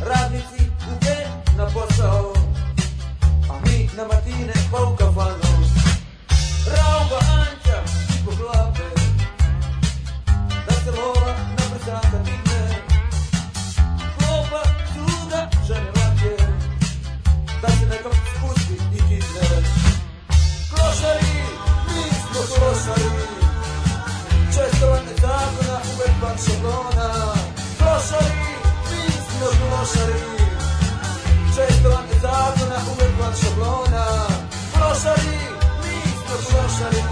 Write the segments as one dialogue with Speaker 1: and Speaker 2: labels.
Speaker 1: radnici gube na posao, a mi na matine pa u kafanu. Rauba Anča, po glave, da se lova na brzaka digne. Klopa čuda, žene lake, da se nekom spusti i kidne. Klošari, mi smo klošari, Čestovanje zakona uvek van šablona Klošari, mi smo klošari Čestovanje zakona uvek van šablona Klošari, mi smo klošari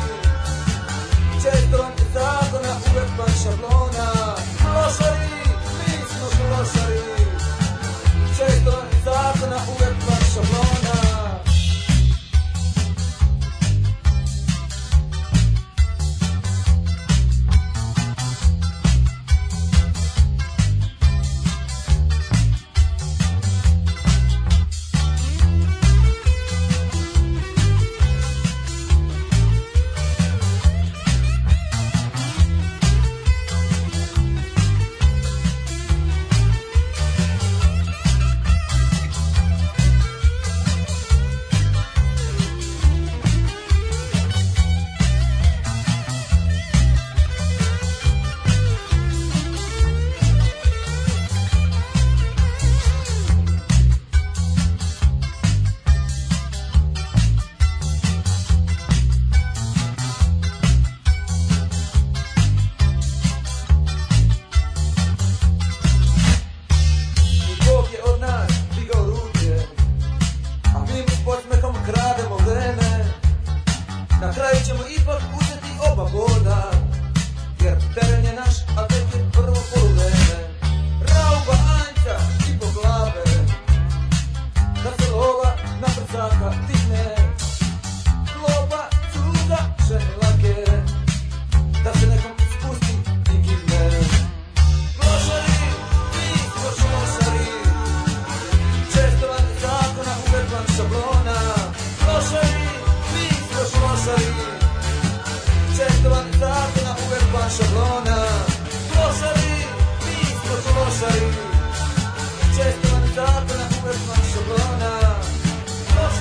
Speaker 1: Čestovanje zakona uvek van šablona Klošari, mi smo klošari Čestovanje zakona uvek van šablona I Bog je od nas digao ruke, a mi mu s podsmehom krademo vreme. Na kraju ćemo ipak uzeti oba boda, jer teren je naš, a već je prvo poluvreme. Rauba Anđa i po glave, da se lova na brzaka digne. Kloba cuda žene lake, da se nekom spusti i kidne. Klošari, mi smo klošari. Čestovanje zakona uvek van šablona. Klošari, mi smo klošari. Čestovanje zakona uvek van šablona. Klošari, mi smo klošari. Čestovanje zakona uvek van šablona. Klošari, mi smo klošari. Čestovanje zakona uvek van šablona. Klošari, mi smo klošari.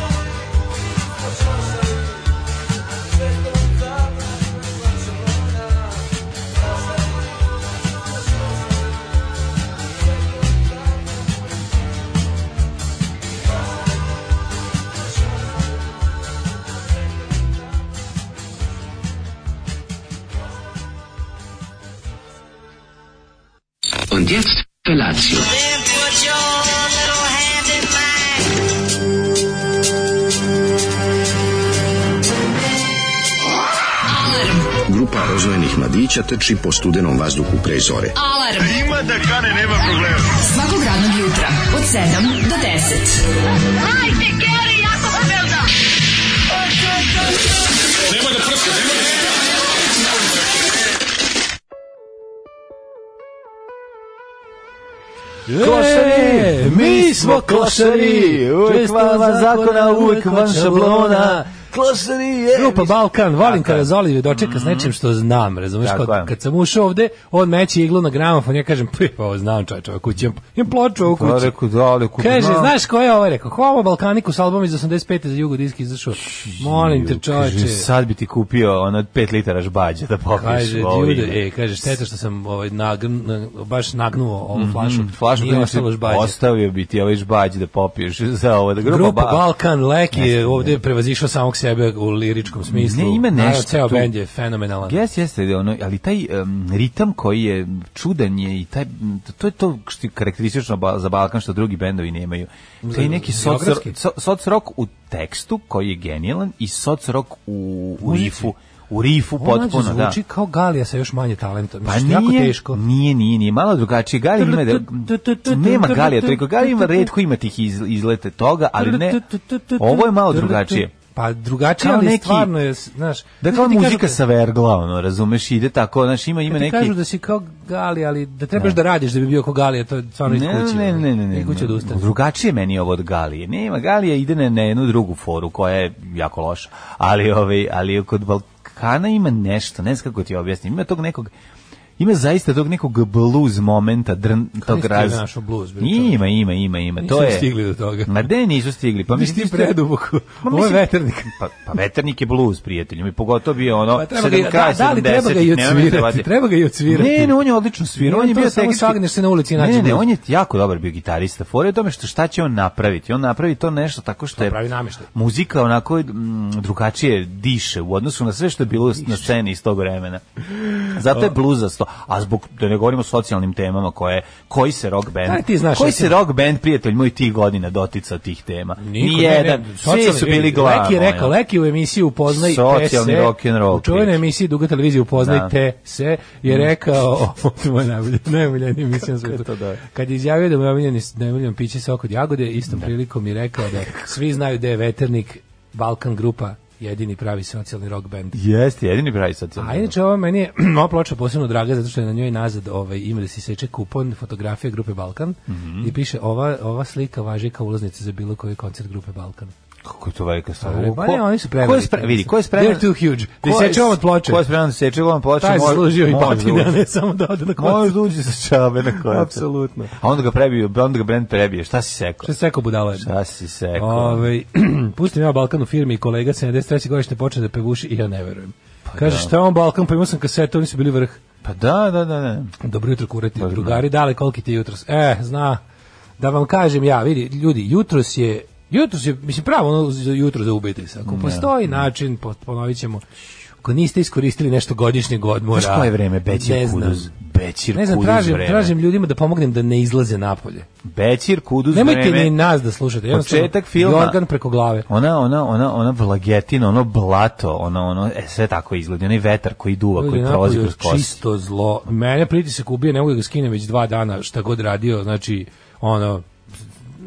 Speaker 2: Und jetzt Felatio.
Speaker 3: Grupa rozvojenih mladića teči po studenom vazduhu pre zore.
Speaker 4: Alarm. E Ima da kane, nema problema. Svakog radnog jutra, od 7 do 10. Hajde, Geri, jako se belda.
Speaker 5: Klošari, E, mi smo klošari, uvek
Speaker 6: Često
Speaker 5: van zakona, uvek van šablona.
Speaker 6: Klošari je...
Speaker 5: Grupa Balkan, volim
Speaker 6: Tako je.
Speaker 5: kada Zoli dočeka s nečim što znam, razumeš,
Speaker 6: Mhm. Tako je.
Speaker 5: kad, kad sam ušao ovde, on meće iglu na gramofon, ja kažem, "Pi, pa ovo znam čovječ, ovo kući, imam- imam ploču ovo
Speaker 6: Pa
Speaker 5: kući.
Speaker 6: rekao, da, rekao,
Speaker 5: Kaže,
Speaker 6: znam.
Speaker 5: znaš ko je ovo rekao? Homo Balkaniku s album iz 85. za Jugo disk izašao. Molim te čoveče.
Speaker 6: Kaže, sad bi ti kupio ono 5 litara žbađa da popiješ.
Speaker 5: Kaže,
Speaker 6: ovo ime.
Speaker 5: ljude, e, kaže, šteta što sam ovaj, nagn, na- baš nagnuo ovu flašu.
Speaker 6: Mhm, Mm, flašu
Speaker 5: Nije
Speaker 6: koju
Speaker 5: ostalo
Speaker 6: si
Speaker 5: žbađe.
Speaker 6: Ostavio bi ti ovaj žbađ da popiješ za ovo. Da grupa,
Speaker 5: Grupa
Speaker 6: Ba-
Speaker 5: Balkan Lek je ovde prevazišao samog sebe u liričkom smislu.
Speaker 6: Ne, ima
Speaker 5: Naravno,
Speaker 6: nešto
Speaker 5: Ceo
Speaker 6: tu.
Speaker 5: bend je fenomenalan.
Speaker 6: Jes, jeste, ono, ali taj em, ritam koji je čudan je i taj, m, to je to što je karakteristično ba- za Balkan što drugi bendovi nemaju. Taj neki soc,
Speaker 5: Geografski?
Speaker 6: so- soc rock u tekstu koji je genijalan i soc rock u, u
Speaker 5: Muzici.
Speaker 6: rifu. U rifu
Speaker 5: Ovo mlađe
Speaker 6: potpuno, da.
Speaker 5: zvuči kao Galija sa još manje talenta.
Speaker 6: Pa
Speaker 5: Mislim,
Speaker 6: nije,
Speaker 5: jako teško.
Speaker 6: nije, nije, nije, malo drugačije. Gali ima, da, nema Galija toliko, Gali ima redko ima tih iz, izlete toga, ali ne, ovo je malo drugačije.
Speaker 5: Pa drugačije,
Speaker 6: Kao
Speaker 5: ali
Speaker 6: neki-
Speaker 5: stvarno je, znaš...
Speaker 6: Da
Speaker 5: znaš,
Speaker 6: kao
Speaker 5: ti kažu
Speaker 6: muzika
Speaker 5: da-
Speaker 6: sa vergla, ono, razumeš, ide tako, znaš, ima, ima
Speaker 5: Kad ti
Speaker 6: neki...
Speaker 5: kažu da si kao Gali, ali da trebaš da radiš da bi bio kao Galija, to je stvarno iz kuće. ono.
Speaker 6: Ne, ne, ne, ne,
Speaker 5: Iz kuće
Speaker 6: ne.
Speaker 5: odustane.
Speaker 6: Drugačije meni je ovo od Galije. Nema Galija ide na, na jednu drugu foru koja je jako loša. Ali ovaj ali kod Balkana ima nešto, ne znam kako ti objasnim. Ima tog nekog ima zaista tog nekog blues momenta, drn, tog
Speaker 5: niste
Speaker 6: raz...
Speaker 5: našao blues, bre, čoveče?
Speaker 6: Ima, ima, ima, ima. To
Speaker 5: Nisam
Speaker 6: je...
Speaker 5: stigli do toga.
Speaker 6: Ma de nisu stigli? Pa
Speaker 5: Mi ste
Speaker 6: mislim što-
Speaker 5: preduboko.
Speaker 6: Ma
Speaker 5: Ovo je
Speaker 6: mislim-
Speaker 5: veternik.
Speaker 6: Pa, pa veternik je blues, prijatelju. I pogotovo bio ono...
Speaker 5: Pa treba ga, i- da,
Speaker 6: kraj
Speaker 5: da li treba ga i
Speaker 6: 70-ih, nemoj me
Speaker 5: odsvirati?
Speaker 6: zavaditi.
Speaker 5: Treba ga i odsvirati.
Speaker 6: Ne, ne, on je odlično svirao,
Speaker 5: Ne,
Speaker 6: on je
Speaker 5: to
Speaker 6: bio
Speaker 5: samo
Speaker 6: tehnički.
Speaker 5: sagneš se na ulici i nađeš
Speaker 6: Ne, ne,
Speaker 5: blues.
Speaker 6: on je jako dobar bio gitarista. Fora je u tome što šta će on napraviti. On napravi to nešto tako što je
Speaker 5: Napravi namještaj.
Speaker 6: muzika onako mm, drugačije diše u odnosu na sve što je bilo na sceni iz tog vremena. Zato je bluzasto, a zbog da ne govorimo o socijalnim temama koje koji se rock band.
Speaker 5: Daj ti znaš,
Speaker 6: koji
Speaker 5: recimo-
Speaker 6: se rock band prijatelj moj tih godina doticao tih tema.
Speaker 5: Niko,
Speaker 6: Nijedan.
Speaker 5: ne, ne,
Speaker 6: Svi
Speaker 5: socijalni-
Speaker 6: su bili glavom.
Speaker 5: Leki je rekao,
Speaker 6: ono.
Speaker 5: Leki u emisiji upoznaj
Speaker 6: Socijalni
Speaker 5: te se,
Speaker 6: rock'n'roll
Speaker 5: u čuvenoj
Speaker 6: priča.
Speaker 5: emisiji Duga televizija upoznajte
Speaker 6: Da. Mm.
Speaker 5: se, E je rekao, ovo je moja najbolja, najboljenija emisija na svetu.
Speaker 6: to da?
Speaker 5: Kad je izjavio da mu je omiljeni, najboljen piće sok od jagode, istom prilikom je rekao da svi znaju da je veternik Balkan grupa jedini pravi socijalni rock band.
Speaker 6: Jeste, jedini pravi socijalni.
Speaker 5: A inače ovo meni je ova ploča posebno draga zato što je na njoj nazad ovaj ima da se seče kupon fotografije grupe Balkan
Speaker 6: Mhm.
Speaker 5: i piše ova ova slika važi kao ulaznica za bilo koji koncert grupe Balkan.
Speaker 6: Kako je to velika stvar?
Speaker 5: Ali, pa
Speaker 6: Ko-
Speaker 5: ne, oni su preveliki.
Speaker 6: Ko je spre, vidi, ko je spreman?
Speaker 5: They're too huge.
Speaker 6: Ko
Speaker 5: Da
Speaker 6: je-
Speaker 5: seče ovom od ploče.
Speaker 6: Ko je spreman da seče ovom ploče?
Speaker 5: Taj je
Speaker 6: može-
Speaker 5: zaslužio i
Speaker 6: može da
Speaker 5: batine,
Speaker 6: uđe.
Speaker 5: a ne samo da ode na koncert.
Speaker 6: Može da uđe sa čabe na koncert.
Speaker 5: Apsolutno.
Speaker 6: A onda ga prebije, onda ga brand prebije. Šta si sekao?
Speaker 5: Šta se rekao budala
Speaker 6: Šta si sekao?
Speaker 5: Ove, pustim ja Balkan u firmi i kolega 73. godište počne da pevuši i ja ne verujem. Kaže, šta je on Balkan, pa imao sam kasetu, oni su bili vrh.
Speaker 6: Pa da, da, da, da.
Speaker 5: Dobro jutro, kurati drugari, dale koliki ti je jutros? E, zna, da vam kažem ja, vidi, ljudi, jutros je, jutros je, mislim, pravo ono za jutro za ubiti se. Ako postoji način, po- ponovit ćemo, ako niste iskoristili nešto godišnjeg odmora.
Speaker 6: Znaš koje je vreme?
Speaker 5: ne
Speaker 6: Bećir
Speaker 5: znam.
Speaker 6: kuduz. Bećir
Speaker 5: Ne znam,
Speaker 6: kuduz
Speaker 5: tražim,
Speaker 6: vreme.
Speaker 5: tražim ljudima da pomognem da ne izlaze napolje.
Speaker 6: Bećir kuduz
Speaker 5: Nemojte
Speaker 6: vreme.
Speaker 5: ni nas da slušate. jednostavno,
Speaker 6: Početak filma.
Speaker 5: Jorgan preko glave.
Speaker 6: Ona, ona, ona, ona vlagetina, ono blato, ono, ono, e, sve tako izgleda, onaj vetar koji duva, koji
Speaker 5: Ljudi,
Speaker 6: prolazi
Speaker 5: napolju je
Speaker 6: kroz kosti.
Speaker 5: Čisto zlo. Mene pritisak ubije, ne mogu da ga skinem već dva dana, šta god radio, znači, ono,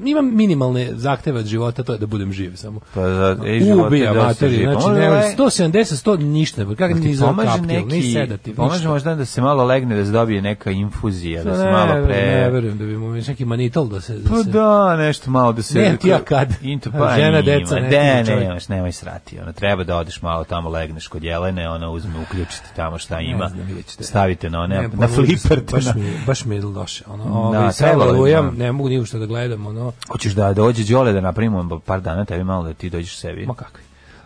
Speaker 5: imam minimalne zahteve od života, to je da budem živ samo.
Speaker 6: Pa za- e, života
Speaker 5: Ubija
Speaker 6: je da
Speaker 5: mater,
Speaker 6: ostaje živ.
Speaker 5: znači
Speaker 6: Ono
Speaker 5: ne,
Speaker 6: je-
Speaker 5: 170, 100 ništa, kak ni
Speaker 6: Pa ti
Speaker 5: za
Speaker 6: pomaže
Speaker 5: kaptil, ni
Speaker 6: neki,
Speaker 5: sedativ,
Speaker 6: pomaže
Speaker 5: ništa.
Speaker 6: možda da se malo legne, da se dobije neka infuzija, da se
Speaker 5: Ne,
Speaker 6: malo
Speaker 5: Ne
Speaker 6: pre...
Speaker 5: verujem da bi mu već neki manital da se... Da
Speaker 6: Pa
Speaker 5: se-
Speaker 6: da, nešto malo da se...
Speaker 5: Ne, ti ja kad?
Speaker 6: Into, pa
Speaker 5: Žena,
Speaker 6: Žena,
Speaker 5: deca,
Speaker 6: deca,
Speaker 5: ne,
Speaker 6: ne,
Speaker 5: ti
Speaker 6: ne,
Speaker 5: čovjek.
Speaker 6: nemaš, nemoj srati. Ono, treba da odeš malo tamo, legneš kod Jelene, ona uzme, uključite tamo šta ima,
Speaker 5: znam, vidjet ćete.
Speaker 6: stavite na one,
Speaker 5: Ne,
Speaker 6: na
Speaker 5: baš mi-
Speaker 6: fliper.
Speaker 5: Baš
Speaker 6: na-
Speaker 5: mi, baš mi je loše. Ono,
Speaker 6: Da,
Speaker 5: ovaj, sad
Speaker 6: trebalo je,
Speaker 5: valujam,
Speaker 6: da.
Speaker 5: ne mogu ništa da gledam, ono,
Speaker 6: Hoćeš da dođe Đole da napravimo par dana, tebi malo da ti dođeš sebi.
Speaker 5: ma kakvi.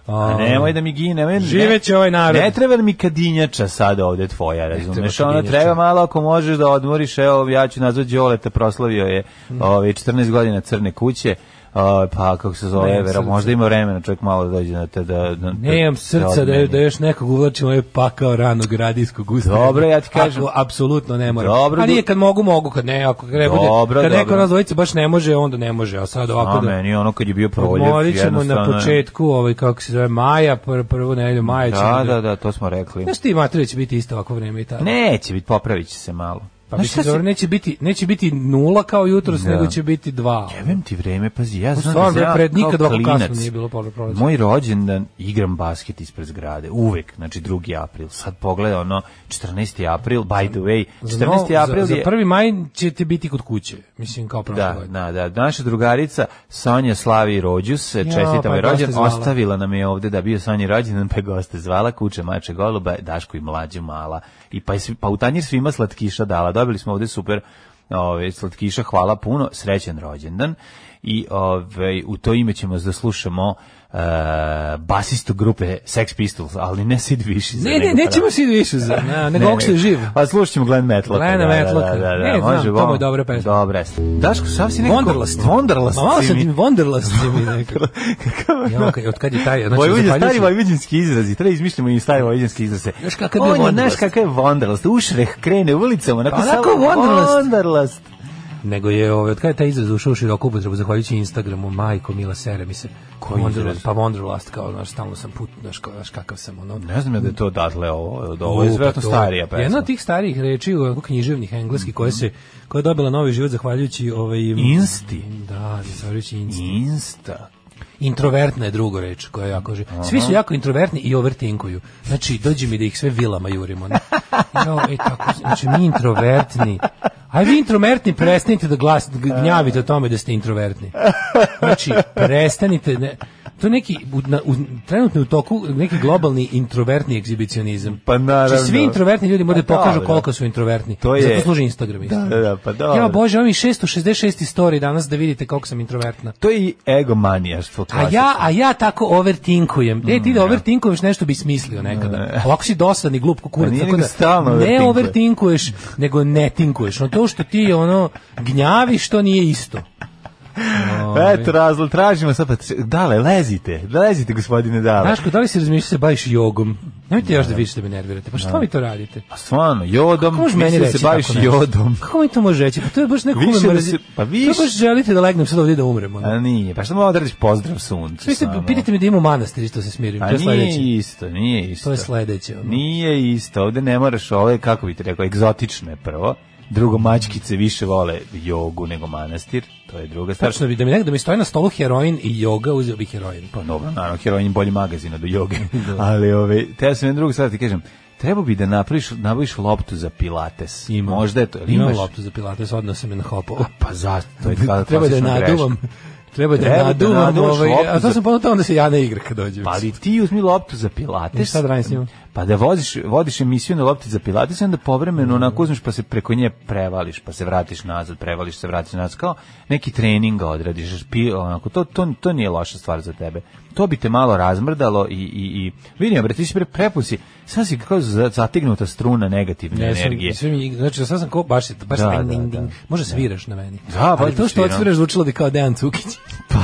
Speaker 6: A nemoj da mi gine, nemoj- ne-
Speaker 5: Živeće ovaj narod.
Speaker 6: Ne treba mi kadinjača sada ovde tvoja, razumeš?
Speaker 5: treba
Speaker 6: Ona
Speaker 5: kadinjača.
Speaker 6: treba malo ako možeš da odmoriš, evo ja ću nazvat Đoleta, proslavio je
Speaker 5: Mm.
Speaker 6: ovaj 14 godina crne kuće. a, pa kako se zove,
Speaker 5: Nemam
Speaker 6: vera,
Speaker 5: srca.
Speaker 6: možda ima vremena čovjek malo da dođe na te da... da
Speaker 5: Nemam srca da, da
Speaker 6: odmeni.
Speaker 5: još nekog uvlačim ovaj pakao ranog radijskog usta.
Speaker 6: Dobro, ja ti kažem.
Speaker 5: Ako, apsolutno ne moram.
Speaker 6: Dobro,
Speaker 5: a nije
Speaker 6: do-
Speaker 5: kad mogu, mogu, kad ne, ako ne bude,
Speaker 6: Dobro,
Speaker 5: kad neko
Speaker 6: dobro.
Speaker 5: nas dvojica baš ne može, onda ne može, a sad ovako
Speaker 6: A
Speaker 5: da...
Speaker 6: meni ono kad je bio proljev,
Speaker 5: Odmorit ćemo na
Speaker 6: jednostavno je-
Speaker 5: početku, ovaj, kako se zove, maja, pr prvu nedelju maja
Speaker 6: Da,
Speaker 5: ćemo...
Speaker 6: da, da, to smo rekli.
Speaker 5: Znaš ti, Mater, će biti isto ovako vreme i tako.
Speaker 6: Neće biti, popravit će se malo.
Speaker 5: Pa
Speaker 6: Znaš šta
Speaker 5: mislim,
Speaker 6: si-
Speaker 5: dobro, neće biti, neće biti nula kao jutros,
Speaker 6: Da.
Speaker 5: nego će biti dva.
Speaker 6: Jebem ti vreme, pazi, ja znam
Speaker 5: stvarno,
Speaker 6: da sam ja
Speaker 5: pred- nikad
Speaker 6: kao
Speaker 5: ovako kasno
Speaker 6: klinac.
Speaker 5: nije bilo pola proleća.
Speaker 6: Moj rođendan igram basket ispred zgrade, uvek, znači 2. april. Sad pogledaj ono, 14. april, by the way,
Speaker 5: Za nov-
Speaker 6: 14. april
Speaker 5: za,
Speaker 6: je...
Speaker 5: za prvi maj ćete biti kod kuće, mislim, kao prošle
Speaker 6: Da,
Speaker 5: godine.
Speaker 6: da, da. Naša drugarica Sonja slavi rođus, čestitam
Speaker 5: pa
Speaker 6: je
Speaker 5: baš
Speaker 6: rođen,
Speaker 5: te zvala.
Speaker 6: ostavila nam je ovde da bio Sonji rođendan, pa je goste zvala, kuće mače goluba, Dašku i mlađe mala. I pa, je svi- pa u tanjir svima slatkiša dala. Dobili smo ovde super ove, slatkiša, hvala puno, srećen rođendan. I ove, u to ime ćemo da slušamo e, basistu grupe Sex Pistols, ali ne Sid Vicious.
Speaker 5: Ne, ne,
Speaker 6: nego
Speaker 5: nećemo
Speaker 6: pravo.
Speaker 5: si više za, na, nego
Speaker 6: Ne,
Speaker 5: ovog što je
Speaker 6: ne.
Speaker 5: živ.
Speaker 6: Pa slušat ćemo Glenn Metlocka.
Speaker 5: Glenna
Speaker 6: da, da,
Speaker 5: Metlocka.
Speaker 6: Da, da, da,
Speaker 5: Ne, znam,
Speaker 6: može,
Speaker 5: to mu je
Speaker 6: vam.
Speaker 5: dobra pesma.
Speaker 6: Dobra. jeste. Daško, sam si nekako...
Speaker 5: Wonderlust.
Speaker 6: Wonderlust.
Speaker 5: Ma malo
Speaker 6: si
Speaker 5: sam
Speaker 6: mi.
Speaker 5: ti Wonderlust si mi nekako. Ja, on kad- od kad je taj, znači,
Speaker 6: Vojvođa,
Speaker 5: zahvaljujući-
Speaker 6: stari vojvođanski izrazi, treba izmišljamo i stari vojvođanski izraze.
Speaker 5: Znaš kakav je bio
Speaker 6: On
Speaker 5: Wonderlust?
Speaker 6: Znaš kakav je Wonderlust, ušreh krene ulicama, onako
Speaker 5: Pa onako
Speaker 6: samo
Speaker 5: Wonderlust.
Speaker 6: Wonderlust.
Speaker 5: Nego je, ovaj, od kada je taj izraz ušao u široku upotrebu, zahvaljujući Instagramu, majko, mila, sere mi se.
Speaker 6: Koji
Speaker 5: Wonderlust,
Speaker 6: izraz?
Speaker 5: pa Wonderlust, kao, znaš, stalno sam put, znaš, kao, znaš kakav sam, ono.
Speaker 6: Ne znam ja da je to odatle ovo, ovo je
Speaker 5: U,
Speaker 6: vjerojatno
Speaker 5: pa to-
Speaker 6: starija pesma. Mhm.
Speaker 5: Jedna od tih starijih reči u ovako književnih engleski koje se koja je dobila novi život zahvaljujući ovaj
Speaker 6: Insti.
Speaker 5: Da, zahvaljujući inst.
Speaker 6: Insta.
Speaker 5: Introvertna je drugo reč koja je jako živ. Svi su jako introvertni i overtinkuju. Znači, dođe mi da ih sve vilama jurimo. ono. Jo, e, tako, znači, mi introvertni. A vi introvertni prestanite da glas, gnjavite o tome da ste introvertni. Znači, prestanite, ne, To je neki u, na, u, trenutno je u toku neki globalni introvertni egzibicionizam.
Speaker 6: Pa naravno.
Speaker 5: Znači, svi introvertni ljudi moraju da
Speaker 6: Pa
Speaker 5: pokažu
Speaker 6: dobro.
Speaker 5: koliko su introvertni.
Speaker 6: To je-
Speaker 5: Zato služi Instagram isto.
Speaker 6: Da, da, da, pa dobro.
Speaker 5: Ja bože, imam i 666 story danas da vidite koliko sam introvertna.
Speaker 6: To je i egomanijaštvo.
Speaker 5: A ja, a ja tako overtinkujem. E,
Speaker 6: Mm,
Speaker 5: ti da overtinkuješ nešto bi smislio nekada. Ovako si dosadan i glup
Speaker 6: A
Speaker 5: kukurac.
Speaker 6: Pa nije
Speaker 5: Tako
Speaker 6: nego
Speaker 5: da
Speaker 6: stalno
Speaker 5: ne
Speaker 6: overtinkuje.
Speaker 5: overtinkuješ, nego ne tinkuješ. No to što ti ono gnjaviš, to nije isto.
Speaker 6: Eto, razlog, tražimo sad, pa, dale, lezite, lezite, gospodine Dale.
Speaker 5: Znaš, ko, da li si razmišljaš se baviš jogom? Nemojte još da više da me nervirate. Pa što vi to radite?
Speaker 6: Pa stvarno, jodom,
Speaker 5: Kako možeš meni
Speaker 6: mislim da
Speaker 5: reći
Speaker 6: se baviš
Speaker 5: tako nešto?
Speaker 6: jodom.
Speaker 5: Kako mi to može reći? Pa to je baš neko
Speaker 6: Više da
Speaker 5: me mrzi.
Speaker 6: se- pa više-
Speaker 5: To baš želite da legnem sad ovdje da umrem. ono.
Speaker 6: A nije, pa što mogu da radiš pozdrav suncu?
Speaker 5: Svi ste,
Speaker 6: samo?
Speaker 5: pitajte me da ima manastir isto se smirim.
Speaker 6: A
Speaker 5: to je sledeće.
Speaker 6: nije isto, nije isto.
Speaker 5: To je sledeće. ono.
Speaker 6: Nije isto, ovde ne moraš ove, kako bi ti rekao, egzotične prvo. Drugo, mačkice više vole jogu nego manastir, to je druga stvar.
Speaker 5: Tačno bi da mi negde da mi stoji na stolu heroin i joga, uzeo bih heroin.
Speaker 6: Pa dobro, naravno, heroin je bolji magazin od joge. Ali, ove, te sam jednu drugu stvar da ti kažem, trebao bi da napraviš, nabaviš loptu za pilates.
Speaker 5: Imam.
Speaker 6: Možda je to, ili
Speaker 5: Imam
Speaker 6: imaš?
Speaker 5: loptu za pilates, odno sam je na hopovo.
Speaker 6: Pa zašto? To je kla-
Speaker 5: Treba da je
Speaker 6: klasična greška.
Speaker 5: naduvam. Treba da
Speaker 6: Treba
Speaker 5: je
Speaker 6: da
Speaker 5: naduvam.
Speaker 6: naduvaš
Speaker 5: ovaj,
Speaker 6: loptu
Speaker 5: a
Speaker 6: za-
Speaker 5: to sam ponutao onda se ja ne igra kad dođem.
Speaker 6: Pa ali ti uzmi loptu za pilates.
Speaker 5: I šta da radim s njom?
Speaker 6: Pa da voziš, vodiš emisiju na lopti za pilates i onda povremeno onako uzmeš pa se preko nje prevališ, pa se vratiš nazad, prevališ se, vratiš nazad, kao neki trening ga odradiš, pi, onako, to, to, to nije loša stvar za tebe. To bi te malo razmrdalo i, i, i vidim, bre, ti si pre prepusi, sad si kao za- zatignuta struna negativne
Speaker 5: Ne,
Speaker 6: energije.
Speaker 5: sam, sve mi, znači, sad sam ko, baš, baš
Speaker 6: Da,
Speaker 5: da,
Speaker 6: da,
Speaker 5: ding,
Speaker 6: da.
Speaker 5: ding. Može sviraš na meni.
Speaker 6: Da, pa baš
Speaker 5: ali to
Speaker 6: bi
Speaker 5: što
Speaker 6: svirao.
Speaker 5: odsviraš zvučilo bi kao Dejan Cukić. Pa.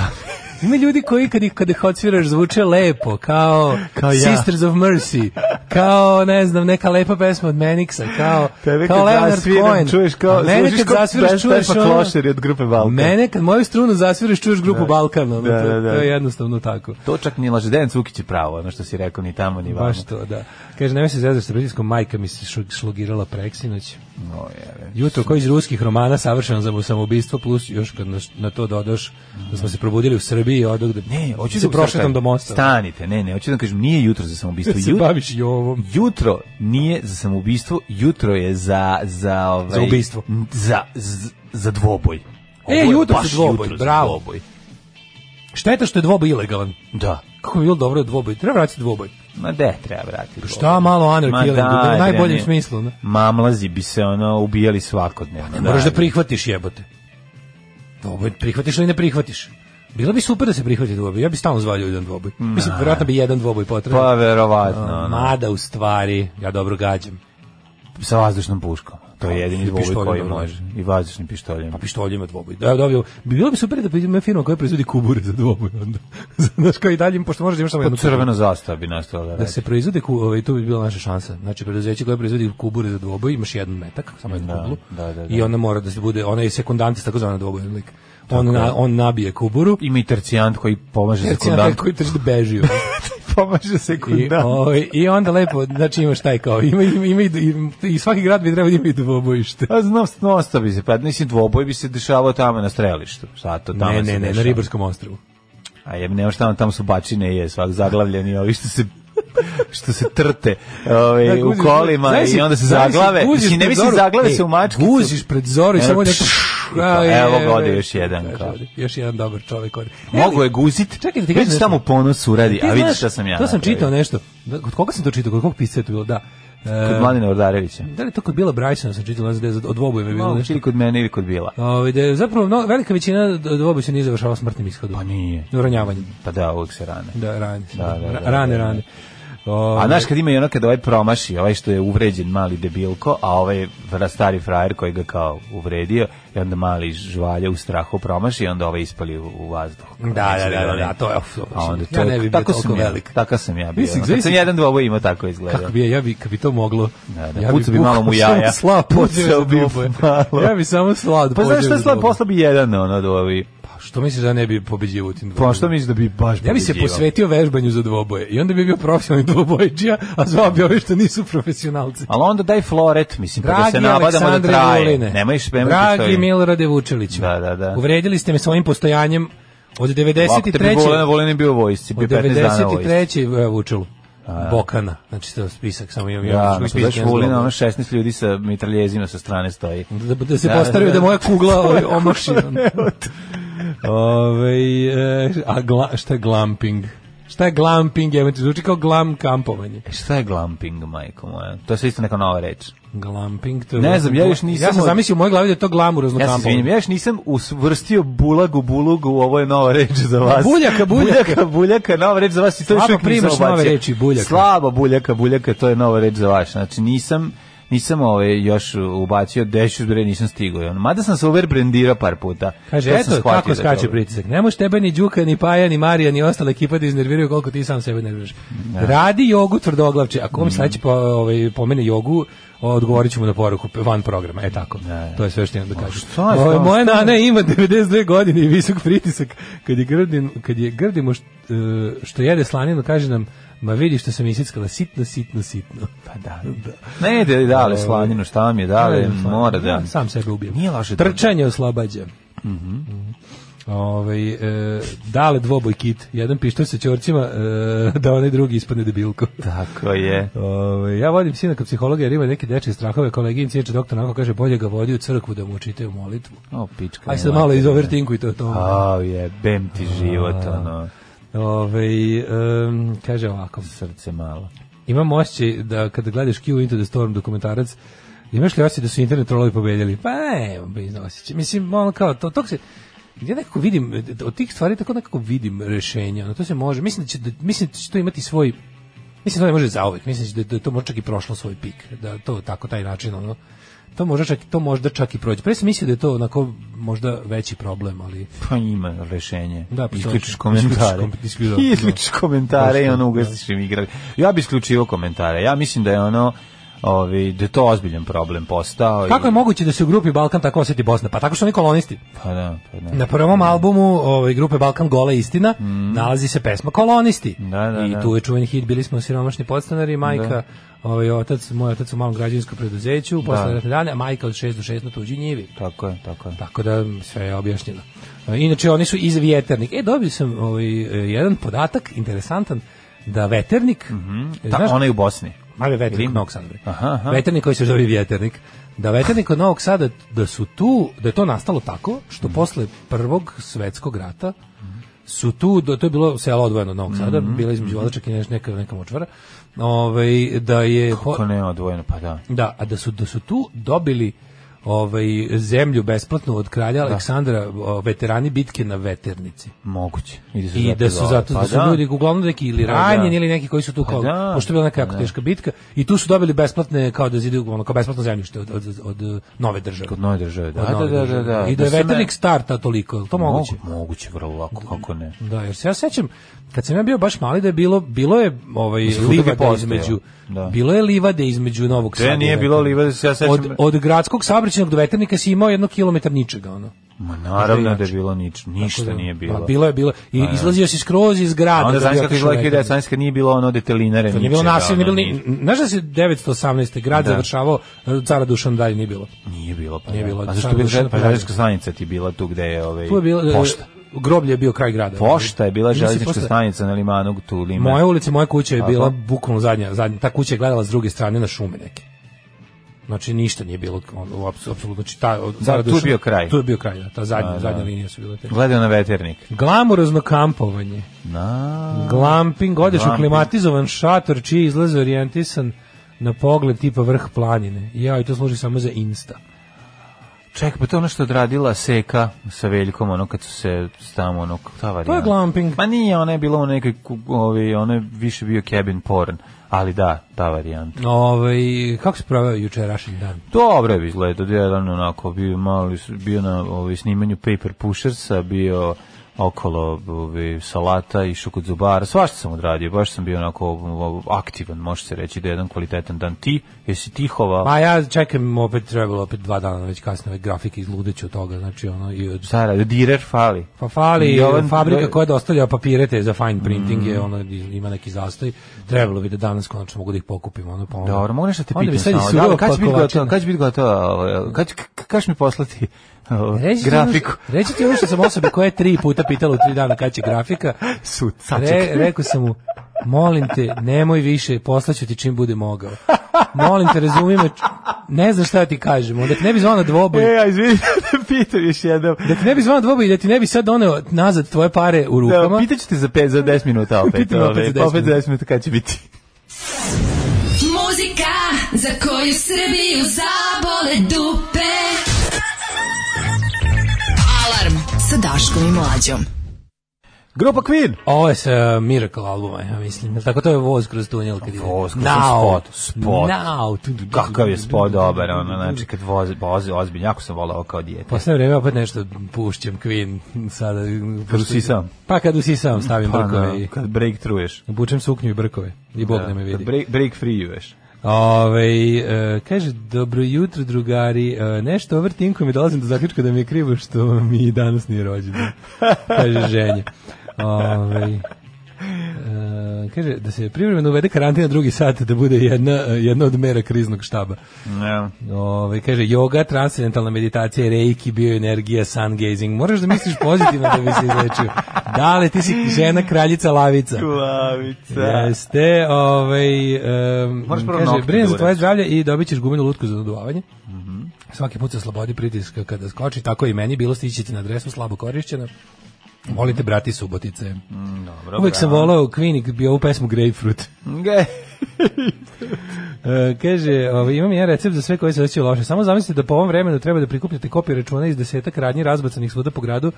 Speaker 5: Ima ljudi koji kad ih, kad ih odsviraš zvuče lepo, kao,
Speaker 6: Kao ja.
Speaker 5: Sisters of Mercy, kao, ne znam, neka lepa pesma od Meniksa, kao,
Speaker 6: Tebe
Speaker 5: kao
Speaker 6: kad
Speaker 5: Leonard
Speaker 6: zasviram,
Speaker 5: Cohen.
Speaker 6: čuješ kao-
Speaker 5: A mene
Speaker 6: služiš
Speaker 5: kad
Speaker 6: kao
Speaker 5: zasviraš,
Speaker 6: Best
Speaker 5: čuješ
Speaker 6: Pepa
Speaker 5: ono-
Speaker 6: Klošari od grupe Balkan.
Speaker 5: Mene kad moju strunu zasviraš, čuješ grupu Balkan, ono,
Speaker 6: Da,
Speaker 5: to,
Speaker 6: da, da.
Speaker 5: to je jednostavno tako.
Speaker 6: To čak ni laže, Dejan Cukić je pravo, ono što si rekao, ni tamo, ni vamo.
Speaker 5: Baš to, da. Kaže, nemoj se zezati sa pritiskom, majka mi se šug- šlogirala preksinoć.
Speaker 6: No, jebe.
Speaker 5: Jutro koji iz ruskih romana savršeno za samoubistvo plus još kad na, na to dodaš da smo se probudili u Srbiji i odog da
Speaker 6: Ne, hoću
Speaker 5: se
Speaker 6: da-
Speaker 5: prošetam do mosta.
Speaker 6: Stanite, ne, ne, hoću da kažem, nije jutro za samoubistvo.
Speaker 5: Da se
Speaker 6: Jutro-
Speaker 5: baviš i ovom.
Speaker 6: Jutro nije za samoubistvo, jutro je za za ovaj
Speaker 5: Za ubistvo.
Speaker 6: n- Za z- za dvoboj. Ovo
Speaker 5: E,
Speaker 6: je
Speaker 5: jutro
Speaker 6: baš
Speaker 5: za dvoboj,
Speaker 6: jutro za
Speaker 5: bravo.
Speaker 6: dvoboj.
Speaker 5: Šteta što je dvoboj ilegalan.
Speaker 6: Da.
Speaker 5: Kako bi bilo dobro da je dvoboj. Treba vratiti dvoboj.
Speaker 6: Ma de, treba vratiti.
Speaker 5: Pa Šta malo anarchy u najboljem smislu. Ne?
Speaker 6: Mamlazi bi se ono ubijali svakodnevno.
Speaker 5: Ne moraš da prihvatiš jebote. Dvoboj prihvatiš ili ne prihvatiš. Bilo bi super da se prihvati dvoboj. Ja bih stalno zvao ljudan dvoboj. Mislim, vjerojatno bi jedan dvoboj potreban.
Speaker 6: Pa verovatno,
Speaker 5: A,
Speaker 6: ono,
Speaker 5: Mada u stvari, ja dobro gađam.
Speaker 6: sa vazdušnom puškom. To je jedini
Speaker 5: I
Speaker 6: dvoboj
Speaker 5: pištoljem,
Speaker 6: koji
Speaker 5: dobro.
Speaker 6: može. I vazdušnim pištoljem.
Speaker 5: Pa pištoljima dvoboj. Da, dobio. Bi bilo bi super da ima firma koja proizvodi kubure za dvoboj onda. Znaš kao i dalje, pošto možeš da imaš samo jednu
Speaker 6: Pa crvena zastava bi nastala da
Speaker 5: Da
Speaker 6: radi.
Speaker 5: se proizvode, ku- ovaj, tu bi bila naša šansa. Znači, preduzeće koje proizvodi kubure za dvoboj, imaš jedan metak, samo jednu
Speaker 6: Da,
Speaker 5: kublu,
Speaker 6: da, da, da.
Speaker 5: i ona mora da se bude, ona je sekundant, tako zvana dvobojan lik. On, na, on nabije kuburu,
Speaker 6: Ima i tercijant koji pomaže
Speaker 5: tercijanta
Speaker 6: sekundantu.
Speaker 5: koji trži da beži. ono.
Speaker 6: pomaže
Speaker 5: I, ovaj, I onda lepo, znači imaš taj kao, ima, ima, ima i, i, i svaki grad bi trebao da ima i dvobojište.
Speaker 6: A znam, Pa nosta bi se, pa mislim, dvoboj bi se dešavao tamo na strelištu. Sad to tamo
Speaker 5: Ne,
Speaker 6: se
Speaker 5: ne, ne, na
Speaker 6: dešava.
Speaker 5: Ribarskom ostrvu.
Speaker 6: A jeb, nema šta, ono, tamo su bačine je, svak zaglavljeni, ovi što se što se trte ovaj,
Speaker 5: Dakle,
Speaker 6: u
Speaker 5: uđeš-
Speaker 6: kolima
Speaker 5: znaš si-
Speaker 6: i onda se
Speaker 5: znaš si,
Speaker 6: zaglave.
Speaker 5: guziš
Speaker 6: Mislim, ne
Speaker 5: pred
Speaker 6: mislim,
Speaker 5: zoru.
Speaker 6: zaglave
Speaker 5: Ej,
Speaker 6: se u mačku.
Speaker 5: Guziš pred zoru i
Speaker 6: Evo,
Speaker 5: samo neko...
Speaker 6: pšš, i
Speaker 5: A,
Speaker 6: kao,
Speaker 5: je,
Speaker 6: evo
Speaker 5: je,
Speaker 6: godi
Speaker 5: je.
Speaker 6: još jedan,
Speaker 5: Kaže,
Speaker 6: kao.
Speaker 5: ovde, Još jedan dobar čovjek. ovde.
Speaker 6: Mogu je
Speaker 5: Ali,
Speaker 6: guzit,
Speaker 5: Čekaj da ti
Speaker 6: već
Speaker 5: kažem
Speaker 6: tamo
Speaker 5: nešto.
Speaker 6: ponos uradi,
Speaker 5: ti
Speaker 6: a vidiš
Speaker 5: znaš,
Speaker 6: šta sam ja.
Speaker 5: To sam
Speaker 6: napravio.
Speaker 5: čitao nešto. Da, Kod koga sam to čitao? Kod kog pisca je to bilo? Da. E,
Speaker 6: Kod Mladina Ordarevića.
Speaker 5: da li je to kod Bila Brajsona sam čitao, ne znam gde, od dvoboja mi je bilo
Speaker 6: Mogu
Speaker 5: nešto.
Speaker 6: ili kod mene ili kod Bila.
Speaker 5: Ovaj, da je zapravo no, velika većina dvoboja se nije završavala smrtnim ishodom.
Speaker 6: Pa nije.
Speaker 5: Ranjavanjem.
Speaker 6: Pa da, uvijek se rane.
Speaker 5: Da, rane.
Speaker 6: Da, da, da,
Speaker 5: Ra- rane,
Speaker 6: da, da.
Speaker 5: rane. Ovaj-
Speaker 6: A znaš kad ima i ono kad ovaj promaši, ovaj što je uvređen mali debilko, a ovaj vra- stari frajer koji ga kao uvredio, i onda mali žvalja u strahu promaši i onda ovaj ispali u, u vazduh.
Speaker 5: Da, da, da, da, da, to je... uf,
Speaker 6: A onda to,
Speaker 5: ja ne bih bio
Speaker 6: tako
Speaker 5: toliko
Speaker 6: sam ja,
Speaker 5: velik.
Speaker 6: Tako sam ja bio.
Speaker 5: Mislim,
Speaker 6: Mislim, kad sam
Speaker 5: zamisli-
Speaker 6: jedan dvoboj imao, tako izgleda.
Speaker 5: Kako bi ja, ja bi, kad bi to moglo,
Speaker 6: Da, da,
Speaker 5: ja
Speaker 6: pucao bi malo mu
Speaker 5: bukvalno samo
Speaker 6: jaja.
Speaker 5: Slao
Speaker 6: Pucao
Speaker 5: pođeo
Speaker 6: bi
Speaker 5: bi
Speaker 6: malo.
Speaker 5: malo. Ja bi samo slao da
Speaker 6: Pa znaš
Speaker 5: pođeo
Speaker 6: šta
Speaker 5: za
Speaker 6: slad
Speaker 5: dvoboje.
Speaker 6: posla bi jedan, ono, do ovi.
Speaker 5: Pa što misliš da ne bi pobeđivo u tim dvobojima?
Speaker 6: Pa što misliš da bi baš
Speaker 5: Ja bi se
Speaker 6: pobeđivao?
Speaker 5: posvetio vežbanju za dvoboje i onda bi bio profesionalni dvobojičija, a zvao bi ove što nisu profesionalci.
Speaker 6: Ali onda daj floret, mislim, pa da
Speaker 5: Dragi
Speaker 6: se nabadamo da
Speaker 5: Aleksandre
Speaker 6: traje.
Speaker 5: Vuline,
Speaker 6: Nemoj špemati što
Speaker 5: dragi
Speaker 6: je.
Speaker 5: Milorade Vučeliću,
Speaker 6: Da, da, da.
Speaker 5: uvredili ste me svojim postojanjem od
Speaker 6: Ako te bi
Speaker 5: 93.
Speaker 6: Vulin, Vulin je bio u vojsci, bio
Speaker 5: Od
Speaker 6: 15 dana u vojsci.
Speaker 5: 93. e, Vučelu. Bokana, znači to je spisak, samo imam
Speaker 6: Ja,
Speaker 5: još
Speaker 6: znači daš
Speaker 5: spisak
Speaker 6: Vulina,
Speaker 5: jedan
Speaker 6: ono 16 ljudi sa mitraljezima sa strane stoji.
Speaker 5: Da, da se
Speaker 6: Da,
Speaker 5: postario
Speaker 6: da,
Speaker 5: da,
Speaker 6: da.
Speaker 5: moja kugla ovaj, omaši. ono. Ove, e, a gla, šta je glamping? Šta je glamping? Evo ti zvuči kao glam kampovanje.
Speaker 6: E, Šta je glamping, majko moja? To je sve isto neka nova reč.
Speaker 5: Glamping to je...
Speaker 6: Ne znam, ja još nisam
Speaker 5: Ja sam
Speaker 6: od-
Speaker 5: zamislio u mojoj glavi da je to glamurozno
Speaker 6: Ja se
Speaker 5: kampovanje.
Speaker 6: izvinjam, ja još nisam usvrstio bulagu bulugu, ovo je nova reč za vas.
Speaker 5: Buljaka, buljaka.
Speaker 6: Buljaka, buljaka, nova reč za vas i to
Speaker 5: Slabo
Speaker 6: još uvijek nisam
Speaker 5: primaš nove
Speaker 6: obacio.
Speaker 5: reči, buljaka.
Speaker 6: Slabo buljaka, buljaka, to je nova reč za vas. Znači nisam nisam ove još ubacio dešu bre nisam stigao. Ono, Mada sam se overbrendirao par puta.
Speaker 5: Kaže,
Speaker 6: To sam
Speaker 5: eto
Speaker 6: shvatio
Speaker 5: kako
Speaker 6: da je
Speaker 5: skače
Speaker 6: dobro.
Speaker 5: pritisak. Ne može tebe ni Đuka, ni Paja, ni Marija, ni ostale ekipa da iznerviraju koliko ti sam sebe nerviraš. Radi jogu tvrdoglavče. Ako
Speaker 6: Mm.
Speaker 5: vam sledeći po, ovaj, pomene jogu, odgovorit ćemo na poruku van programa. E tako. To je sve što imam da kažem.
Speaker 6: šta je,
Speaker 5: Ovaj,
Speaker 6: šta,
Speaker 5: moja nana ima 92 godine i visok pritisak. Kad je, grdin, kad je grdimo što, što jede slaninu, kaže nam Ma vidi što sam isickala, sitno, sitno, sitno.
Speaker 6: Pa da. Ne ide dale slaninu, šta mi je dale, mora da.
Speaker 5: Sam sebe ubijem.
Speaker 6: Nije loše. Mhm.
Speaker 5: Trčanje oslobađa. Mhm. Ovaj e, dale dvoboj kit, jedan pištolj sa ćorcima, e, da onaj drugi ispadne debilko.
Speaker 6: Tako je.
Speaker 5: Ovaj, ja vodim sina kod psihologa jer ima neke dečje strahove, koleginici ječe doktor onako kaže bolje ga vodi u crkvu da mu učite u molitvu.
Speaker 6: O, pička.
Speaker 5: Aj sad
Speaker 6: moja.
Speaker 5: malo iz overtinku i to to.
Speaker 6: A, je, bem ti život, ono,
Speaker 5: Ovaj em, kaže ovako,
Speaker 6: srce malo.
Speaker 5: imam osjećaj da kada gledaš Q Into the Storm dokumentarac, imaš li osjećaj da su internet trolovi pobedjeli? Pa ne, bez osjećaj. Mislim, ono kao, to, to se... Ja nekako vidim, od tih stvari tako nekako vidim rešenja, ono, to se može, mislim da će, da, mislim da će to imati svoj, mislim da to ne može zauvek, mislim da, da je to možda čak i prošlo svoj pik, da to tako, taj način, ono, to možda čak, to možda čak i prođe. Pre sam mislio da je to onako možda veći problem, ali...
Speaker 6: Pa ima rešenje.
Speaker 5: Da, pa postoji.
Speaker 6: isključiš komentare.
Speaker 5: Isključiš kom- isključiš-
Speaker 6: Isključiš komentare i
Speaker 5: Postoji,
Speaker 6: ono ugasiš im igrali. Ja bi isključivo komentare. Ja mislim da je ono Ovi, da je to ozbiljan problem postao. i-
Speaker 5: Kako je moguće da se u grupi Balkan tako osjeti Bosna? Pa tako što oni kolonisti.
Speaker 6: Pa da, pa da.
Speaker 5: Na prvom albumu ovaj, grupe Balkan Gola istina nalazi se pesma Kolonisti.
Speaker 6: Mhm. Da, da,
Speaker 5: I
Speaker 6: da.
Speaker 5: tu je čuveni hit, bili smo siromašni podstanari, majka,
Speaker 6: Da.
Speaker 5: ovaj, otac, moj otac u malom građevinskom preduzeću, posle
Speaker 6: Da.
Speaker 5: ratne dane, a majka od 6 do 6 na tuđi njivi.
Speaker 6: Tako je, tako je.
Speaker 5: Tako da m, sve je objašnjeno. E, Inače, oni su iz vjeternik. E, dobio sam ovaj, e, jedan podatak, interesantan, da veternik... e,
Speaker 6: Mhm. Ta,
Speaker 5: znaš-
Speaker 6: ona je u Bosni.
Speaker 5: Mali veternik
Speaker 6: Vidim.
Speaker 5: od Novog Sada. bre.
Speaker 6: Aha, aha.
Speaker 5: Veternik koji se zove vjeternik. Da veternik od Novog Sada, da su tu, da je to nastalo tako, što
Speaker 6: Mhm.
Speaker 5: posle prvog svetskog rata su tu, da to je bilo selo odvojeno od Novog Sada,
Speaker 6: Mhm,
Speaker 5: bila između Vodačak i neš- neka, neka močvara, ovaj, da je... po-
Speaker 6: Ko nema odvojeno, pa da.
Speaker 5: da, a da su da su tu dobili ovaj zemlju besplatno od kralja Aleksandra o, veterani bitke na Veternici.
Speaker 6: Moguće. su
Speaker 5: I
Speaker 6: zato
Speaker 5: da su
Speaker 6: dole.
Speaker 5: zato da su
Speaker 6: da.
Speaker 5: ljudi uglavnom neki ili
Speaker 6: Pa
Speaker 5: ranjeni
Speaker 6: da.
Speaker 5: ili neki koji su tu
Speaker 6: Pa
Speaker 5: kao
Speaker 6: da.
Speaker 5: pošto je bila neka jako
Speaker 6: Da.
Speaker 5: teška bitka i tu su dobili besplatne kao da zidu ono kao besplatno zemljište od od, od, od nove države.
Speaker 6: Kod nove države, da,
Speaker 5: Od
Speaker 6: da,
Speaker 5: nove
Speaker 6: da, da,
Speaker 5: države.
Speaker 6: da.
Speaker 5: I da je
Speaker 6: se ne-
Speaker 5: veternik starta toliko, je li to moguće?
Speaker 6: Mogu- Moguće, vrlo lako, kako ne.
Speaker 5: Da, jer se ja sećam kad sam ja bio baš mali da je bilo bilo je ovaj
Speaker 6: Mislim, puta bi
Speaker 5: livade
Speaker 6: postojao.
Speaker 5: između
Speaker 6: Da.
Speaker 5: bilo je livade između Novog
Speaker 6: Gde
Speaker 5: Sada. i
Speaker 6: nije
Speaker 5: Veternika.
Speaker 6: bilo livade, ja sećam-
Speaker 5: Od, od gradskog saobraćajnog do veternika si imao jedno kilometar ničega ono.
Speaker 6: Ma naravno
Speaker 5: Znači,
Speaker 6: da je bilo nič, ništa
Speaker 5: Tako da-
Speaker 6: nije bilo.
Speaker 5: Pa, bilo je bilo i izlazio si skroz iz
Speaker 6: A
Speaker 5: grada.
Speaker 6: onda
Speaker 5: da bi
Speaker 6: znaš kako
Speaker 5: otišao
Speaker 6: izgleda
Speaker 5: u
Speaker 6: kada je
Speaker 5: veternik.
Speaker 6: sanjska nije bilo ono detalinare.
Speaker 5: To nije bilo
Speaker 6: ničega,
Speaker 5: nasilje, nije bilo
Speaker 6: ono,
Speaker 5: ni... Znaš da se 918. grad
Speaker 6: Da.
Speaker 5: završavao, eh, cara Dušan dalje nije bilo.
Speaker 6: Nije bilo, pa
Speaker 5: Nije
Speaker 6: da.
Speaker 5: bilo,
Speaker 6: A zašto
Speaker 5: sad
Speaker 6: bi
Speaker 5: došao na
Speaker 6: žel- pa
Speaker 5: kraj.
Speaker 6: železnička stanica ti bila tu gde je ovaj,
Speaker 5: Tu je bilo... e,
Speaker 6: pošta.
Speaker 5: Groblje je bio kraj grada.
Speaker 6: Pošta je bila
Speaker 5: Nisi
Speaker 6: železnička
Speaker 5: pošta-
Speaker 6: stanica na limanu tu lima.
Speaker 5: Moja ulica, moja kuća je
Speaker 6: Tako.
Speaker 5: bila bukvalno zadnja, zadnja. Ta kuća je gledala s druge strane na šume neke. Znači ništa nije bilo ono, apsu- apsolutno znači ta od cara
Speaker 6: tu je
Speaker 5: Dušana-
Speaker 6: bio kraj.
Speaker 5: Tu je bio kraj, da, ta zadnja, zadnja linija su bile te.
Speaker 6: Gledao na veternik.
Speaker 5: Glamurozno kampovanje.
Speaker 6: Na,
Speaker 5: Glamping, odeš u
Speaker 6: Glamping.
Speaker 5: klimatizovan šator čiji izlaz orijentisan na pogled tipa vrh planine. Ja, i to služi samo za Insta.
Speaker 6: čekaj, pa to je ono što je odradila Seka sa Veljkom, ono kad su se tamo, ono, ta varijanta.
Speaker 5: To je glamping.
Speaker 6: Ma nije, ona je bila u nekoj, ku- ovaj, ona je više bio cabin porn, ali da, ta varijanta.
Speaker 5: Ovaj, kako se proveo jučerašnji dan?
Speaker 6: Dobro je izgledao, jedan onako bio malo bio na ovaj snimanju Paper Pushersa, bio okolo ovaj, salata i kod zubara, svašta sam odradio, baš sam bio onako ovaj, aktivan, može se reći da je jedan kvalitetan dan. Ti, jesi tihova?
Speaker 5: Ma Pa ja čekam opet trebalo opet dva dana već kasno ovaj grafik izludeću od toga, znači ono i od
Speaker 6: Sara, direr fali.
Speaker 5: Pa fali
Speaker 6: Jovan-
Speaker 5: fabrika koja dostavlja papire te za fine printing je ono ima neki zastoj. Trebalo bi da danas konačno mogu da ih pokupim, ono pa onda-
Speaker 6: Dobro, moraš da te
Speaker 5: Onda bi
Speaker 6: pitam
Speaker 5: sad i
Speaker 6: samo.
Speaker 5: surova
Speaker 6: Da, kad će biti gotovo?
Speaker 5: pakovačina.
Speaker 6: Kad će biti gotovo? ovaj, Kad će- k- kad će mi poslati ovaj,
Speaker 5: Reći ti
Speaker 6: grafiku?
Speaker 5: ono što- reći ti ono što sam osobi koja je tri puta pitala u tri dana kad će grafika.
Speaker 6: Sud,
Speaker 5: Re, rekao sam mu, molim te, nemoj više, poslaću ti čim bude mogao. molim te, razumi me, ne znam šta ti kažem, onda ti ne bi zvao na dvoboj.
Speaker 6: E, a izvini, pitam još jednom.
Speaker 5: Da ti ne bi zvao na dvoboj i da ti ne bi sad doneo nazad tvoje pare u rukama.
Speaker 6: Da, pitaću te za 5 za 10 minuta opet.
Speaker 5: Pitam opet
Speaker 6: ovaj,
Speaker 5: za 10
Speaker 6: opet za 10 minuta kad će biti.
Speaker 4: Muzika za koju Srbiju zabole dupe. Alarm sa Daškom i Mlađom.
Speaker 6: Grupa Queen.
Speaker 5: Ovo je sa Miracle albuma, ja mislim. Jel Tako to je voz kroz tunel. Kad ide.
Speaker 6: Voz kroz-
Speaker 5: Now.
Speaker 6: spot, spot.
Speaker 5: Now. Tu, tu, tu,
Speaker 6: Kakav je
Speaker 5: tu, tu,
Speaker 6: spod
Speaker 5: tu, tu,
Speaker 6: dobar,
Speaker 5: tu,
Speaker 6: ono,
Speaker 5: tu,
Speaker 6: znači kad vozi, vozi ozbiljno, jako sam volao kao dijete.
Speaker 5: Posle vreme opet nešto pušćem Queen sada.
Speaker 6: Kad usisam.
Speaker 5: Pa kad usisam stavim brkove
Speaker 6: da,
Speaker 5: i
Speaker 6: kad break truješ.
Speaker 5: obučem suknju i brkove. I Bog ne me
Speaker 6: Kad
Speaker 5: vidi.
Speaker 6: break, break freeuješ.
Speaker 5: Ove, e, kaže, dobro jutro drugari, e, nešto overtinkujem i dolazim do zaključka da mi je krivo što mi i danas nije rođendan. Kaže ženje. Ove, e, kaže, da se privremeno uvede karantina drugi sat, da bude jedna, e, jedna od mera kriznog štaba.
Speaker 6: Ne.
Speaker 5: Ove, Ovaj, kaže, yoga, transcendentalna meditacija, reiki, bioenergija, sun gazing. Moraš da misliš pozitivno da bi se izlečio. Dale, ti si žena kraljica lavica.
Speaker 6: Glavica.
Speaker 5: Jeste, ovaj, em,
Speaker 6: Moraš prvo
Speaker 5: kaže,
Speaker 6: nokte
Speaker 5: brine
Speaker 6: da
Speaker 5: za tvoje
Speaker 6: uradiš. Mhm.
Speaker 5: zdravlje i dobit ćeš gumenu lutku za naduvavanje. Svaki put se slobodi pritiska kada skoči, tako i meni, bilo stići na adresu slabo korišćena. Molite, brati Subotice.
Speaker 6: Mm, Dobro,
Speaker 5: Uvijek sam
Speaker 6: bravo.
Speaker 5: volao Queen i bio ovu pesmu Grapefruit.
Speaker 6: Ge.
Speaker 5: E, kaže, ovaj, imam ja recept za sve koji se osjećaju loše. Samo zamislite da po ovom vremenu treba da prikupljate kopije računa iz desetak radnji razbacanih svuda po gradu e,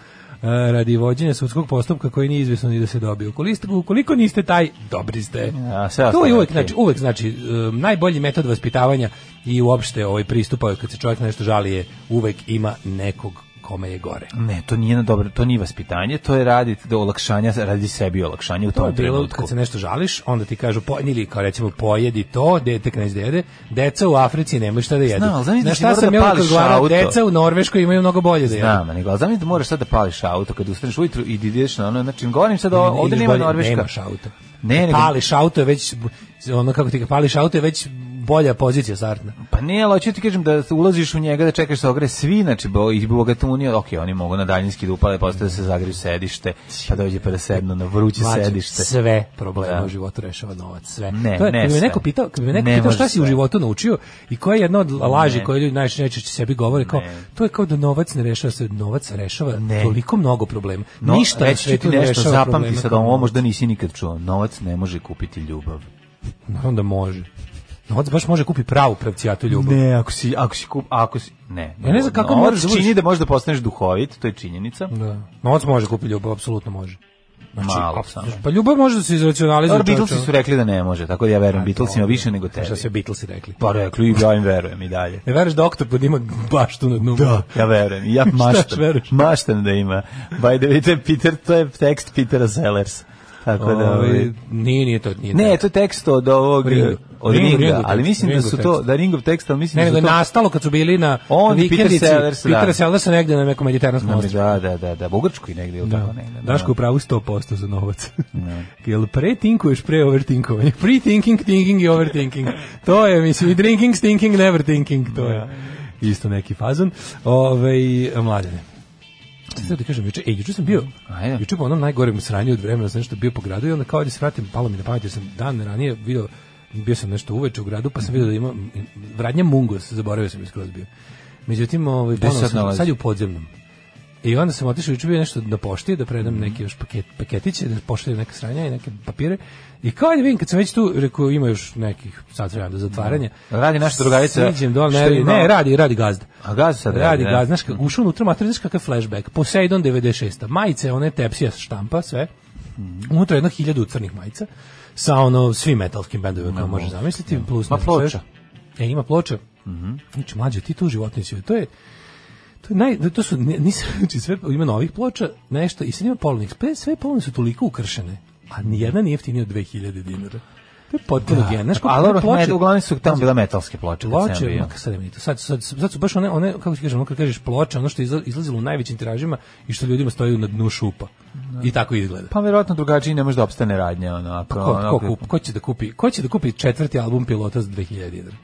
Speaker 5: radi vođenja sudskog postupka koji nije izvesno ni da se dobije. Ukoliko, ukoliko niste taj, dobri ste.
Speaker 6: A, sve
Speaker 5: to
Speaker 6: ostalo
Speaker 5: je
Speaker 6: je
Speaker 5: uvek,
Speaker 6: okej.
Speaker 5: znači, uvek znači, em, najbolji metod vaspitavanja i uopšte ovaj pristupa kad se čovjek na nešto žali je uvek ima nekog kome je gore.
Speaker 6: Ne, to nije na dobro, to nije vaspitanje, to je raditi do olakšanja, radi sebi olakšanje u
Speaker 5: To je
Speaker 6: tom
Speaker 5: bilo
Speaker 6: trenutku.
Speaker 5: kad se nešto žališ, onda ti kažu po, ili kao recimo pojedi to, dete kad neće da jede, deca u Africi nemaju šta da jedu.
Speaker 6: Znam, ali zamisli da
Speaker 5: Na
Speaker 6: si
Speaker 5: šta
Speaker 6: morao
Speaker 5: sam
Speaker 6: da
Speaker 5: ja uvijek
Speaker 6: pališ
Speaker 5: odgovarao,
Speaker 6: auto.
Speaker 5: deca u Norveškoj imaju mnogo bolje da jedu.
Speaker 6: Znam, nego, ali zamisli da moraš sad da pališ auto kad ustaneš ujutru i ideš na ono, znači, govorim sad, o- ovde
Speaker 5: Ideš
Speaker 6: nema
Speaker 5: bolje,
Speaker 6: Norveška.
Speaker 5: Nemaš auto.
Speaker 6: Ne, nego-
Speaker 5: pališ auto je već, ono kako ti ga pališ auto je već bolja pozicija startna.
Speaker 6: Pa ne, ali hoću ti kažem da ulaziš u njega, da čekaš da ogre svi, znači bo, i bogatunije, ok, oni mogu na daljinski da upale, posle da se zagriju sedište, pa dođe pa da sednu na vruće
Speaker 5: Mlađe,
Speaker 6: sedište.
Speaker 5: Sve probleme
Speaker 6: Da.
Speaker 5: u životu rešava novac, sve.
Speaker 6: Ne,
Speaker 5: to je,
Speaker 6: ne
Speaker 5: kad bi me
Speaker 6: sve.
Speaker 5: neko pitao, kad bi me neko
Speaker 6: Ne
Speaker 5: pitao šta
Speaker 6: može
Speaker 5: si u
Speaker 6: sve.
Speaker 5: životu naučio i koja je jedna od laži
Speaker 6: Ne.
Speaker 5: koje ljudi najčešće najčešće sebi govore kao
Speaker 6: Ne.
Speaker 5: to je kao da novac ne rešava sve, novac rešava
Speaker 6: Ne.
Speaker 5: toliko mnogo problema.
Speaker 6: No,
Speaker 5: Ništa na
Speaker 6: reći ću ti
Speaker 5: svetu ne
Speaker 6: nešto,
Speaker 5: rešava
Speaker 6: zapamti
Speaker 5: probleme
Speaker 6: sad,
Speaker 5: kao
Speaker 6: ovo
Speaker 5: novac.
Speaker 6: možda nisi nikad čuo, novac ne može kupiti ljubav.
Speaker 5: Naravno da može. Novac baš može kupi pravu pravcijatu ljubav.
Speaker 6: Ne, ako si, ako si kup, ako si, ne.
Speaker 5: Ja ne znam kako
Speaker 6: Novac
Speaker 5: moraš da budeš-
Speaker 6: čini da možeš da postaneš duhovit, to je činjenica.
Speaker 5: Da. Novac može kupiti ljubav, apsolutno može.
Speaker 6: Malo
Speaker 5: apsolutno-
Speaker 6: samo.
Speaker 5: Pa ljubav može da se Znači, izracionalizuje.
Speaker 6: Dobro, Beatlesi
Speaker 5: čoveče.
Speaker 6: su rekli da ne može, tako da ja verujem Beatlesima više nego tebi.
Speaker 5: Znači, Šta se Beatlesi rekli?
Speaker 6: Pa rekli, ja im verujem i dalje.
Speaker 5: Ne veruješ da oktopod ima baštu na dnu? Ovaj, Da.
Speaker 6: Ja verujem, ja maštam,
Speaker 5: veruješ?
Speaker 6: maštam da ima. By the way, to je, Peter, to je tekst Petera Sellers. Tako da, ovaj,
Speaker 5: Ove, nije, nije to. Nije
Speaker 6: ne,
Speaker 5: to.
Speaker 6: to je tekst od ovog,
Speaker 5: Ringo.
Speaker 6: od
Speaker 5: Ringo,
Speaker 6: Ringa,
Speaker 5: Ringo
Speaker 6: ali
Speaker 5: tekst,
Speaker 6: mislim da
Speaker 5: Ringo
Speaker 6: su to,
Speaker 5: tekst.
Speaker 6: da je Ringov tekst, ali
Speaker 5: Ne,
Speaker 6: mislim
Speaker 5: nego
Speaker 6: da
Speaker 5: je
Speaker 6: su to...
Speaker 5: nastalo kad su bili na
Speaker 6: On i Peter
Speaker 5: vikendici.
Speaker 6: Sellers, da.
Speaker 5: Peter Sellers negde na nekom mediteranskom
Speaker 6: Na,
Speaker 5: ostrvu.
Speaker 6: da, da, da, da, Bugarčku i negdje, ili tako negdje. da.
Speaker 5: Daško u pravu 100% za novac. Jel pre tinkuješ pre overtinkovanje? Pre thinking, thinking i overthinking. To je, mislim, i drinking, stinking, never thinking. To je isto neki fazon. Ove, mladene. Šta sad da kažem, juče, e, juče sam bio,
Speaker 6: Ajde.
Speaker 5: juče po onom najgorem sranju od vremena sam nešto bio po gradu i onda kao da se vratim, palo mi na pamet, jer sam dan ranije video, bio sam nešto uveče u gradu, pa sam video da ima vradnja Mungos, zaboravio sam je skroz bio. Međutim,
Speaker 6: Gde
Speaker 5: ovaj,
Speaker 6: se
Speaker 5: ponovo
Speaker 6: sad
Speaker 5: sam,
Speaker 6: nalazi?
Speaker 5: sad je u podzemnom. I onda sam otišao i bio nešto na pošti da predam
Speaker 6: Mhm.
Speaker 5: neke još paket, paketiće, da pošaljem neke sranja i neke papire. I kao da vidim, kad sam već tu, rekao, ima još nekih sat vremena do zatvaranja.
Speaker 6: Radi naša drugarica,
Speaker 5: Siđem dole, ne,
Speaker 6: što
Speaker 5: radi-
Speaker 6: ima-
Speaker 5: ne, radi, radi gazda.
Speaker 6: A gaz sad
Speaker 5: Radi
Speaker 6: ne?
Speaker 5: gaz, znaš, kad ušao unutra, mater, znaš kakav flashback, Poseidon 96. Majice, one tepsija štampa, sve.
Speaker 6: Mhm.
Speaker 5: Unutra jedno hiljadu crnih majica, sa ono, svim metalskim bendovima koje možeš zamisliti, plus...
Speaker 6: Ma
Speaker 5: ne znam šta još.
Speaker 6: ploča. Mhm.
Speaker 5: E, ima ploča. Znači, mlađe, ti tu životnici, to je... To, je naj, to su, ne- nisam, znači sve, ima novih ploča, nešto, i sad ima polovnih, sve, sve polovne su toliko ukršene, a nijedna nije jeftinija od 2000 dinara. To je potpuno da. Znaš, koliko
Speaker 6: Ali
Speaker 5: ima
Speaker 6: dobro,
Speaker 5: ploče- Znači,
Speaker 6: med- uglavnom su tamo bila metalske ploče. kad sam ja
Speaker 5: ploče,
Speaker 6: bio.
Speaker 5: ma kad sad je meni to, sad, sad, sad su baš one, one kako ti kažem, ono kad kažeš ploče, ono što je izla- izlazilo u najvećim tiražima i što ljudima stoji na dnu šupa. I tako izgleda.
Speaker 6: Pa verovatno drugačiji ne može da opstane radnja. Ono, ako,
Speaker 5: Pa Ko,
Speaker 6: ono,
Speaker 5: ko, kup- ko će da kupi, ko će da kupi četvrti album pilota za 2000 dinara?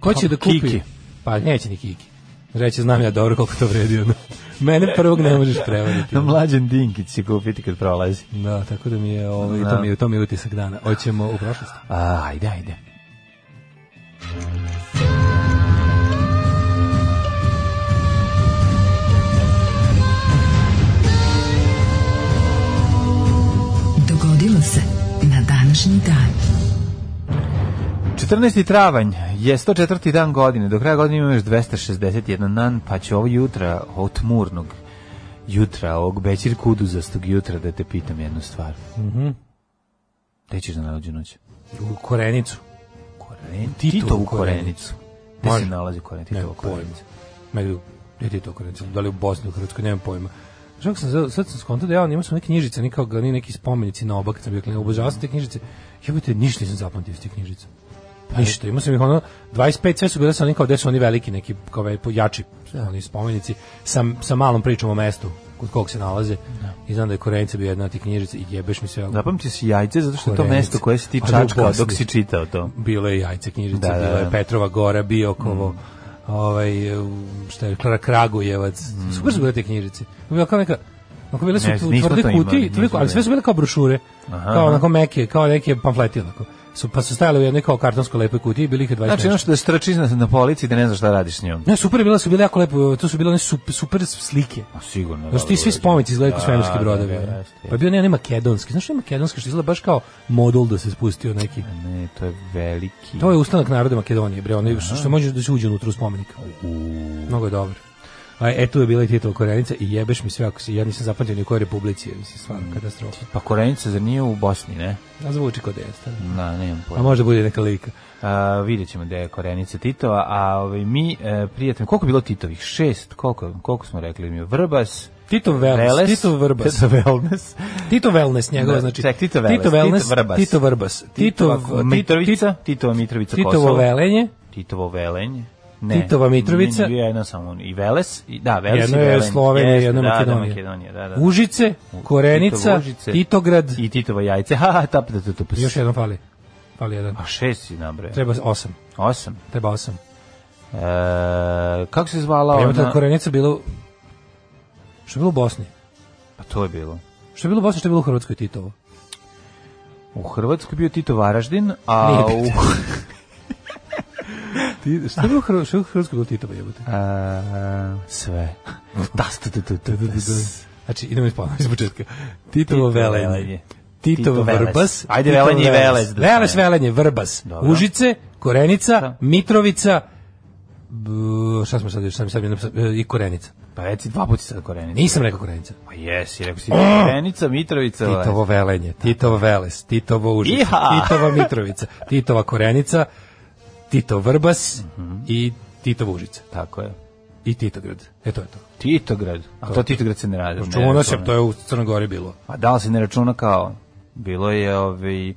Speaker 5: Ko će da kupi?
Speaker 6: Kiki.
Speaker 5: Pa neće ni Kiki. Reći, znam ja dobro koliko to vredi. Ono. Mene prvog ne možeš prevariti.
Speaker 6: Na mlađen Dinkić će kupiti kad prolazi.
Speaker 5: Da, tako da mi je, ovaj,
Speaker 6: Da.
Speaker 5: to, mi je, to mi je utisak dana. Hoćemo u prošlost.
Speaker 6: A, ajde, ajde.
Speaker 7: današnji dan.
Speaker 6: 14. travanj je 104. dan godine. Do kraja godine imamo još 261 dan, pa će ovo jutra od tmurnog jutra, ovog večer kuduzastog jutra da te pitam jednu stvar.
Speaker 5: Mhm.
Speaker 6: Gde ćeš na nalađu noć?
Speaker 5: U Korenicu.
Speaker 6: Koren...
Speaker 5: Titovu
Speaker 6: Titovu
Speaker 5: Korenicu.
Speaker 6: korenicu. Gde
Speaker 5: Može.
Speaker 6: se nalazi koren?
Speaker 5: Ne,
Speaker 6: Titovu
Speaker 5: pojma.
Speaker 6: korenicu.
Speaker 5: Negde, u- gde ti to Korenica? Da li u Bosni, u Hrvatskoj, nemam pojma. Što sam, za- sad sam skontao da ja imao sam neke knjižice, nikao ga ni neki spomenici na oba, kad sam bio klinac, obožavao sam te knjižice. Jebote, ništa nisam zapamtio iz tih knjižica. Ništa, imao sam ih ono, 25 sve su bile sam nikao, gde su oni veliki, neki kao ve- po- jači oni spomenici, sa, sa malom pričom o mestu kod kog se nalaze. I znam da je Korenica bio jedna od tih knjižica i jebeš mi se.
Speaker 6: Zapamti si jajce zato što je to
Speaker 5: Korenicu.
Speaker 6: mesto koje si ti
Speaker 5: A da, u
Speaker 6: čačkao
Speaker 5: Bosni.
Speaker 6: dok si čitao to.
Speaker 5: bilo je jajce knjižice,
Speaker 6: Da, da,
Speaker 5: bilo je
Speaker 6: da. Mm.
Speaker 5: Petrova Gora, Biokovo, ovaj, šta je, Kra- Kragujevac, super su bile te knjižice. Bila kao neka, onako bile su
Speaker 6: Ne,
Speaker 5: tu
Speaker 6: nismo
Speaker 5: tvrde
Speaker 6: to imali,
Speaker 5: kutije,
Speaker 6: nismo
Speaker 5: toliko, ali sve su bile kao brošure,
Speaker 6: Aha.
Speaker 5: kao onako meke, kao neke pamfleti, onako. Su, pa su stajale u jednoj kao kartonskoj lepoj kutiji, i bili ih je 20
Speaker 6: Znači
Speaker 5: nešto.
Speaker 6: ono što da štračiš na, na polici i da ne znaš šta radiš s njom.
Speaker 5: Ne, super je bila su bile jako lepo, to su bile one super, super slike.
Speaker 6: A Pa sigurno.
Speaker 5: Znaš, ti svi spomici izgledaju kao svemirski brodovi. ono. pa je bio ne, makedonski. Znaš, ne makedonski što izgleda baš kao modul da se spustio neki.
Speaker 6: Ne, to je veliki.
Speaker 5: To je ustanak naroda Makedonije, bre, ono što, što možeš da se uđe unutra u spomenik. Mnogo je dobro. A, e, tu je bila i Titova Korenica i jebeš mi sve ako si, ja nisam zapamtio ni u kojoj republici, je, mislim, stvarno katastrofa.
Speaker 6: Pa Korenica, zar nije u Bosni, ne?
Speaker 5: A zvuči kao da jeste. ne?
Speaker 6: Na, nemam
Speaker 5: A
Speaker 6: pojma.
Speaker 5: možda bude neka lika.
Speaker 6: A, vidjet ćemo da je Korenica Titova, a ovaj, mi, e, prijatelji, koliko je bilo Titovih? Šest, koliko, koliko smo rekli? Mi? Vrbas,
Speaker 5: Tito Wellness,
Speaker 6: Veles,
Speaker 5: Tito Vrbas,
Speaker 6: Tito Wellness,
Speaker 5: Tito Wellness njegov,
Speaker 6: Da,
Speaker 5: znači
Speaker 6: ček, Tito Wellness,
Speaker 5: Tito
Speaker 6: Tito
Speaker 5: Wellness,
Speaker 6: Vrbas.
Speaker 5: Tito Vrbas,
Speaker 6: Titova
Speaker 5: Titov-
Speaker 6: Mitrovica, Titova Mitrovica
Speaker 5: Titovo
Speaker 6: Kosovo,
Speaker 5: Velenje,
Speaker 6: Titovo Velenje,
Speaker 5: Titova Mitrovica.
Speaker 6: Ne, bio je jedno samo, i Veles, i, da, Veles
Speaker 5: jedno
Speaker 6: i
Speaker 5: je
Speaker 6: Velenje.
Speaker 5: Slovenija,
Speaker 6: Jeste,
Speaker 5: jedno
Speaker 6: da, da,
Speaker 5: Makedonija.
Speaker 6: Makedonija, da, da.
Speaker 5: Užice, Korenica,
Speaker 6: Titovo Užice.
Speaker 5: Titograd,
Speaker 6: I Titovo jajce, ha, ha, tap, da, tu, tu,
Speaker 5: još jedno fali, fali jedan.
Speaker 6: A pa šest si nabrao.
Speaker 5: Treba osam,
Speaker 6: Osam.
Speaker 5: treba osam.
Speaker 6: E, kako se zvala
Speaker 5: Pa
Speaker 6: ona?
Speaker 5: evo ta korenica bila u- što je bilo u Bosni?
Speaker 6: Pa to je bilo.
Speaker 5: Što je bilo u Bosni, što je bilo u Hrvatskoj Titovo?
Speaker 6: U Hrvatskoj bio Tito Varaždin, a
Speaker 5: Nije
Speaker 6: u...
Speaker 5: bio Ti, što je bilo u Hrvatskoj, što je u Hrvatskoj bilo Titovo jebote?
Speaker 6: E, sve. Das, tu, tu, tu, tu, tu.
Speaker 5: Znači, idemo iz ponovno, iz početka. Titovo velenje. Titovo
Speaker 6: Tito Velez.
Speaker 5: Vrbas.
Speaker 6: Ajde,
Speaker 5: Titovo
Speaker 6: Velenje i
Speaker 5: Velez.
Speaker 6: Velez da
Speaker 5: Velez,
Speaker 6: stavimo.
Speaker 5: Velenje, Vrbas.
Speaker 6: Dobro.
Speaker 5: Užice, Korenica,
Speaker 6: Da.
Speaker 5: Mitrovica, b, šta smo sad još, sam sad mi napisao, e, i Korenica.
Speaker 6: Pa reci dva puta sad Korenica.
Speaker 5: Nisam rekao Korenica.
Speaker 6: Pa jesi, rekao si Korenica, Mitrovica. ovaj.
Speaker 5: Titovo velenje, Titovo veles, Titovo užice,
Speaker 6: Iha!
Speaker 5: Titova Mitrovica, Titova Korenica, Tito Vrbas
Speaker 6: Mhm.
Speaker 5: i Titova Užica
Speaker 6: Tako je.
Speaker 5: i Titograd. E to je to.
Speaker 6: Titograd. A to Titograd se ne radi. ne
Speaker 5: Čuo nas je,
Speaker 6: računa.
Speaker 5: to je u Crnoj Gori bilo.
Speaker 6: A da li se ne računa kao? Bilo je ovaj...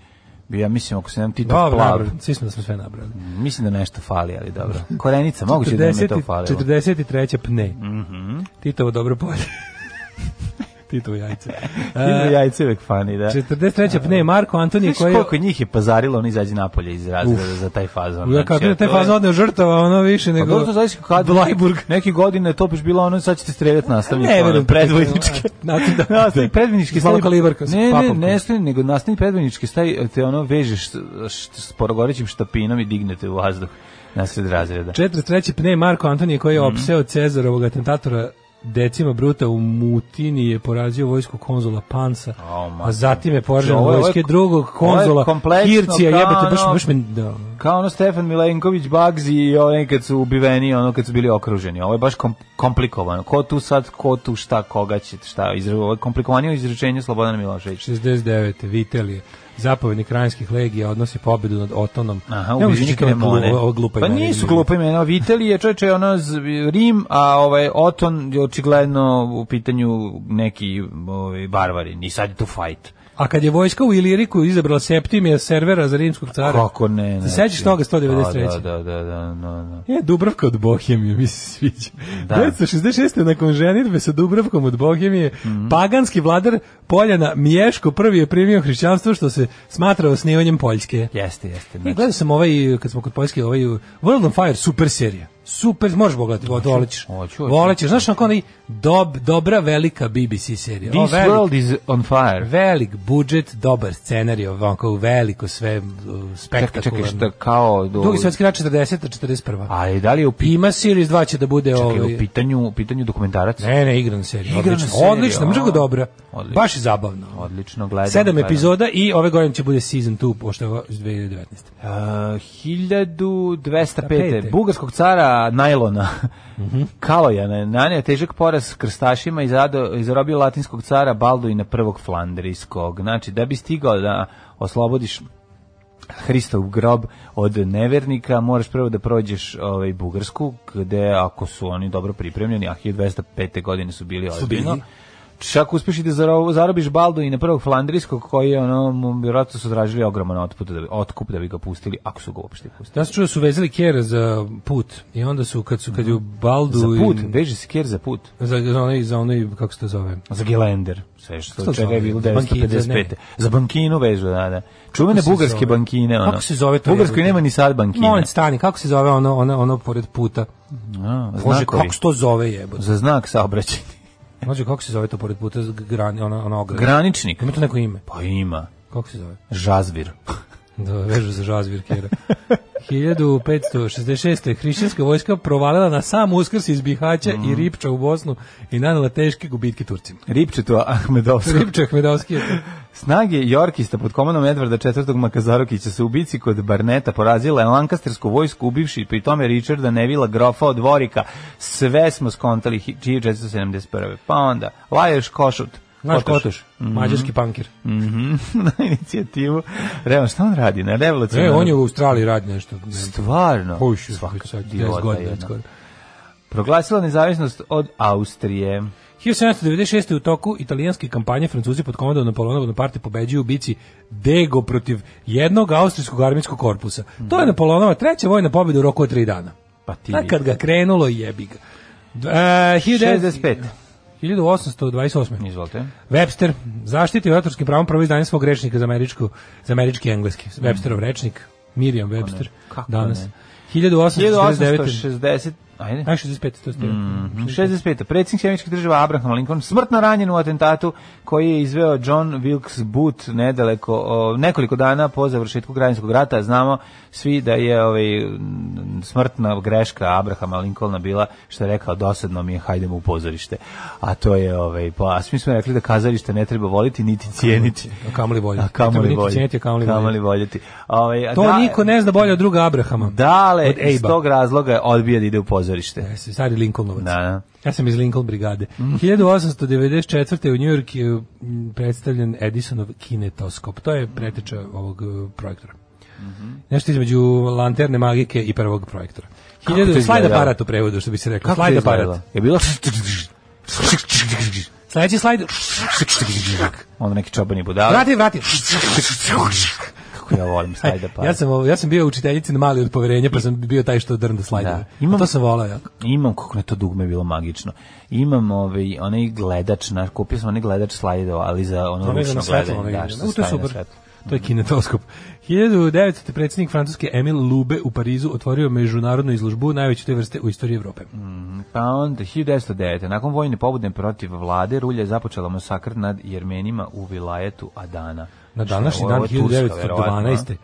Speaker 6: Bio, ja mislim, ako se nam Tito
Speaker 5: Dobro,
Speaker 6: plav,
Speaker 5: dobro, svi smo da smo sve nabrali.
Speaker 6: mislim da nešto fali, ali dobro. Korenica, moguće da nam je to
Speaker 5: 40
Speaker 6: falilo. Mhm.
Speaker 5: 43. pne. Titovo dobro polje. Titovo jajce.
Speaker 6: Tito
Speaker 5: E,
Speaker 6: jajce uvek fani, da.
Speaker 5: 43. pne Marko Antonije
Speaker 6: Znaš
Speaker 5: koji je
Speaker 6: koliko njih je pazarilo, oni izađe napolje iz razreda za taj fazon.
Speaker 5: Ja kao
Speaker 6: Znači,
Speaker 5: bilo
Speaker 6: a
Speaker 5: te
Speaker 6: to je-
Speaker 5: fazne odne žrtava, ono više
Speaker 6: Pa
Speaker 5: nego...
Speaker 6: dobro, to zavisi kad Blajburg. Neki godine to baš bilo ono, sad ćete streljati nastavnika.
Speaker 5: Ne,
Speaker 6: ono,
Speaker 5: verujem.
Speaker 6: predvojničke.
Speaker 5: Znate da-
Speaker 6: Nastavnik predvojničke
Speaker 5: Malo kalibarka sa
Speaker 6: Ne, ne,
Speaker 5: papom.
Speaker 6: ne, stavi, nego nastavnik predvojničke stavi, te ono vežeš s, s- s porogorećim štapinom i dignete u vazduh nasred razreda.
Speaker 5: 43. pne Marko Antonije koji
Speaker 6: Mhm.
Speaker 5: je opseo Cezarovog atentatora Decima Bruta u Mutini je porazio vojsku konzula Pansa,
Speaker 6: Au, ma.
Speaker 5: a zatim je poražen
Speaker 6: Ovo je- ovo je-
Speaker 5: vojske drugog
Speaker 6: ovo je
Speaker 5: konzula
Speaker 6: kompleksno, ono-
Speaker 5: Kircija, jebate, baš,
Speaker 6: kao
Speaker 5: baš me... Da.
Speaker 6: Kao ono Stefan Milenković, Bagzi i oni kad su ubiveni, ono kad su bili okruženi. Ovo je baš kom- komplikovano. Ko tu sad, ko tu šta, koga će, šta. Izra, ovo je komplikovanije izrečenje Slobodana Miloševića.
Speaker 5: 69. Vitelije, zapovednik ranjskih legija, odnosi pobedu nad Otonom.
Speaker 6: Aha,
Speaker 5: Ne mogu
Speaker 6: ubijeni
Speaker 5: čitati ovo-
Speaker 6: Kremone.
Speaker 5: ovo glupa
Speaker 6: pa
Speaker 5: imena,
Speaker 6: nisu
Speaker 5: ljudi.
Speaker 6: glupa imena. Vitali je čoveče ono z- Rim, a ovaj Oton je očigledno u pitanju neki ovaj barvari. Ni sad je tu fight.
Speaker 5: A kad je vojska u Iliriku izabrala Septimija servera za rimskog cara,
Speaker 6: Kako ne?
Speaker 5: se sećaš toga 193.
Speaker 6: Da, da, da, da, da, da.
Speaker 5: E, Dubravka od Bohemije, mi se sviđa.
Speaker 6: Da.
Speaker 5: 966. nakon ženitbe sa Dubravkom od Bohemije,
Speaker 6: Mhm.
Speaker 5: paganski vladar Poljana Miješko prvi je primio hrišćanstvo što se smatra osnivanjem Poljske.
Speaker 6: Jeste, jeste.
Speaker 5: E,
Speaker 6: Znači,
Speaker 5: gledao sam ovaj, kad smo kod Poljske, ovaj World on Fire super serija. super, možeš pogledati, volećeš.
Speaker 6: hoću, hoću.
Speaker 5: Volećeš, znaš onako onaj dob, dobra velika BBC serija.
Speaker 6: znači, This
Speaker 5: O, velik-
Speaker 6: world is on fire.
Speaker 5: Velik budžet, dobar scenarij, ovako veliko sve uh,
Speaker 6: Čekaj,
Speaker 5: spektakularno.
Speaker 6: čekaj, šta kao... Do...
Speaker 5: Drugi svetski rat 40. 41.
Speaker 6: A i da li je u, pi...
Speaker 5: Ima series 2 će da bude
Speaker 6: čekaj,
Speaker 5: ovaj.
Speaker 6: u pitanju, u pitanju dokumentarac?
Speaker 5: Ne, ne, igrana serija.
Speaker 6: Igrana
Speaker 5: odlično,
Speaker 6: serija,
Speaker 5: odlično,
Speaker 6: a?
Speaker 5: mnogo dobra.
Speaker 6: Odlično.
Speaker 5: Baš je zabavno.
Speaker 6: Odlično, gledam.
Speaker 5: Sedam
Speaker 6: gledam.
Speaker 5: epizoda i ove godine će bude season 2, pošto je ovo iz 2019.
Speaker 6: Uh, 1205.
Speaker 5: Pete.
Speaker 6: Bugarskog cara Najlona Kalojana nanio težak poraz krstašima i zado- i zarobio latinskog cara Balduina prvog Flandrijskog. Znači, da bi stigao da oslobodiš Hristov grob od nevernika, moraš prvo da prođeš ovaj, Bugarsku, gde ako su oni dobro pripremljeni, a 1205. godine su bili ozbiljno,
Speaker 5: bili.
Speaker 6: čak uspeš i da zaro- zarobiš Baldu i na prvog Flandrijskog, koji je ono, mu vjerojatno su tražili ogroman otput da bi, otkup da bi ga pustili, ako su ga uopšte pustili.
Speaker 5: Ja sam čuo da su vezali kjer za put i onda su, kad su, kad je u Baldu...
Speaker 6: Za put,
Speaker 5: i-
Speaker 6: veže se kjer za put.
Speaker 5: Za, za onaj, za onaj, kako se to zove?
Speaker 6: Za Gelender, sve
Speaker 5: Što
Speaker 6: što čega je bilo
Speaker 5: zove? Bankine, za
Speaker 6: 955.
Speaker 5: ne.
Speaker 6: Za bankinu vežu, da, da. Čuvene
Speaker 5: Kako se
Speaker 6: bugarske
Speaker 5: zove?
Speaker 6: bankine, ono.
Speaker 5: Kako se zove to?
Speaker 6: U Bugarskoj
Speaker 5: jebote?
Speaker 6: nema ni sad bankine.
Speaker 5: Molim, stani, kako se zove ono, ono, ono pored puta?
Speaker 6: A,
Speaker 5: Bože,
Speaker 6: znakovi.
Speaker 5: kako se to zove jebote?
Speaker 6: Za znak saobraćaj.
Speaker 5: Može, kako se zove to pored puta? Grani, ono, ono ograda.
Speaker 6: Graničnik.
Speaker 5: Ima to neko ime?
Speaker 6: Pa ima.
Speaker 5: Kako se zove?
Speaker 6: Žazvir.
Speaker 5: Da, vežu za žazvir kjera. 1566. hrišćanska vojska provalila na sam uskrs iz Bihaća
Speaker 6: Mhm.
Speaker 5: i Ripča u Bosnu i nanela teške gubitke Turcima.
Speaker 6: Ripčetu Ahmedovsko.
Speaker 5: Ripča Hmedovski je
Speaker 6: Snage Jorkista pod komandom Edvarda IV. Makazarokića su u bici kod Barneta porazile Lancastersku vojsku, ubivši pri tome Richarda Nevila Grofa od Vorika. Sve smo skontali hi- 1471. Pa onda, Lajoš Košut.
Speaker 5: Znaš
Speaker 6: Kotoš.
Speaker 5: Kotoš, mađarski pankir.
Speaker 6: Mhm, na inicijativu. Revan, šta on radi? Na revoluciju?
Speaker 5: E, on je u Australiji radi nešto. Ne,
Speaker 6: Stvarno.
Speaker 5: Hoću,
Speaker 6: Svaka
Speaker 5: sad 10
Speaker 6: idiota
Speaker 5: godina
Speaker 6: jedna.
Speaker 5: skoro.
Speaker 6: Proglasila nezavisnost od Austrije.
Speaker 5: 1796. u toku italijanske kampanje Francuzi pod komandom Napoleona Bonaparte pobeđuju u bici Dego protiv jednog austrijskog armijskog korpusa. To je Napoleonova treća vojna pobjeda u roku od tri dana.
Speaker 6: Pa ti
Speaker 5: A
Speaker 6: vidi.
Speaker 5: kad ga krenulo, jebi ga. D- e,
Speaker 6: 65.
Speaker 5: 1828.
Speaker 6: Izvolite.
Speaker 5: Webster zaštitio autorskim pravom prvo izdanje svog rečnika za, američku, za američki i engleski. Websterov rečnik, Miriam Webster,
Speaker 6: Kako
Speaker 5: danas.
Speaker 6: Mm. ne?
Speaker 5: 1849.
Speaker 6: 1860... Ajde.
Speaker 5: Aj, 65. To ste.
Speaker 6: Mhm. 65. Predsjednik Sjemičkih država Abraham Lincoln smrtno ranjen u atentatu koji je izveo John Wilkes Booth nedaleko, o, nekoliko dana po završetku građanskog rata. Znamo svi da je ovaj, m, smrtna greška Abrahama Lincolna bila, što je rekao, dosadno mi je, hajdemo u pozorište. A to je, ovaj, pa, a svi smo rekli da kazalište ne treba voliti niti cijeniti.
Speaker 5: A kamoli voljeti.
Speaker 6: A kamoli
Speaker 5: Niti
Speaker 6: voljeti.
Speaker 5: cijeniti, a kamoli voljeti.
Speaker 6: voljeti. Ovaj, a
Speaker 5: To
Speaker 6: da-
Speaker 5: niko ne zna bolje od druga Abrahama.
Speaker 6: Dale,
Speaker 5: od
Speaker 6: iz
Speaker 5: Ejba.
Speaker 6: tog razloga je odbija da ide u pozorište.
Speaker 5: Ja sam E, stari Lincolnovac.
Speaker 6: Da, da. Mhm.
Speaker 5: Ja sam iz Lincoln brigade. 1894. u New York je m, predstavljen Edisonov kinetoskop. To
Speaker 6: Mhm.
Speaker 5: je preteča ovog e, projektora. Nešto između lanterne magike i prvog projektora.
Speaker 6: Kako to
Speaker 5: 1000 slajd
Speaker 6: izgledalo?
Speaker 5: aparat u prevodu, što bi se reklo.
Speaker 6: Kako je
Speaker 5: Slajd
Speaker 6: izgledalo?
Speaker 5: aparat.
Speaker 6: Je bilo...
Speaker 5: Sledeći slajd.
Speaker 6: Onda Ono neki čobani budala.
Speaker 5: Vrati, vrati.
Speaker 6: Kako ja volim slajda pa.
Speaker 5: Ja sam, ovo- ja sam bio učiteljici na mali od poverenja, pa sam bio taj što drnda slajdove.
Speaker 6: Da. Imam-
Speaker 5: A To sam volao jako.
Speaker 6: Imam, kako je to dugme bilo magično. Imam ovaj, onaj gledač, na, kupio sam onaj gledač slajdova, ali za ono
Speaker 5: Onaj za
Speaker 6: ručno
Speaker 5: na Pa svetlo,
Speaker 6: gledanje.
Speaker 5: onaj.
Speaker 6: Da, što
Speaker 5: U, to je
Speaker 6: stavi na
Speaker 5: super.
Speaker 6: svetlo.
Speaker 5: To je kinetoskop. 1900. predsjednik Francuske Emil Lube u Parizu otvorio međunarodnu izložbu najveće te vrste u istoriji Evrope.
Speaker 6: Pa onda, 1909. Nakon vojne pobudne protiv vlade, Rulja je započela masakr nad Jermenima u vilajetu Adana.
Speaker 5: Na
Speaker 6: Što je
Speaker 5: današnji
Speaker 6: ovo?
Speaker 5: dan
Speaker 6: Ovo je Turska, verovatno, a?
Speaker 5: 1912.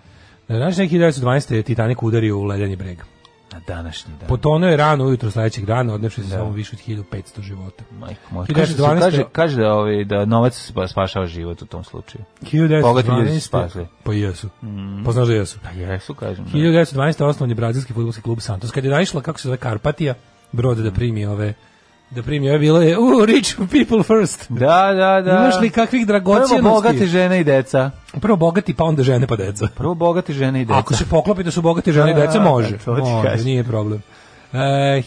Speaker 5: Na današnji dan 1912. je Titanic udario u ledeni breg.
Speaker 6: Na današnji dan.
Speaker 5: Potonuo je rano ujutro sledećeg dana, odnevši se samo više od 1500 života.
Speaker 6: Majko moja. Kaže,
Speaker 5: 1912.
Speaker 6: kaže, kaže da, ovaj, da novac spa- spašava život u tom slučaju. Bogati ljudi su
Speaker 5: 1912.
Speaker 6: spasli.
Speaker 5: Pa jesu. Pa znaš da jesu.
Speaker 6: Pa jesu, kažem. da.
Speaker 5: 1912. osnovan je brazilski fudbalski klub Santos. Kad je naišla, kako se zove, Karpatija, brod
Speaker 6: Mm.
Speaker 5: da primi ove da primi ove, bilo je, u, rich people first.
Speaker 6: Da, da, da.
Speaker 5: Imaš li kakvih dragocenosti?
Speaker 6: Prvo bogate žene i deca.
Speaker 5: Prvo bogati, pa onda žene, pa deca.
Speaker 6: Prvo bogate žene i deca.
Speaker 5: Ako se poklopi da su bogate žene i
Speaker 6: Da,
Speaker 5: deca, može.
Speaker 6: to ti
Speaker 5: Može,
Speaker 6: kažem.
Speaker 5: nije problem. E,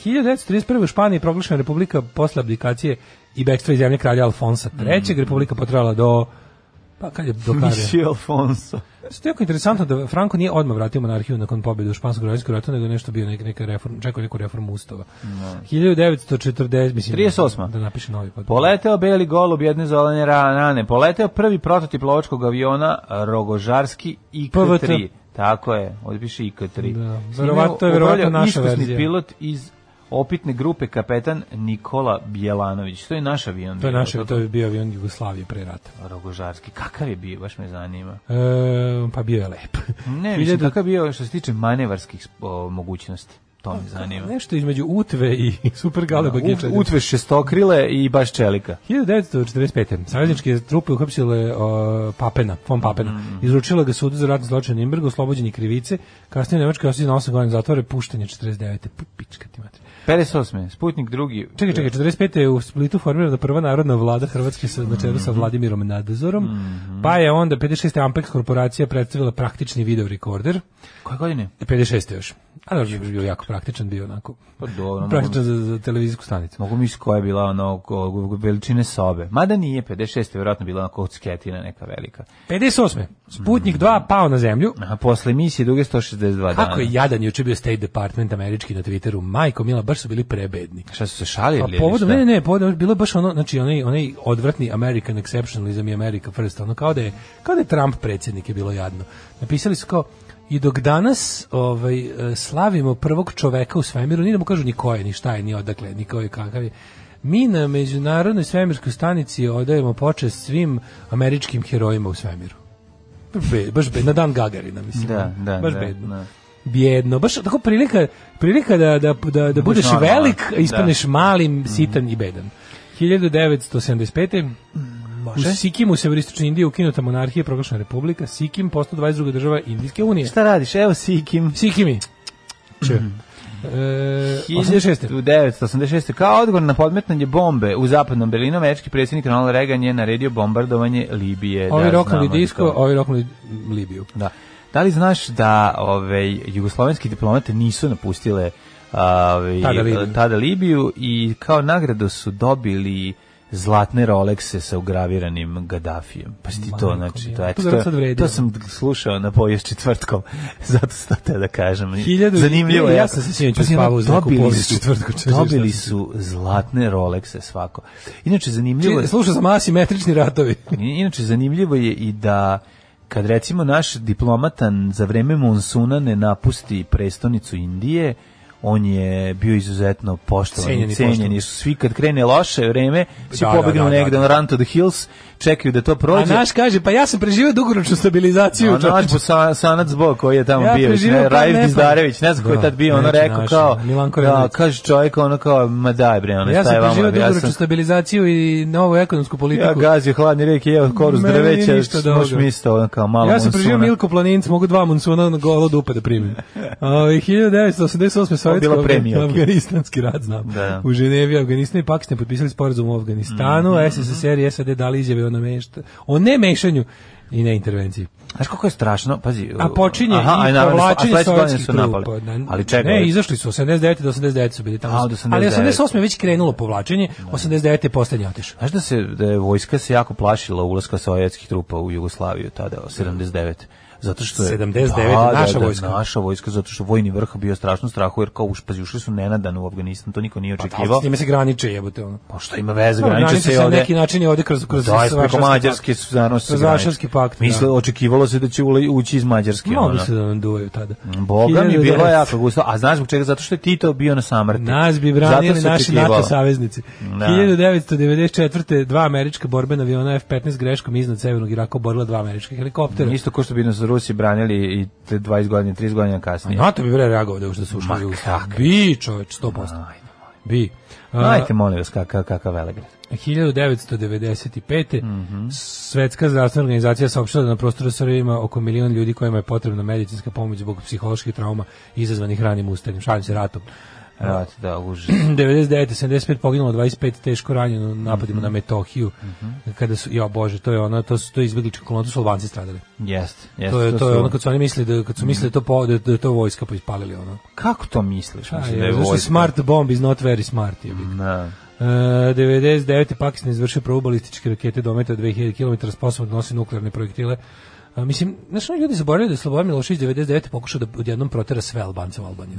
Speaker 5: 1931. u Španiji je proglašena republika posle abdikacije i bekstva iz zemlje kralja Alfonsa III.
Speaker 6: Mm.
Speaker 5: Republika potrajala do Pa kad je do kada?
Speaker 6: Misi Alfonso.
Speaker 5: Što je jako interesantno da Franco nije odmah vratio monarhiju nakon pobjede u španskom građanskom ratu, nego je nešto bio neka, neka reform, čekao neku reformu ustava. 1940, mislim,
Speaker 6: 38..
Speaker 5: da napiše novi pod.
Speaker 6: Poleteo beli golub jedne zolene rane. Poleteo prvi prototip lovačkog aviona Rogožarski
Speaker 5: PVT.
Speaker 6: IK-3. Tako je, ovdje piše IK3.
Speaker 5: Da, verovatno je verovatno naša verzija.
Speaker 6: pilot iz opitne grupe kapetan Nikola Bjelanović. To je naš avion.
Speaker 5: To je
Speaker 6: bio,
Speaker 5: naš, to je bio avion Jugoslavije pre rata.
Speaker 6: Rogožarski. Kakav je bio, baš me zanima.
Speaker 5: E, pa bio je lep.
Speaker 6: Ne, mislim, kakav je bio što se tiče manevarskih o, mogućnosti. To me zanima.
Speaker 5: Nešto između Utve i Super Galeba
Speaker 6: U- Utve šestokrile i baš čelika.
Speaker 5: 1945. Savezničke trupe uhapsile o, Papena, von
Speaker 6: Mm,
Speaker 5: Papena. Izručila ga sudu za ratni zločin u Nimbergu, oslobođen je krivice. Kasnije Nemačka je osjećena 8 godina zatvore, pušten je 49. Pu, Pička ti mater.
Speaker 6: 58. Sputnik drugi.
Speaker 5: Čekaj, čekaj, 45. je u Splitu formirana prva narodna vlada Hrvatske sa, na čelu sa Vladimirom Nadozorom, pa je onda 56. Ampex korporacija predstavila praktični video rekorder.
Speaker 6: Koje godine?
Speaker 5: 56. još. A dobro, bi bio jako praktičan, bio onako.
Speaker 6: Pa dobro, mogu,
Speaker 5: Praktičan za, za televizijsku stanicu.
Speaker 6: mogu mi s koja je bila ono ko- veličine sobe. Mada nije 56, vjerojatno bila onako sketina neka velika.
Speaker 5: 58. Sputnik 2 pao na zemlju.
Speaker 6: A posle misije duge 162 dana.
Speaker 5: Kako je jadan juče bio State Department američki na Twitteru. Majko Mila, baš su bili prebedni.
Speaker 6: Šta su se šalili?
Speaker 5: Pa
Speaker 6: ili
Speaker 5: povodom,
Speaker 6: šta?
Speaker 5: ne, ne, povodom, bilo je baš ono, znači onaj, onaj odvratni American exceptionalism i America first, ono kao da je, kao da je Trump predsjednik je bilo jadno. Napisali su kao, i dok danas ovaj, e, slavimo prvog čoveka u svemiru, ni da mu kažu ni ko je, ni šta je, ni odakle, ni koji kakav je, mi na Međunarodnoj svemirskoj stanici odajemo počest svim američkim herojima u svemiru. Be, baš bedno, na dan Gagarina, mislim.
Speaker 6: Da, da,
Speaker 5: baš
Speaker 6: da,
Speaker 5: bedno.
Speaker 6: da.
Speaker 5: Bijedno, baš tako prilika, prilika da, da, da, da Mhm. budeš
Speaker 6: normalan.
Speaker 5: velik,
Speaker 6: Da.
Speaker 5: ispaneš malim, sitan i bedan. Mm, 1975. U Sikimu, u severistočnoj Indiji, ukinuta monarhija, proglašena republika, Sikim postao 22. država Indijske unije.
Speaker 6: Šta radiš? Evo Sikim. Mhm.
Speaker 5: Sikimi. Če? E, 86.
Speaker 6: 1986. Kao odgovor na podmetanje bombe u zapadnom Berlinu, američki predsjednik Ronald Reagan je naredio bombardovanje Libije.
Speaker 5: Ovi
Speaker 6: da,
Speaker 5: roknuli
Speaker 6: znamo
Speaker 5: disko,
Speaker 6: to.
Speaker 5: ovi roknuli Libiju.
Speaker 6: Da. Da li znaš da ovaj jugoslovenski diplomate nisu napustile ovaj,
Speaker 5: Tada Libiju.
Speaker 6: tada Libiju i kao nagradu su dobili zlatne Rolexe sa ugraviranim Gaddafijem. Pa si ti to,
Speaker 5: Majko
Speaker 6: znači,
Speaker 5: mila.
Speaker 6: to, eto,
Speaker 5: To vjerojatno
Speaker 6: to,
Speaker 5: sad vredi.
Speaker 6: to sam slušao na povijest četvrtkom, zato sam to teo da kažem.
Speaker 5: Hiljadu-
Speaker 6: Zanimljivo je.
Speaker 5: ja
Speaker 6: jako.
Speaker 5: sam se sinoć
Speaker 6: Pa si ono,
Speaker 5: uspavao uz neku
Speaker 6: dobili
Speaker 5: povijest
Speaker 6: su-
Speaker 5: četvrtkom, čekaj,
Speaker 6: Dobili
Speaker 5: šta sam
Speaker 6: su zlatne Rolexe svako. Inače, zanimljivo
Speaker 5: Čije,
Speaker 6: je...
Speaker 5: slušao sam asimetrični ratovi.
Speaker 6: Inače, zanimljivo je i da kad recimo naš diplomatan za vreme monsuna ne napusti prestonicu Indije, on je bio izuzetno poštovan,
Speaker 5: Cenjen i
Speaker 6: cenjeni,
Speaker 5: poštovan.
Speaker 6: su svi kad krene loše vreme, svi
Speaker 5: Da, da,
Speaker 6: pobegnu
Speaker 5: da, da,
Speaker 6: negde
Speaker 5: da.
Speaker 6: na run to the hills, čekaju da to
Speaker 5: A
Speaker 6: prođe.
Speaker 5: naš kaže, pa ja sam preživio dugoročnu stabilizaciju.
Speaker 6: A naš
Speaker 5: čoveče.
Speaker 6: sa, sanac zbog koji je tamo
Speaker 5: Ja
Speaker 6: bio,
Speaker 5: preživio
Speaker 6: ne,
Speaker 5: par
Speaker 6: Rajiv
Speaker 5: nepravdi.
Speaker 6: Dizdarević, ne znam ko je
Speaker 5: Da,
Speaker 6: tad bio, ono
Speaker 5: neće
Speaker 6: rekao
Speaker 5: naš,
Speaker 6: kao,
Speaker 5: Milanko
Speaker 6: da,
Speaker 5: Revec.
Speaker 6: kaže čovjek ono kao, ma daj bre, ono,
Speaker 5: Ja
Speaker 6: šta
Speaker 5: sam
Speaker 6: je vama,
Speaker 5: preživio
Speaker 6: ja
Speaker 5: dugoročnu
Speaker 6: sam
Speaker 5: stabilizaciju i novu ekonomsku politiku.
Speaker 6: Ja gazio hladni rijek i jeo korus
Speaker 5: Meni
Speaker 6: drveća,
Speaker 5: ništa od
Speaker 6: možeš
Speaker 5: ovoga.
Speaker 6: misliti ono kao malo
Speaker 5: Ja sam preživio
Speaker 6: monsuna.
Speaker 5: Milko Planinc, mogu dva monsuna na golo dupe da primim. Ovaj, 1988. sovjetsko
Speaker 6: bila premija, okej.
Speaker 5: afganistanski rad, znam.
Speaker 6: Da.
Speaker 5: U Ženevi, Afganistan i Pakistan potpisali sporazum u Afganistanu,
Speaker 6: Mhm,
Speaker 5: SSSR i SAD dali izjave o, namešta, o ne mešanju i ne intervenciji.
Speaker 6: Znaš kako je strašno? Pazi,
Speaker 5: A počinje i
Speaker 6: naravno,
Speaker 5: povlačenje
Speaker 6: a sledeće godine
Speaker 5: sovjetskih
Speaker 6: su napali.
Speaker 5: trupa. Da,
Speaker 6: Ali čekaj,
Speaker 5: Ne, izašli su, 89. do 89. su bili tamo.
Speaker 6: A, od 89..
Speaker 5: Ali 88. je već krenulo povlačenje, 89. je poslednje otišao.
Speaker 6: znaš da, se, da je vojska se jako plašila ulaska sovjetskih trupa u Jugoslaviju tada, 79. Zato što je
Speaker 5: 79 je naša vojska.
Speaker 6: naša vojska zato što vojni vrh bio strašno strahu jer kao uš pazi, ušli su nenadano u Afganistan, to niko nije očekivao.
Speaker 5: Pa S njime se graniče jebote ono.
Speaker 6: Pa što ima veze,
Speaker 5: Pa,
Speaker 6: graniče
Speaker 5: granice
Speaker 6: se
Speaker 5: se na
Speaker 6: ovde.
Speaker 5: neki način je ovde kroz- kroz
Speaker 6: da,
Speaker 5: Varšavski
Speaker 6: preko
Speaker 5: pakt.
Speaker 6: Mađarske su naravno se
Speaker 5: Kroz
Speaker 6: graniče.
Speaker 5: Varšavski pakt, da.
Speaker 6: Misle, očekivalo se da će ule- ući iz Mađarske.
Speaker 5: Mogli
Speaker 6: ono. Mm,
Speaker 5: su da nam duvaju tada.
Speaker 6: Boga mi bilo
Speaker 5: 1900.
Speaker 6: jako gusto. A znaš zbog čega? Zato što je Tito bio na samrti.
Speaker 5: Nas bi
Speaker 6: Zato
Speaker 5: branili
Speaker 6: se
Speaker 5: naši
Speaker 6: očekivalo.
Speaker 5: NATO saveznici.
Speaker 6: Da.
Speaker 5: 1994. dva američka borbena aviona F-15 greškom iznad severnog Iraka oborila dva američka helikoptera.
Speaker 6: Isto ko što bi nas Rusi branili i te 20 godina, 30 godina kasnije.
Speaker 5: NATO bi bre reagovao da ušte su
Speaker 6: Ma
Speaker 5: ušli u
Speaker 6: kakvi.
Speaker 5: Bi, čoveč, 100%.
Speaker 6: Ajde,
Speaker 5: Bi. A,
Speaker 6: Ajte, molim vas, kakav kakav velegrad.
Speaker 5: 1995.
Speaker 6: Mhm.
Speaker 5: Svetska zdravstvena organizacija saopštila da na prostoru Srbije ima oko milion ljudi kojima je potrebna medicinska pomoć zbog psiholoških trauma izazvanih ranim ustajanjem, šalim se ratom.
Speaker 6: Rat, da, užas.
Speaker 5: 99, 75 poginulo, 25 teško ranjeno u napadima
Speaker 6: Mhm.
Speaker 5: na Metohiju. Kada su, ja bože, to je ono, to su to je izbeglička kolona, to su Albanci stradali.
Speaker 6: Jest, jest.
Speaker 5: to je to je
Speaker 6: su-
Speaker 5: ono kad su oni mislili da kad su mislili da to po, da, da je to vojska pa ispalili ono.
Speaker 6: Kako to misliš?
Speaker 5: A,
Speaker 6: Mislim da
Speaker 5: je,
Speaker 6: je
Speaker 5: zašto
Speaker 6: vojska.
Speaker 5: smart bomb is not very smart je. Mm.
Speaker 6: Da.
Speaker 5: E, 99. Pakistan izvršio probu balističke rakete dometa 2000 km sposobno da nosi nuklearne projektile. A, mislim, znaš, ono, ljudi zaboravljaju da je Slobodan Milošević 99. pokušao da odjednom protera sve Albance u Albaniju.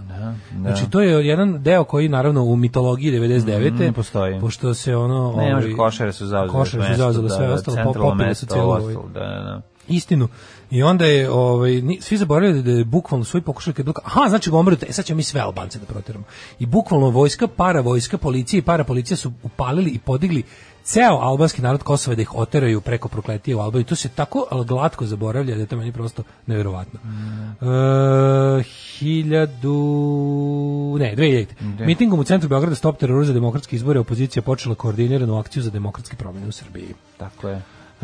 Speaker 5: Znači, to je jedan deo koji, naravno, u mitologiji 99.
Speaker 6: Mm, ne postoji.
Speaker 5: Pošto se ono...
Speaker 6: Ne, ne može,
Speaker 5: ovaj,
Speaker 6: košare su zauzele.
Speaker 5: Košare su
Speaker 6: mesto,
Speaker 5: zauzele sve
Speaker 6: da, da,
Speaker 5: ostalo,
Speaker 6: centralno
Speaker 5: popili su
Speaker 6: mesto,
Speaker 5: cijelu ovaj-
Speaker 6: ostalo, Da, da, da.
Speaker 5: istinu. I onda je ovaj ni- svi zaboravili da je bukvalno svoj pokušaj kad je bilo kao, aha znači Gomeru te sad ćemo mi sve Albance da proteramo. I bukvalno vojska, para vojska, policija i para policija su upalili i podigli ceo albanski narod Kosova da ih oteraju preko prokletije u Albaniju. To se tako glatko zaboravlja da je to meni prosto neverovatno. E, hiljadu... Ne, 2000. Mitingom u centru Beograda Stop teroru za demokratske izbore opozicija počela koordiniranu akciju za demokratske promjene u Srbiji.
Speaker 6: Tako je.
Speaker 5: E,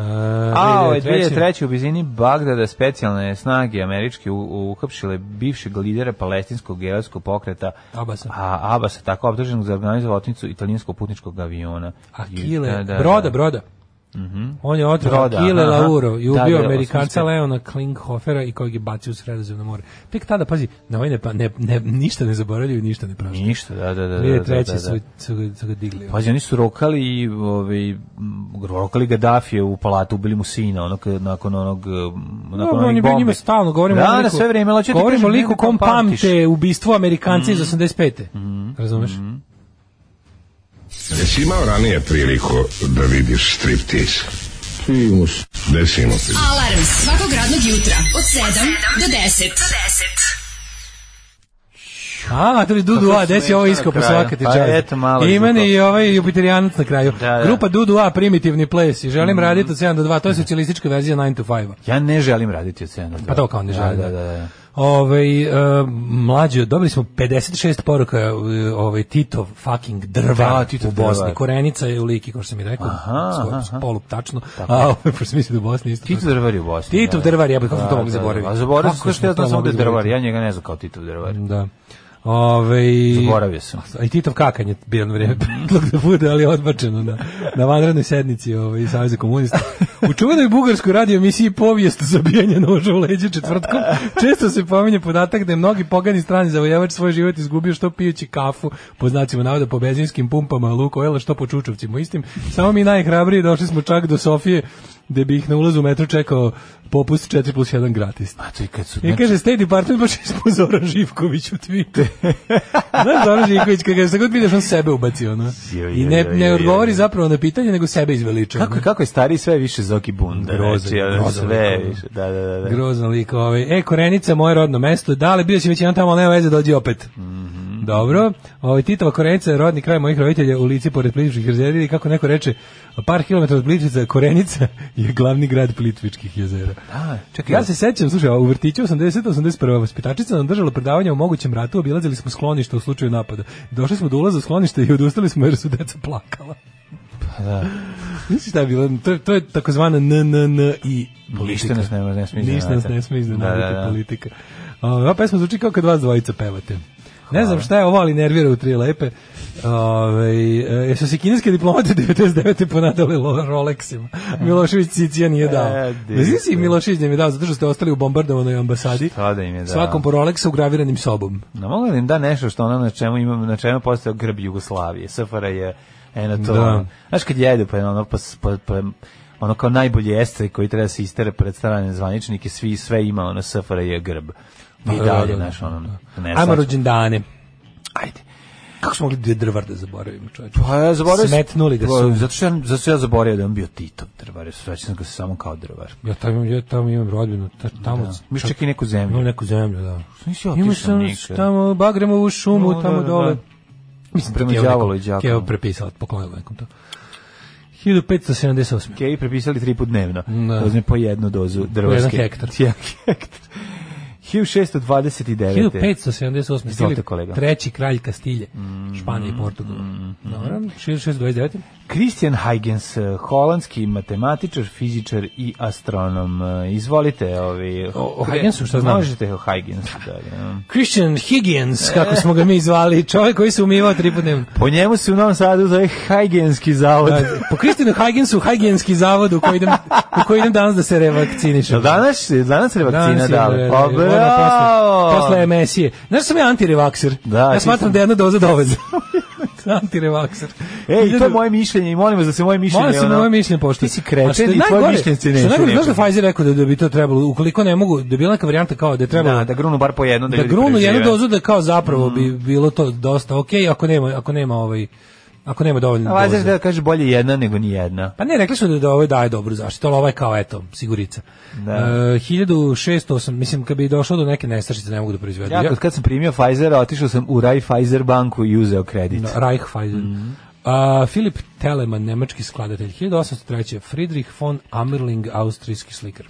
Speaker 6: A, ovaj
Speaker 5: 2003.
Speaker 6: 2003. u blizini Bagdada specijalne snage američke u- uhapšile bivšeg lidera palestinskog gerovskog pokreta
Speaker 5: Abasa.
Speaker 6: A, Abasa, tako obdrženog za organizovanu otmicu italijanskog putničkog aviona.
Speaker 5: Akile,
Speaker 6: Pa, Da, da, da. Mhm.
Speaker 5: broda, broda. On je otrao
Speaker 6: Broda,
Speaker 5: Akile
Speaker 6: aha.
Speaker 5: Lauro i
Speaker 6: Da,
Speaker 5: ubio
Speaker 6: da,
Speaker 5: Amerikanca
Speaker 6: osmanske.
Speaker 5: Leona Klinghofera i kojeg je bacio u sredozemno more. Tek tada, pazi, na ovaj ne, pa- ne, ne, ništa ne zaboravljaju, ništa ne prašaju.
Speaker 6: Ništa, da, da, da. da, da,
Speaker 5: 2003.
Speaker 6: da, da.
Speaker 5: su, su, ga- su ga digli. ono.
Speaker 6: Pazi, oni su rokali i ovaj m, rokali Gaddafije u palatu, ubili mu sina, onog nakon onog m, nakon
Speaker 5: Dobro, on je
Speaker 6: onih
Speaker 5: bio
Speaker 6: bombi.
Speaker 5: njima stalno, govorimo
Speaker 6: da,
Speaker 5: o
Speaker 6: da,
Speaker 5: liku,
Speaker 6: sve vreme, ali hoću ti
Speaker 5: govorimo o
Speaker 6: kažem,
Speaker 5: liku
Speaker 6: nekako
Speaker 5: kom
Speaker 6: pamtiš. Mhm.
Speaker 5: pamte ubistvo Amerikanca iz 85. Razumeš?
Speaker 7: Jesi imao ranije priliku da vidiš striptiz?
Speaker 3: Primus.
Speaker 7: Desimo ti.
Speaker 4: Alarm svakog radnog jutra od 7 do 10.
Speaker 5: A, to je Dudu A, desi ovo iskopo
Speaker 6: na kraju.
Speaker 5: svaka ti
Speaker 6: Pa,
Speaker 5: čast.
Speaker 6: eto, malo je
Speaker 5: Imen
Speaker 6: iskopo.
Speaker 5: i ovaj Jupiterianac na kraju.
Speaker 6: Da, da.
Speaker 5: Grupa Dudu A, primitivni ples i želim raditi od 7 do 2, to je socijalistička verzija 9 to 5
Speaker 6: Ja ne želim raditi od cena.
Speaker 5: Pa to kao ne želim,
Speaker 6: Da,
Speaker 5: da.
Speaker 6: da, da. da.
Speaker 5: Ovaj e, mlađe, dobili smo 56 poruka e, ovaj Titov fucking drva
Speaker 6: Da, Titov
Speaker 5: u Bosni.
Speaker 6: drvar.
Speaker 5: Korenica je u Liki, kao što sam i rekao,
Speaker 6: Aha,
Speaker 5: skoro
Speaker 6: aha.
Speaker 5: polu tačno. A ovaj pošto sam mislio da u Bosni isto.
Speaker 6: Tito drvar je u Bosni.
Speaker 5: Titov drvar, jebote, kako smo to mogli zaboraviti?
Speaker 6: A zaboravio sam
Speaker 5: Kako
Speaker 6: sve što ja
Speaker 5: smo to
Speaker 6: znam samo da je
Speaker 5: mogli
Speaker 6: drvar,
Speaker 5: zaboraviti?
Speaker 6: ja njega ne znam kao Tito drvar.
Speaker 5: Da. Ovaj
Speaker 6: Zaboravio sam.
Speaker 5: A i Titov kakan je bio na vreme predlog da bude, ali je odbačeno na, na vanrednoj sednici ovaj, Savjeza komunista. U čuvenoj bugarskoj radio emisiji povijest zabijanja noža u leđe četvrtkom, često se pominje podatak da je mnogi pogani strani zavojevač svoj život izgubio što pijući kafu, po znacima navoda po benzinskim pumpama Luko Ojla, što po čučovcima istim. Samo mi najhrabriji došli smo čak do Sofije, gde bi ih na ulazu u metro čekao popust 4 plus 1 gratis.
Speaker 6: A to i kad su...
Speaker 5: I
Speaker 6: znači,
Speaker 5: kaže, State Department baš ispod Zoran Živković u Twitteru. Znaš Zoran Živković, kada se god vidiš, on sebe ubaci, ono.
Speaker 6: Joj,
Speaker 5: I ne,
Speaker 6: joj, joj,
Speaker 5: ne
Speaker 6: joj,
Speaker 5: odgovori
Speaker 6: joj.
Speaker 5: zapravo na pitanje, nego sebe izveliča.
Speaker 6: Kako,
Speaker 5: ono.
Speaker 6: kako je stariji sve više Zoki Bunda.
Speaker 5: Grozan,
Speaker 6: znači, ono,
Speaker 5: grozan
Speaker 6: sve
Speaker 5: lik, ono.
Speaker 6: više. Da, da, da. da.
Speaker 5: Grozan lik ovaj. E, Korenica, moje rodno mesto. Da, ali bio si već jedan tamo, ali nema veze, dođi opet.
Speaker 6: Mhm.
Speaker 5: Dobro. Ovaj, Titova Korenica je rodni kraj mojih roditelja u lici pored Plitvičkih jezera. I kako neko reče, par kilometara od Plitvica, Korenica je glavni grad Plitvičkih jezera.
Speaker 6: Da, čekaj,
Speaker 5: Ja se sećam, slušaj, u vrtiću 80-81. vaspitačica nam držala predavanja o mogućem ratu, obilazili smo sklonište u slučaju napada. Došli smo do ulaza u sklonište i odustali smo jer su deca plakala. Pa da. Misliš šta je bilo? To, je- to je takozvana NNN i
Speaker 6: Ništa
Speaker 5: politika.
Speaker 6: nas ne, ne smije
Speaker 5: Ništa nas ne smije iznenaditi
Speaker 6: Da, da, da.
Speaker 5: politika. Ovaj, Ova pesma zvuči kao kad vas dvojica pevate. Ne znam šta je ovo, ali nervira u tri lepe. Ove, e, su se kineske diplomate 99. ponadale lo- Rolexima. Milošević Cicija nije dao.
Speaker 6: E,
Speaker 5: Ne znam si
Speaker 6: divno.
Speaker 5: Milošević nije dao, zato što ste ostali u bombardovanoj ambasadi.
Speaker 6: Šta da im je dao?
Speaker 5: Svakom po Rolexa ugraviranim sobom.
Speaker 6: Na mogu da im da nešto što ono na čemu imam, na čemu postao grb Jugoslavije, SFRJ, je eno to.
Speaker 5: Da.
Speaker 6: ono. Znaš kad jedu pa ono pa, s- pa, pa ono kao najbolji estre koji treba se istere pred strane zvaničnike, svi sve ima ono SFRJ grb. I
Speaker 5: Pa, Da,
Speaker 6: dalje,
Speaker 5: da, da.
Speaker 6: znaš, ono, ne
Speaker 5: Ajmo
Speaker 6: sad-
Speaker 5: rođendane. Ajde. Kako smo mogli drvar da zaboravimo, čovječe?
Speaker 6: Pa ja zaboravio sam-
Speaker 5: Smetnuli ga
Speaker 6: Pa,
Speaker 5: su.
Speaker 6: Zato što ja, zato što ja zaboravio da je on bio Tito drvar, sveća sam ga samo kao drvar.
Speaker 5: Ja tamo, ja tamo imam rodbinu, ta- tamo...
Speaker 6: Da. Mi čak i neku zemlju.
Speaker 5: Imam neku zemlju, da.
Speaker 6: Nisi otišao
Speaker 5: Imaš sam
Speaker 6: nikad.
Speaker 5: tamo bagremovu šumu,
Speaker 6: No,
Speaker 5: tamo
Speaker 6: da, da,
Speaker 5: dole.
Speaker 6: da.
Speaker 5: Mislim,
Speaker 6: Prema
Speaker 5: Keo
Speaker 6: đavolu
Speaker 5: nekom-
Speaker 6: i đakovu.
Speaker 5: Keo prepisala, poklonila nekom to. 1578.
Speaker 6: Keji prepisali tri put dnevno.
Speaker 5: Da.
Speaker 6: Da. Uzme po jednu dozu drvarske.
Speaker 5: jedan hektar.
Speaker 6: Jedan hektar. 1629.
Speaker 5: 1578.
Speaker 6: Izvolite,
Speaker 5: Filip,
Speaker 6: kolega. Mm,
Speaker 5: treći kralj Kastilje, Španije i Portugal. Dobro, 1629.
Speaker 6: Christian Huygens, eh, holandski matematičar, fizičar i astronom. Eh, Izvolite, ovi...
Speaker 5: o Huygensu šta znamo?
Speaker 6: Možete o Huygensu, eh. da. da.
Speaker 5: Christian Higgins, kako smo ga mi zvali, čovjek koji se umivao tri put dnevno.
Speaker 6: Po njemu se u Novom Sadu zove Huygenski zavod.
Speaker 5: Da, po Kristinu Huygensu, Huygenski zavod u koji idem, u koji idem danas da se revakcinišem.
Speaker 6: Jel danas, jel danas je vakcina
Speaker 5: Danas je,
Speaker 6: dala?
Speaker 5: e,
Speaker 6: Pa
Speaker 5: ona
Speaker 6: bravo!
Speaker 5: Posle, posle MSI. Znaš sam ja antirevakser?
Speaker 6: Da,
Speaker 5: ja
Speaker 6: ti
Speaker 5: smatram
Speaker 6: si.
Speaker 5: da je jedna doza dovoljna. antirevakser.
Speaker 6: Ej, to je
Speaker 5: Hiljadu-
Speaker 6: moje mišljenje i molim vas da se moje mišljenje... Znači,
Speaker 5: Molim se
Speaker 6: ono-
Speaker 5: na moje mišljenje pošto.
Speaker 6: Ti si kreten i tvoje mišljenje se neće
Speaker 5: Znaš da
Speaker 6: reći.
Speaker 5: Pfizer rekao da, da bi to trebalo, ukoliko ne mogu, da je bila neka varijanta kao da je trebalo
Speaker 6: Da, da grunu bar po jednu, da,
Speaker 5: da
Speaker 6: ljudi
Speaker 5: grunu jednu
Speaker 6: prežive.
Speaker 5: dozu da kao zapravo bi bilo to dosta ok, ako nema, ako nema ovaj Ako nema dovoljno
Speaker 6: A Lazar
Speaker 5: doza.
Speaker 6: da kaže bolje jedna nego ni jedna.
Speaker 5: Pa ne, rekli su da, da ovo daje dobru zaštitu, ali ovo je kao, eto, sigurica. Da. E, 1608, mislim, kad bi došlo do neke nestašice, ne mogu da proizvedu.
Speaker 6: Ja, kad sam primio Pfizera, otišao sam u Raiffeisen banku i uzeo kredit.
Speaker 5: No, Reichweisen. A, Filip Telemann, nemački skladatelj, 1803. Friedrich von Amerling, austrijski slikar.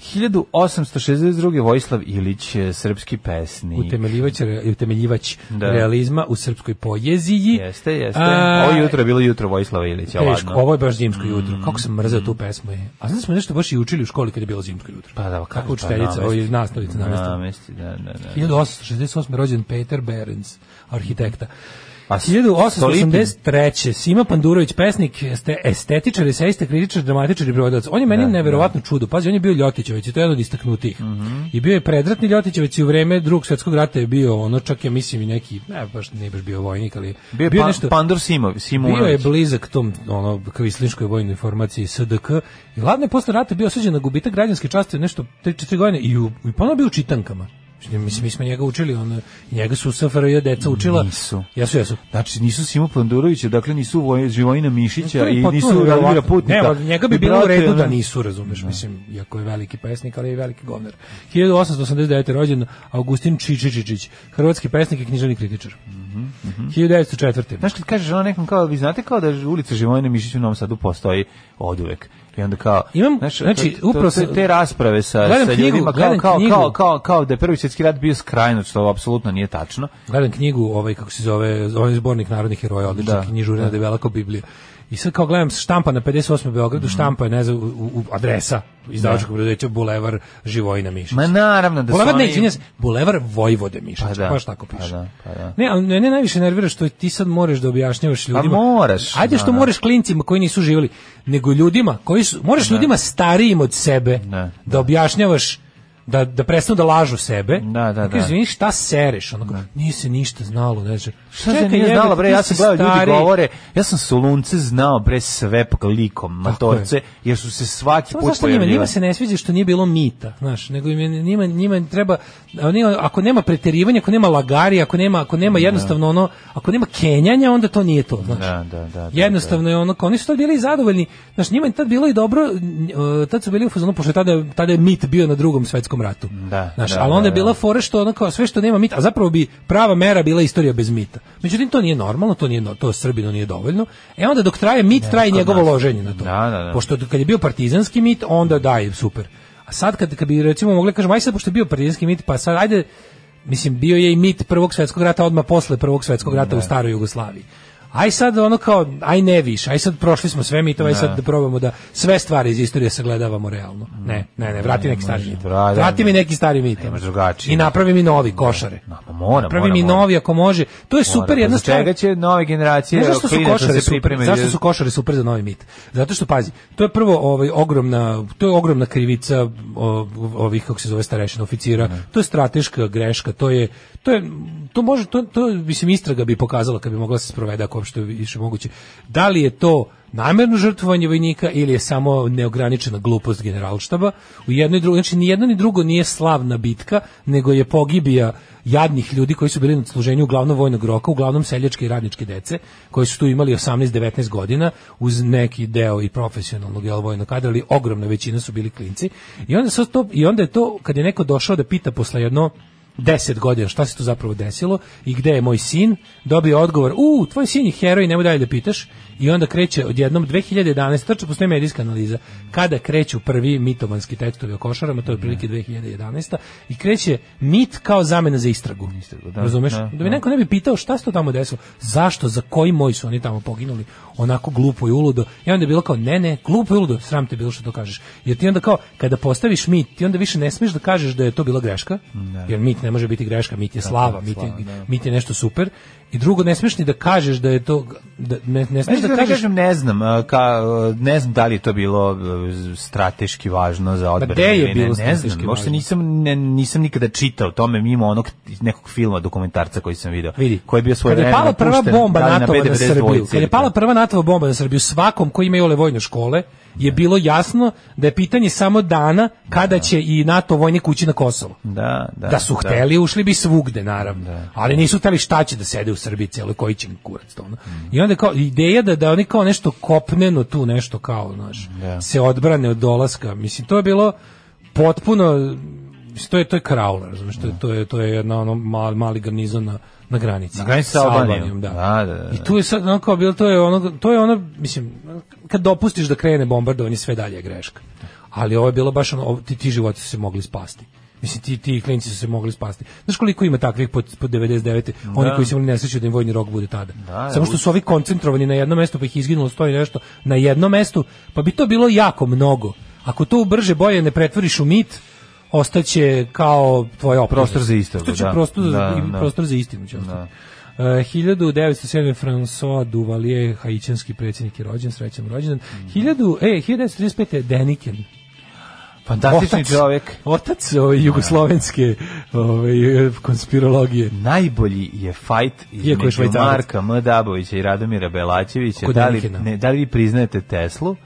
Speaker 6: 1862. Vojislav Ilić, eh, srpski pesnik.
Speaker 5: Utemeljivač, re- utemeljivač
Speaker 6: Da.
Speaker 5: realizma u srpskoj pojeziji.
Speaker 6: Jeste, jeste.
Speaker 5: A,
Speaker 6: Ovo jutro je bilo jutro Vojislava Ilića,
Speaker 5: Teško,
Speaker 6: ladno. Mm.
Speaker 5: ovo je baš zimsko jutro. Kako sam mrzeo tu pesmu je. A znaš smo nešto baš i učili u školi kad je bilo zimsko jutro.
Speaker 6: Pa da,
Speaker 5: kako
Speaker 6: pa
Speaker 5: učiteljica,
Speaker 6: namesti.
Speaker 5: ovo je nastavica namestila.
Speaker 6: Namesti, da, da, da.
Speaker 5: 1868. rođen Peter Berens, arhitekta.
Speaker 6: A s-
Speaker 5: 1883. Sima Pandurović, pesnik, este, estetičar, esejista, kritičar, dramatičar i prevodilac. On je meni neverovatno čudo. Pazi, on je bio Ljotićević i to je jedan od istaknutih.
Speaker 6: Mhm.
Speaker 5: I bio je predratni Ljotićević i u vreme drugog svjetskog rata je bio ono čak ja mislim i neki, ne baš nije baš bio vojnik, ali
Speaker 6: Bio je
Speaker 5: bio
Speaker 6: pa,
Speaker 5: nešto-
Speaker 6: Pandor Simov, Simunović.
Speaker 5: bio je blizak tom ono kvislinškoj vojnoj formaciji SDK i ladno je posle rata bio osuđen na gubitak građanske časti nešto 3-4 godine i, u, i ponovno bio u čitankama. Mislim, mislim, mi smo njega učili, on, njega su SFRJ deca učila.
Speaker 6: Nisu.
Speaker 5: Jesu, jesu.
Speaker 6: Znači nisu Simo Pandurovića, dakle nisu Voj- Živojina Mišića
Speaker 5: To je
Speaker 6: Znači, i
Speaker 5: potpuno
Speaker 6: nisu Radmira
Speaker 5: neverovatno.
Speaker 6: Putnika.
Speaker 5: Ne, ali njega
Speaker 6: I,
Speaker 5: bi bilo u
Speaker 6: brate,
Speaker 5: redu da
Speaker 6: ono-
Speaker 5: nisu, razumeš, mislim, iako je veliki pesnik, ali je i veliki govnar. 1889. rođen Augustin Čičičičić, hrvatski pesnik i književni kritičar.
Speaker 6: Mhm,
Speaker 5: 1904.
Speaker 6: Znaš kad kažeš ono nekom kao, vi znate kao da ulica Živojina Mišića u Novom Sadu postoji oduvek. I onda kao,
Speaker 5: Imam- znači,
Speaker 6: to- to- te,
Speaker 5: upravo sam-
Speaker 6: te rasprave sa,
Speaker 5: Gledam
Speaker 6: sa
Speaker 5: knjigu,
Speaker 6: ljudima kao,
Speaker 5: gledam
Speaker 6: kao,
Speaker 5: knjigu.
Speaker 6: kao, kao, kao da je prvi svjetski rat bio skrajno, što apsolutno nije tačno.
Speaker 5: gledam knjigu, ovaj kako se zove, ovaj zbornik narodnih heroja, odlična
Speaker 6: Da,
Speaker 5: da, knjižurina da. debela kao Biblija. I sad kao gledam štampa na 58. Beogradu, štampa je ne znam u, u, adresa izdavačkog preduzeća Bulevar Živojina Mišić.
Speaker 6: Ma naravno da su
Speaker 5: Bulevar, ne,
Speaker 6: oni-
Speaker 5: izvinjam se, Bulevar Vojvode Mišić,
Speaker 6: Pa da,
Speaker 5: baš tako
Speaker 6: pa
Speaker 5: piše.
Speaker 6: da, pa da. Pa
Speaker 5: Ne, ali mene najviše nervira što ti sad moraš da objašnjavaš ljudima.
Speaker 6: moraš,
Speaker 5: Ajde
Speaker 6: da,
Speaker 5: što
Speaker 6: da.
Speaker 5: moraš klincima koji nisu živjeli, nego ljudima koji su, moraš ljudima starijim od sebe
Speaker 6: Da,
Speaker 5: da objašnjavaš da da prestanu da lažu sebe.
Speaker 6: Da, da,
Speaker 5: Kažeš,
Speaker 6: da.
Speaker 5: "Izvini, šta sereš? Onako, nije se ništa znalo, ne znam.
Speaker 6: Šta se nije znala, bre, ja sam gledao ljudi govore, ja sam Solunce znao, bre, sve po likom, matorce, jer su se svaki
Speaker 5: Samo
Speaker 6: put
Speaker 5: zašto njima,
Speaker 6: pojavljivali.
Speaker 5: njima se ne sviđa što nije bilo mita, znaš, nego im je, njima, njima treba, a oni- ako nema preterivanja, ako nema lagarija, ako nema, ako nema jednostavno ono, ako nema kenjanja, onda to nije to, znaš.
Speaker 6: Da, da, da, da,
Speaker 5: jednostavno je ono, kao, oni su to bili zadovoljni, znaš, njima je tad bilo i dobro, n- e, tad su bili u fazonu, pošto je tada, tada je mit bio na drugom svetskom ratu,
Speaker 6: Da,
Speaker 5: znaš,
Speaker 6: da,
Speaker 5: ali onda je
Speaker 6: da,
Speaker 5: bila
Speaker 6: da.
Speaker 5: fora što ono kao, sve što nema mita, a zapravo bi prava mera bila istorija bez mita. Međutim, to nije normalno, to nije, no- to Srbinu nije dovoljno, e onda dok traje mit, traje i njegovo loženje na to.
Speaker 6: Da, da, da.
Speaker 5: Pošto što kad je bio partizanski mit, onda da, je super. A sad kad, kad bi recimo mogli kažemo, aj sad pošto je bio partizanski mit, pa sad ajde, mislim, bio je i mit Prvog svetskog rata odmah posle Prvog svetskog rata u staroj Jugoslaviji. Aj sad ono kao, aj ne više, aj sad prošli smo sve mitove, aj sad da probamo da sve stvari iz istorije sagledavamo realno. Ne, ne, ne, vrati neki stari mit.
Speaker 6: vra- da,
Speaker 5: Vrati mi
Speaker 6: ne.
Speaker 5: neki stari mit.
Speaker 6: Nemaš drugačije.
Speaker 5: I napravi mi novi košare.
Speaker 6: Da, pa mora,
Speaker 5: Napravi
Speaker 6: mora,
Speaker 5: mi
Speaker 6: mora.
Speaker 5: novi ako može. To je
Speaker 6: Mora,
Speaker 5: super
Speaker 6: pa
Speaker 5: jedna
Speaker 6: za čega će nove generacije
Speaker 5: Znaš zašto su
Speaker 6: klinaca
Speaker 5: košare
Speaker 6: se
Speaker 5: super?
Speaker 6: pripreme?
Speaker 5: Zašto su košare super za novi mit? Zato što pazi, to je prvo ovaj ogromna, to je ogromna krivica o, ovih kako se zove starešina oficira. To je strateška greška, to je to je to može to to mislim istraga bi pokazala kad bi mogla se sprovede ako uopšte više moguće. Da li je to namerno žrtvovanje vojnika ili je samo neograničena glupost generalštaba u jedno i drugo znači ni jedno ni drugo nije slavna bitka nego je pogibija jadnih ljudi koji su bili na služenju uglavnom vojnog roka, uglavnom seljačke i radničke dece, koji su tu imali 18-19 godina uz neki deo i profesionalnog jel, vojnog kadra, ali ogromna većina su bili klinci. I onda, sad to, I onda je to, kad je neko došao da pita posle jedno 10 godina šta se tu zapravo desilo i gde je moj sin, dobio odgovor u, tvoj sin je heroj, nemoj dalje da pitaš i onda kreće odjednom 2011 tačno postoji medijska analiza, kada kreću prvi mitomanski tekstovi o košarama to je otprilike 2011 i kreće mit kao zamena za istragu,
Speaker 6: da,
Speaker 5: razumeš?
Speaker 6: da,
Speaker 5: da bi neko ne bi pitao šta se to tamo desilo zašto, za koji moj su oni tamo poginuli onako glupo i uludo i onda je bilo kao ne ne, glupo i uludo, sram te bilo što to kažeš jer ti onda kao, kada postaviš mit ti onda više ne smiješ da kažeš da je to bila greška jer mit ne može biti greška, mit je slava mit je, mit je nešto super i drugo, ne smiješ ni da kažeš da je to da, ne, ne smiješ
Speaker 6: Znaš
Speaker 5: da
Speaker 6: da
Speaker 5: kažeš
Speaker 6: kažem, ne znam, a, ka, a, ne znam da li je to bilo e, strateški važno za odbranu.
Speaker 5: gde je
Speaker 6: ili ne,
Speaker 5: bilo
Speaker 6: ne
Speaker 5: strateški
Speaker 6: znam, uopšte
Speaker 5: važno?
Speaker 6: nisam, ne, nisam nikada čitao o tome mimo onog nekog filma, dokumentarca koji sam video.
Speaker 5: Vidi,
Speaker 6: koji je bio svoj
Speaker 5: kad je pala prva bomba NATO na Srbiju, kad je pala prva NATO bomba na Srbiju, svakom koji ima ole vojne škole je bilo jasno da je pitanje samo dana kada će i NATO vojnik ući na Kosovo.
Speaker 6: Da, da.
Speaker 5: Da su hteli, ušli bi svugde, naravno. Ali nisu hteli šta će da sede u Srbiji cijelo, koji će mi kurac to. ono. I onda kao, ideja da, da oni kao nešto kopneno tu, nešto kao, znaš, se odbrane od dolaska. Mislim, to je bilo potpuno, mislim, to je, to je kraula, razumiješ, to, je- to je, to je jedna ono mali, mali garnizon na, na granici.
Speaker 6: Na granici sa Albanijom.
Speaker 5: da.
Speaker 6: Da, da, da.
Speaker 5: I tu je sad ono kao bilo, to je ono, to je ono, mislim, kad dopustiš da krene bombardovanje, sve dalje je greška. Ali ovo je bilo baš ono, ovo- ti, ti životi su se mogli spasti. Mislim, ti, ti klinci su se mogli spasti. Znaš koliko ima takvih pod, pod 99. Oni koji su imali nesreću da im vojni rok bude tada.
Speaker 6: da,
Speaker 5: Samo što su ovi koncentrovani na jedno mesto, pa ih izginulo stoji nešto na jednom mestu, pa bi to bilo jako mnogo. Ako to brže bolje ne pretvoriš u mit, ostaće kao tvoja optužnica.
Speaker 6: Prostor za istragu,
Speaker 5: Ostaće
Speaker 6: da.
Speaker 5: prostor,
Speaker 6: Da,
Speaker 5: i
Speaker 6: da.
Speaker 5: prostor za istinu će ostati. Uh, 1907. François Duvalier, haićanski predsjednik je rođen, srećan rođendan.
Speaker 6: Mhm.
Speaker 5: 1000, e, 1935. je Deniken,
Speaker 6: Fantastični
Speaker 5: Otac.
Speaker 6: čovjek.
Speaker 5: otac ove, jugoslovenske ove, konspirologije.
Speaker 6: Najbolji je fajt
Speaker 5: Iako je
Speaker 6: između
Speaker 5: Švajcarac.
Speaker 6: Marka M. Dabovića i Radomira Belačevića.
Speaker 5: Kod
Speaker 6: Da li,
Speaker 5: Denikina.
Speaker 6: ne, da li vi priznajete Teslu?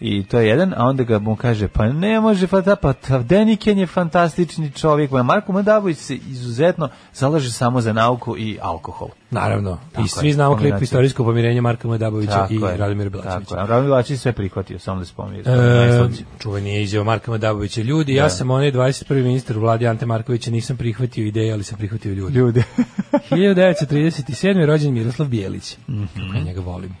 Speaker 6: I to je jedan, a onda ga mu kaže, pa ne može, pa da, pa ta- Deniken je fantastični čovjek. Ma, Marko M. Dabović se izuzetno zalaže samo za nauku i alkohol.
Speaker 5: Naravno.
Speaker 6: Tako
Speaker 5: I
Speaker 6: je,
Speaker 5: svi znamo klip
Speaker 6: kombinacija.
Speaker 5: istorijsko pomirenje Marka Madabovića Znači, i Radomira Belačevića.
Speaker 6: Tako je. A Radomir Belačević sve prihvatio, samo da spominje.
Speaker 5: E,
Speaker 6: Najslađe.
Speaker 5: čuveni je izjava Marka Madabovića. Ljudi, ja sam onaj 21. ministar u vladi Ante Markovića, nisam prihvatio ideje, ali sam prihvatio ljudi.
Speaker 6: Ljude.
Speaker 5: 1937. rođen Miroslav Bijelić.
Speaker 6: Mhm.
Speaker 5: Kako ja njega volim.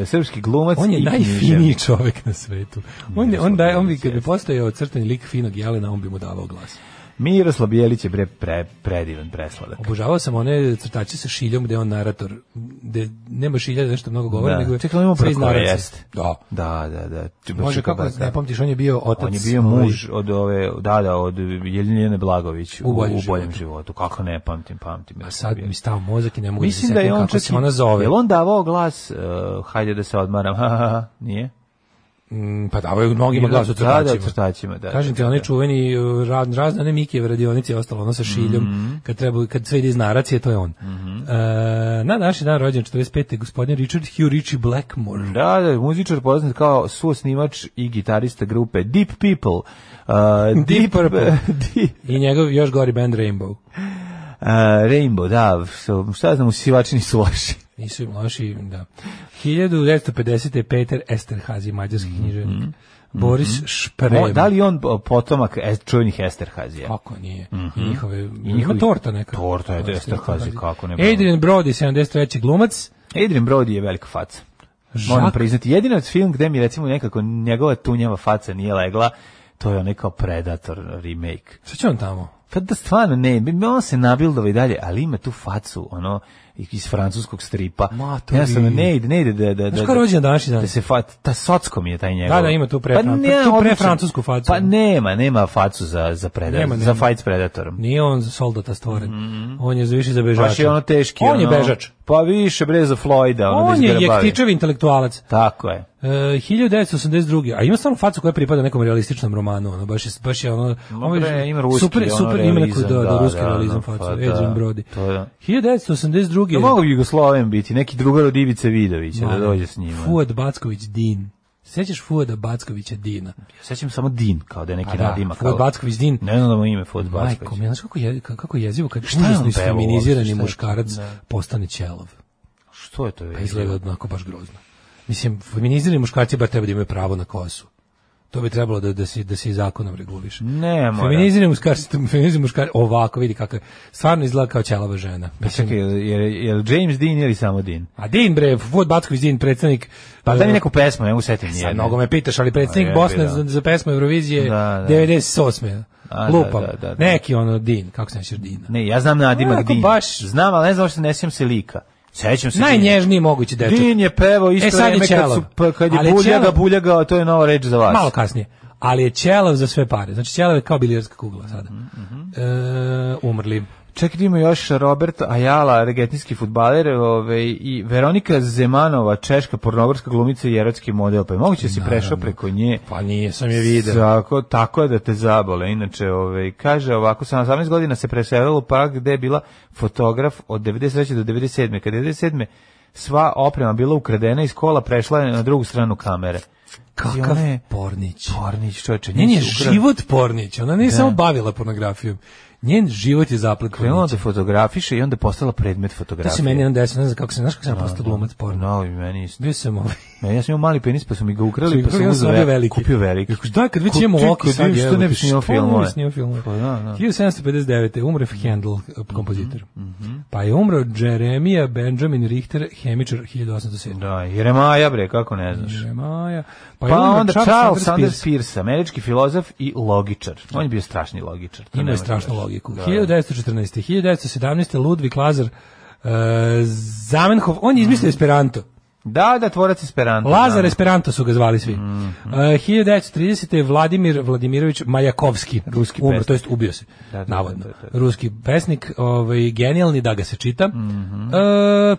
Speaker 6: E, Srpski glumac
Speaker 5: On je
Speaker 6: i
Speaker 5: najfiniji
Speaker 6: književnik.
Speaker 5: čovjek na svetu. On, je, on, daje, on bi, kad bi postojao crtani lik finog jelena, on bi mu davao glas.
Speaker 6: Miroslav Bjelić je bre, pre, predivan, presladak.
Speaker 5: Obožavao sam one crtače sa šiljom gde je on narator, gde nema šilja da nešto mnogo govori,
Speaker 6: Da.
Speaker 5: nego je
Speaker 6: Čekaj, on ima
Speaker 5: sve iz
Speaker 6: brakove,
Speaker 5: naracije.
Speaker 6: jeste.
Speaker 5: Da.
Speaker 6: Da, da, da. Č-
Speaker 5: Može
Speaker 6: čeka
Speaker 5: kako,
Speaker 6: braka.
Speaker 5: ne pamtiš, on je bio otac.
Speaker 6: On je bio
Speaker 5: ovaj,
Speaker 6: muž od ove, da, da, od Jeljene Blagović u,
Speaker 5: U
Speaker 6: u
Speaker 5: boljem
Speaker 6: boljem životu. Kako ne pamtim, pamtim.
Speaker 5: A Pa sad mi stao mozak i ne mogu
Speaker 6: Mislim
Speaker 5: da
Speaker 6: da
Speaker 5: se
Speaker 6: je
Speaker 5: setim
Speaker 6: on
Speaker 5: kako
Speaker 6: čak
Speaker 5: se ona ono zove.
Speaker 6: Je on davao glas, e, hajde da se odmaram, ha, ha, ha, nije?
Speaker 5: Mm, Pa davaju mnogima glas u
Speaker 6: Da, da, u
Speaker 5: crtačima.
Speaker 6: crtačima, da. Mhm.
Speaker 5: Kažem ti, onaj čuveni uh, ra- razne one Mikijeve radionice i ostalo, ono sa šiljom, kad, treba, kad sve ide iz naracije, to je on. E, na današnji dan rođen 45. gospodin Richard Hugh Ritchie Blackmore.
Speaker 6: Da, da, muzičar poznat kao suosnivač i gitarista grupe Deep People. E,
Speaker 5: Deep Purple.
Speaker 6: Deep-
Speaker 5: I njegov još gori band Rainbow.
Speaker 6: e, Rainbow, da, što- šta ja znam, usivači nisu loši.
Speaker 5: Nisu im loši, da. 1950. je Peter Esterhazy, mađarski književnik. Boris Šprem.
Speaker 6: Mo- Da li je on Mhm. o, potomak es- čuvenih Esterhazija?
Speaker 5: Kako nije? I njihove, I
Speaker 6: njihovi-
Speaker 5: torta neka.
Speaker 6: Mhm. Torta je
Speaker 5: Da,
Speaker 6: Esterhazy, kako ne bi-
Speaker 5: Adrian Brody, 73. glumac.
Speaker 6: Adrian Brody je velika faca. Moram
Speaker 5: Jacques-
Speaker 6: priznati, jedina film gde mi recimo nekako njegova tunjava faca nije legla, to je onaj kao Predator remake.
Speaker 5: Šta će on tamo?
Speaker 6: Pa da stvarno ne, bi- on se nabildova i dalje, ali ima tu facu, ono, iz francuskog stripa.
Speaker 5: Ma, to
Speaker 6: Jednostavno,
Speaker 5: vidi.
Speaker 6: ne ide, ne ide da... da, da
Speaker 5: Znaš ko je rođen današnji dan?
Speaker 6: Da se fat, ta socko mi je taj njegov.
Speaker 5: Da, da, ima tu pre- fran-
Speaker 6: ne,
Speaker 5: tu pre-
Speaker 6: odličan.
Speaker 5: francusku facu.
Speaker 6: Pa nema, nema facu za, za, predator,
Speaker 5: Nema, nema.
Speaker 6: za fight s predatorom.
Speaker 5: Nije on za soldata stvoren. On je za više za bežača.
Speaker 6: Mhm. Baš je ono teški.
Speaker 5: On je
Speaker 6: ono,
Speaker 5: bežač.
Speaker 6: Pa više bre za Floyda. Ono
Speaker 5: On
Speaker 6: da
Speaker 5: je
Speaker 6: izgrabavi.
Speaker 5: jektičev intelektualac.
Speaker 6: Tako je.
Speaker 5: E, 1982. A ima stvarno facu koja pripada nekom realističnom romanu, ono baš je baš je ono,
Speaker 6: Ma
Speaker 5: ono je
Speaker 6: bre, ima ruski,
Speaker 5: super
Speaker 6: ono,
Speaker 5: super ima neku
Speaker 6: realizam,
Speaker 5: da, da,
Speaker 6: da,
Speaker 5: ruski
Speaker 6: da,
Speaker 5: realizam
Speaker 6: ono,
Speaker 5: facu,
Speaker 6: pa da,
Speaker 5: Adrian Brody.
Speaker 6: to da.
Speaker 5: 1982.
Speaker 6: Da mogu bi Jugosloven biti, neki drugar od Ivice Vidovića da dođe s ono. njima.
Speaker 5: Fuad Backović Din. Sećaš Fuada Backovića Dina?
Speaker 6: Sećam samo Din, kao da je neki
Speaker 5: A Pa da,
Speaker 6: nadima.
Speaker 5: Fuad
Speaker 6: kao-
Speaker 5: Backović Din.
Speaker 6: Ne znam da mu ime Fuad Backović.
Speaker 5: Majko, mi znaš kako je kako je jezivo kad
Speaker 6: je on
Speaker 5: užasno
Speaker 6: pevao uopšte,
Speaker 5: isfeminizirani
Speaker 6: šta je to?
Speaker 5: muškarac
Speaker 6: Da.
Speaker 5: postane ćelov.
Speaker 6: Što je to?
Speaker 5: Pa izgleda onako baš grozno. Mislim, feminizirani muškarci bar treba da imaju pravo na kosu. To bi trebalo da, da, se, da se i zakonom reguliše.
Speaker 6: Ne mora.
Speaker 5: Feminizirani muškarci, feminizirani muškarci, ovako vidi kako je. Stvarno izgleda kao ćelava žena. Mislim,
Speaker 6: Pa Čekaj, je, je, je James Dean ili samo Dean?
Speaker 5: a Din bre, Vod Backović Din, predstavnik...
Speaker 6: Pa da mi
Speaker 5: e,
Speaker 6: neku pesmu, ne mogu setim
Speaker 5: Sad
Speaker 6: nijedne.
Speaker 5: mnogo me pitaš, ali predstavnik
Speaker 6: A jebi
Speaker 5: Bosne
Speaker 6: da.
Speaker 5: za, za pesmu Eurovizije
Speaker 6: Da, da.
Speaker 5: 98.
Speaker 6: A, da,
Speaker 5: Lupam.
Speaker 6: da, da, da.
Speaker 5: Neki ono Din, kako se nećeš Dina?
Speaker 6: Ne, ja znam nadimak
Speaker 5: Onako
Speaker 6: Din.
Speaker 5: baš-
Speaker 6: Znam, ali ne znam što ne sjećam se lika. Sećam se Dina.
Speaker 5: Najnježniji mogući dečak.
Speaker 6: Din je pevao isto
Speaker 5: E, sad je
Speaker 6: vreme kad,
Speaker 5: ćelav.
Speaker 6: su, pa, kad je
Speaker 5: Ali je
Speaker 6: buljaga,
Speaker 5: ćelav-
Speaker 6: buljaga, to je nova reč za vas.
Speaker 5: Malo kasnije. Ali je ćelav za sve pare. Znači ćelav je kao bilijarska kugla sada.
Speaker 6: Mhm,
Speaker 5: E, umrli.
Speaker 6: Čekaj, ima još Robert Ajala, argentinski futbaler, ove, i Veronika Zemanova, češka pornografska glumica i erotski model. Pa je moguće da si prešao preko nje.
Speaker 5: Pa nije, sam je video.
Speaker 6: Tako, tako je da te zabole. Inače, ove, kaže ovako, sa 18 godina se preselila u park gde je bila fotograf od 93. do 97. Kad je 97. sva oprema bila ukradena iz kola, prešla je na drugu stranu kamere. Znači,
Speaker 5: Kakav
Speaker 6: Ona je-
Speaker 5: Pornić.
Speaker 6: Pornić, čoveče.
Speaker 5: Njen je
Speaker 6: nju su ukra-
Speaker 5: život Pornić. Ona nije samo bavila pornografijom. Njen život je zaplet
Speaker 6: Krenula da
Speaker 5: Pornića.
Speaker 6: fotografiše i onda postala predmet
Speaker 5: To
Speaker 6: fotografije.
Speaker 5: se meni jedan desio, ne znam kako se, znaš kako sam ja postao glumac porno.
Speaker 6: No, i meni isto.
Speaker 5: Bio sam ovaj.
Speaker 6: Ne, ja sam imao mali penis, pa su mi ga
Speaker 5: Su
Speaker 6: ukrali,
Speaker 5: mi
Speaker 6: pa sam
Speaker 5: ukrali, ja
Speaker 6: uzeo
Speaker 5: sam dobio veliki.
Speaker 6: Kupio veliki.
Speaker 5: Rekao, da, kad već
Speaker 6: Ko-
Speaker 5: imamo
Speaker 6: čekaj,
Speaker 5: ovako sad,
Speaker 6: vidiš, što
Speaker 5: jebote,
Speaker 6: ne bi snimao
Speaker 5: što
Speaker 6: filmove?
Speaker 5: ne bi snimao filmove?
Speaker 6: Pa da, da. Mhm,
Speaker 5: 1759. umre Handel, kompozitor. Pa je umro Jeremija Benjamin Richter, hemičar 1807.
Speaker 6: Da, Jeremaja bre, kako ne znaš.
Speaker 5: Jeremaja.
Speaker 6: Pa,
Speaker 5: je umro
Speaker 6: onda Charles Sanders
Speaker 5: Peirce.
Speaker 6: Peirce, američki filozof i logičar. On je bio strašni logičar. to
Speaker 5: Ima je
Speaker 6: nema
Speaker 5: strašnu
Speaker 6: veze.
Speaker 5: logiku.
Speaker 6: Da.
Speaker 5: 1914. 1917. Ludvig Lazar uh, Zamenhof, on je izmislio Esperanto.
Speaker 6: Da, da, tvorac Esperanto.
Speaker 5: Lazar
Speaker 6: da. Mhm.
Speaker 5: Esperanto su ga zvali svi. Uh, 1930. Vladimir Vladimirović Majakovski, ruski umro,
Speaker 6: pesnik.
Speaker 5: to jest ubio se,
Speaker 6: Da, da, da,
Speaker 5: navodno.
Speaker 6: da, Mhm. da.
Speaker 5: Ruski pesnik, ovaj, genijalni da ga se čita. Uh,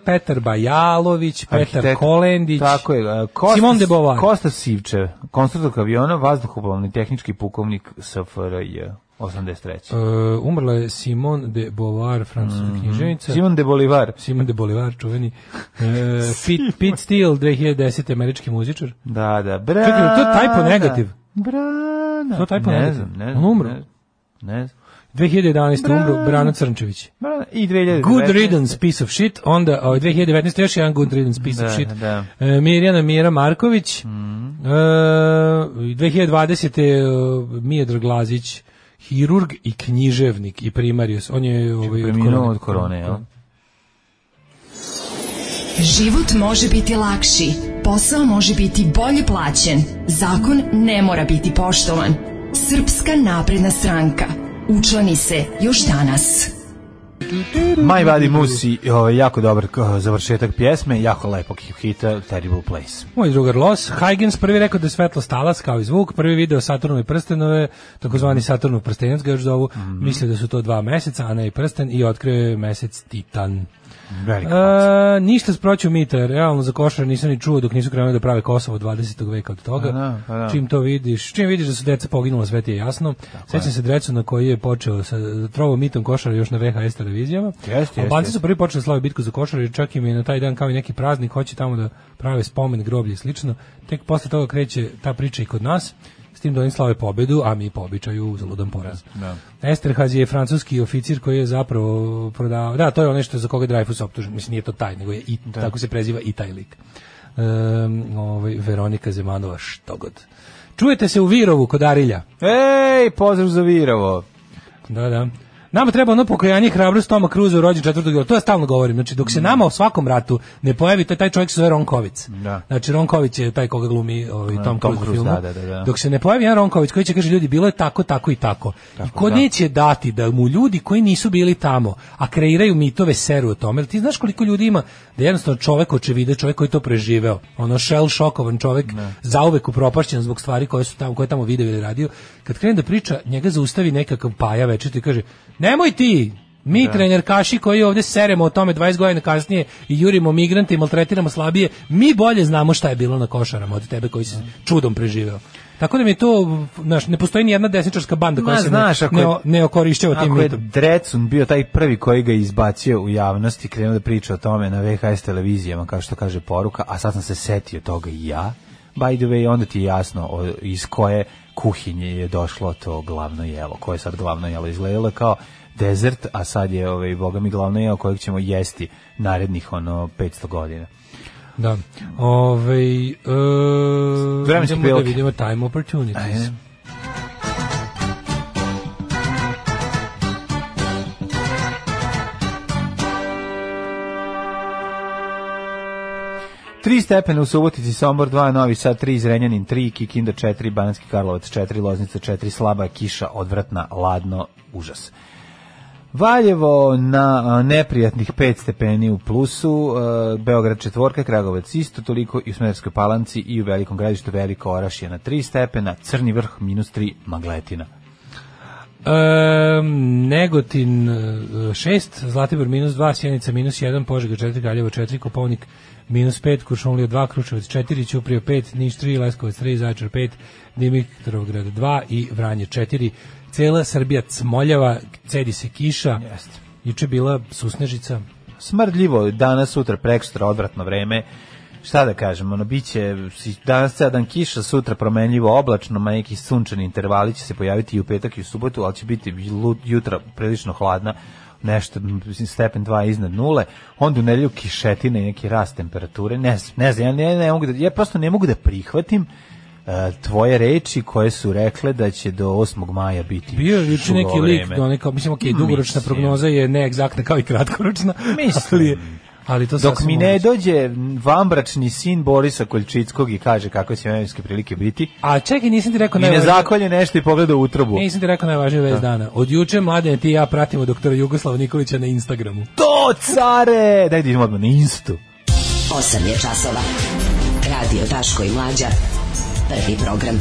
Speaker 5: Petar Bajalović, Petar
Speaker 6: Arhitekt-
Speaker 5: Kolendić,
Speaker 6: Tako je. e, Kostas,
Speaker 5: Simon de Beauvoir.
Speaker 6: Kostas Sivčev, konstruktor aviona, vazduhoplovni tehnički pukovnik SFRJ 83.
Speaker 5: Uh, umrla je Simon de Beauvoir, francuska
Speaker 6: Mhm.
Speaker 5: književnica.
Speaker 6: Simon de Bolivar.
Speaker 5: Simon de Bolivar, čuveni. E, Pete, Pete Steele, 2010. američki muzičar.
Speaker 6: Da, da. Brana.
Speaker 5: Čekaj, to je typo negativ?
Speaker 6: Brana.
Speaker 5: To je typo
Speaker 6: ne
Speaker 5: negativ?
Speaker 6: znam, ne
Speaker 5: On
Speaker 6: znam.
Speaker 5: umro?
Speaker 6: Ne znam. Ne znam.
Speaker 5: 2011. umro
Speaker 6: Bra-
Speaker 5: Brana Crnčević.
Speaker 6: Brana. I 2019.
Speaker 5: Good riddance, piece of shit. Onda, ovaj, 2019. još jedan good riddance, piece
Speaker 6: Da,
Speaker 5: of shit.
Speaker 6: da. Mm.
Speaker 5: E, Mirjana Mira Marković. E, 2020. e, Mijedro Glazić, hirurg i književnik i primarius. On je ovaj, od
Speaker 6: Preminuo
Speaker 5: korone.
Speaker 6: od korone, jel?
Speaker 4: Život može biti lakši, posao može biti bolje plaćen, zakon ne mora biti poštovan. Srpska napredna stranka. Učlani se još danas.
Speaker 6: My Buddy Moose i o, jako dobar k- završetak pjesme, jako lepog hita Terrible Place.
Speaker 5: Moj drugar Los Huygens prvi rekao da je svetlost talas kao i zvuk, prvi video Saturnove prstenove,
Speaker 6: Mhm.
Speaker 5: takozvani Saturnov prstenac ga još zovu, mislio da su to dva meseca, a ne i prsten i otkrio je mesec Titan.
Speaker 6: Veliko.
Speaker 5: E, ništa sproću mita, realno za košar nisam ni čuo dok nisu krenuli da prave Kosovo 20. veka od toga.
Speaker 6: Pa da, pa da.
Speaker 5: Čim to vidiš, čim vidiš da su deca poginula, sve ti je jasno. Sećam se drecu na koji je počeo sa trovom mitom košara još na VHS televizijama.
Speaker 6: jeste,
Speaker 5: Albanci
Speaker 6: jeste.
Speaker 5: su prvi počeli slavu bitku za košar i čak im je na taj dan kao i neki praznik, hoće tamo da prave spomen, groblje i slično. Tek posle toga kreće ta priča i kod nas s tim da oni slave pobedu, a mi po običaju zaludan poraz. Esterhaz je francuski oficir koji je zapravo prodao, da, to je ono što je za koga je Dreyfus optužen, mislim nije to taj, nego je i, tako se preziva i taj lik. Ehm, ovaj, Veronika Zemanova, što god. Čujete se u Virovu kod Arilja.
Speaker 6: E, Ej, pozdrav za Virovo.
Speaker 5: Da, da. Nama treba ono pokajanje i hrabrost Toma Cruza u rođen četvrtog jula. To ja stalno govorim. Znači,
Speaker 6: Mm.
Speaker 5: dok se nama u svakom ratu ne pojavi, to je taj čovjek se zove Ronkovic.
Speaker 6: Da.
Speaker 5: Znači, Ronković je taj koga glumi ovaj, Tom,
Speaker 6: Tom
Speaker 5: Cruise u
Speaker 6: Cruise, da,
Speaker 5: filmu.
Speaker 6: da, da, da.
Speaker 5: Dok se ne pojavi jedan Ronković koji će kaže, ljudi, bilo je tako, tako i tako. I ko
Speaker 6: da.
Speaker 5: neće dati da mu ljudi koji nisu bili tamo, a kreiraju mitove seru o tome, jer ti znaš koliko ljudi ima da je jednostavno čovjek očevide, čovjek koji je to preživeo, ono shell šokovan čovjek, zauvek upropašćen zbog stvari koje su tamo, koje je tamo video ili radio, kad krene da priča, njega zaustavi nekakav paja večito i kaže, nemoj ti, mi trenerkaši koji ovdje seremo o tome 20 godina kasnije i jurimo migrante i maltretiramo slabije, mi bolje znamo šta je bilo na košarama od tebe koji si čudom preživeo. Tako da mi je to, znaš, ne postoji ni jedna desničarska banda koja
Speaker 6: Ma,
Speaker 5: se
Speaker 6: znaš,
Speaker 5: ne,
Speaker 6: ako je-
Speaker 5: ne, ne okorišćava tim
Speaker 6: Ako je
Speaker 5: mitom.
Speaker 6: Drecun bio taj prvi koji ga je izbacio u javnosti, krenuo da priča o tome na VHS televizijama, kao što kaže poruka, a sad sam se setio toga i ja. By the way, onda ti je jasno o- iz koje kuhinje je došlo to glavno jelo, koje je sad glavno jelo izgledalo je kao dezert, a sad je ovaj, boga mi glavno jelo kojeg ćemo jesti narednih ono 500 godina.
Speaker 5: Da. Ovaj, e,
Speaker 6: Vremenske
Speaker 5: idemo da
Speaker 6: prilike.
Speaker 5: vidimo time opportunities.
Speaker 6: Ajde. Tri stepena u Subotici, Sombor 2, Novi Sad 3, Zrenjanin 3, Kikinda 4, Bananski Karlovac 4, Loznica 4, slaba je kiša, odvratna, ladno, užas. Valjevo na a, neprijatnih 5 stepeni u plusu, e, Beograd četvorka, Kragovac isto toliko i u Smederskoj palanci i u Velikom gradištu Veliko Orašje na 3 stepena, Crni vrh minus 3, Magletina.
Speaker 5: Um, Negotin 6, Zlatibor minus 2, Sjenica minus 1, Požega 4, Galjevo 4, Kopovnik minus 5, Kuršumlija 2, Kručevac 4, Ćuprija 5, Niš 3, Leskovac 3, Zaječar 5, Dimitrovgrad 2 i Vranje 4. Cela Srbija cmoljava, cedi se kiša.
Speaker 6: Jeste.
Speaker 5: Juče bila susnežica.
Speaker 6: Smrdljivo, danas, sutra, prekstra, odvratno vreme, šta da kažem, ono, bit će si- danas ceo dan kiša, sutra promenljivo oblačno, ma neki sunčani intervali će se pojaviti i u petak i u subotu, ali će biti lu- jutra prilično hladna, nešto, mislim, stepen 2 iznad nule, onda u nedelju kišetine i neki rast temperature, ne, znam, ne znam, ja, ne, ne mogu da, ja prosto ne mogu da prihvatim e, tvoje reči koje su rekle da će do 8. maja biti
Speaker 5: Bio je juče neki
Speaker 6: suvo
Speaker 5: lik,
Speaker 6: vreme.
Speaker 5: do neka, mislim, ok, dugoročna
Speaker 6: Mislim.
Speaker 5: prognoza je neegzaktna kao i kratkoročna,
Speaker 6: Mislim.
Speaker 5: ali, je- ali to
Speaker 6: Dok
Speaker 5: sasvim
Speaker 6: mi ne
Speaker 5: moguće.
Speaker 6: dođe vambračni sin Borisa Koljčickog i kaže kako će vremenske prilike biti,
Speaker 5: A čekaj, nisam ti rekao
Speaker 6: i ne
Speaker 5: najvažnije.
Speaker 6: zakolje nešto i pogleda u utrobu.
Speaker 5: Ne, E, nisam ti rekao najvažnije vez dana. Od juče, mladene, ti i ja pratimo doktora Jugoslava Nikolića na Instagramu.
Speaker 6: To, care! Daj da idemo odmah na Instu.
Speaker 8: 8 je časova. Radio Daško i Mlađa. Prvi program.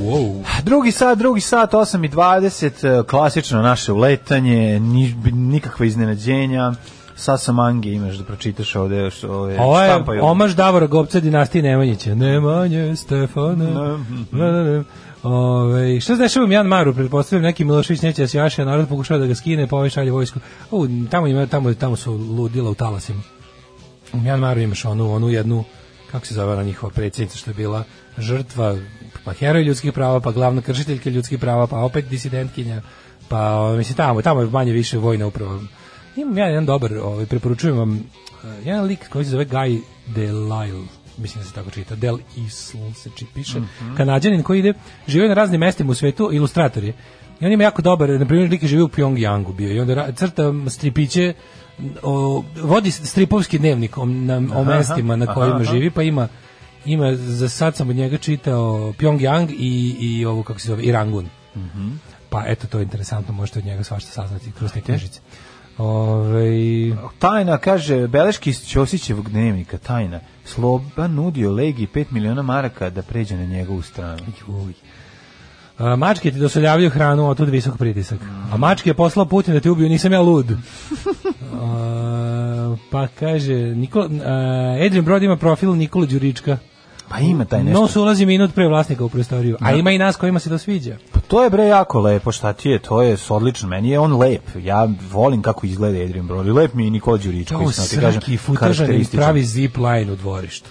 Speaker 5: Wow.
Speaker 6: Drugi sat, drugi sat, 8 i 20, e, klasično naše uletanje, ni, nikakve iznenađenja. Sasa Mange imaš da pročitaš ovde što je
Speaker 5: E, Ovo je
Speaker 6: štampaju.
Speaker 5: omaž Davora Gopca dinastije Nemanjića. Nemanje, Stefane. Ne, ne, ne. Ove, šta se dešava u Janmaru? Pretpostavljam neki Milošević neće da se jaše, a narod pokušava da ga skine, pa ovaj šalje vojsku. U, tamo, ima, tamo, tamo su ludila u talasima. U Mjanmaru imaš onu, onu jednu, kako se zove ona njihova predsjednica što je bila žrtva, pa heroj ljudskih prava, pa glavna kršiteljka ljudskih prava, pa opet disidentkinja, pa o, mislim tamo, tamo je manje više vojna uprava. Imam ja jedan dobar, ovaj, preporučujem vam, eh, jedan lik koji se zove Guy Delisle, mislim da se tako čita, Del Isl se či, piše, kanadjanin koji ide, žive na raznim mestima u svetu, ilustrator je. I on ima jako dobar, na primjer, lik je živio u Pyongyangu bio i onda ra- crta stripiće o, vodi stripovski dnevnik o, na, o mestima na kojima živi, pa ima ima za sad sam od njega čitao Pyongyang i i ovo kako se zove i Rangun. Pa eto to je interesantno, možete od njega svašta saznati kroz te knjižice. Ovaj
Speaker 6: Tajna, kaže, beleški iz Ćosićevog dnevnika, tajna. Sloba nudio Legi 5 miliona maraka da pređe na njegovu stranu.
Speaker 5: Uj. A, mačke ti dosoljavaju hranu, otud visok pritisak. A mačke je poslao Putin da te ubiju, nisam ja lud. A, pa kaže, Nikola, a, Adrian Brod ima profil Nikola Đurička.
Speaker 6: Pa ima taj nešto.
Speaker 5: Nos ulazi minut pre vlasnika u prostoriju, a ima i nas kojima se to sviđa.
Speaker 6: Pa to je bre jako lepo, šta ti je, to je s- odlično, meni je on lep, ja volim kako izgleda Adrian Brody, lep mi je i Nikola Đurić,
Speaker 5: Kao srki futažan im pravi zip line u dvorištu.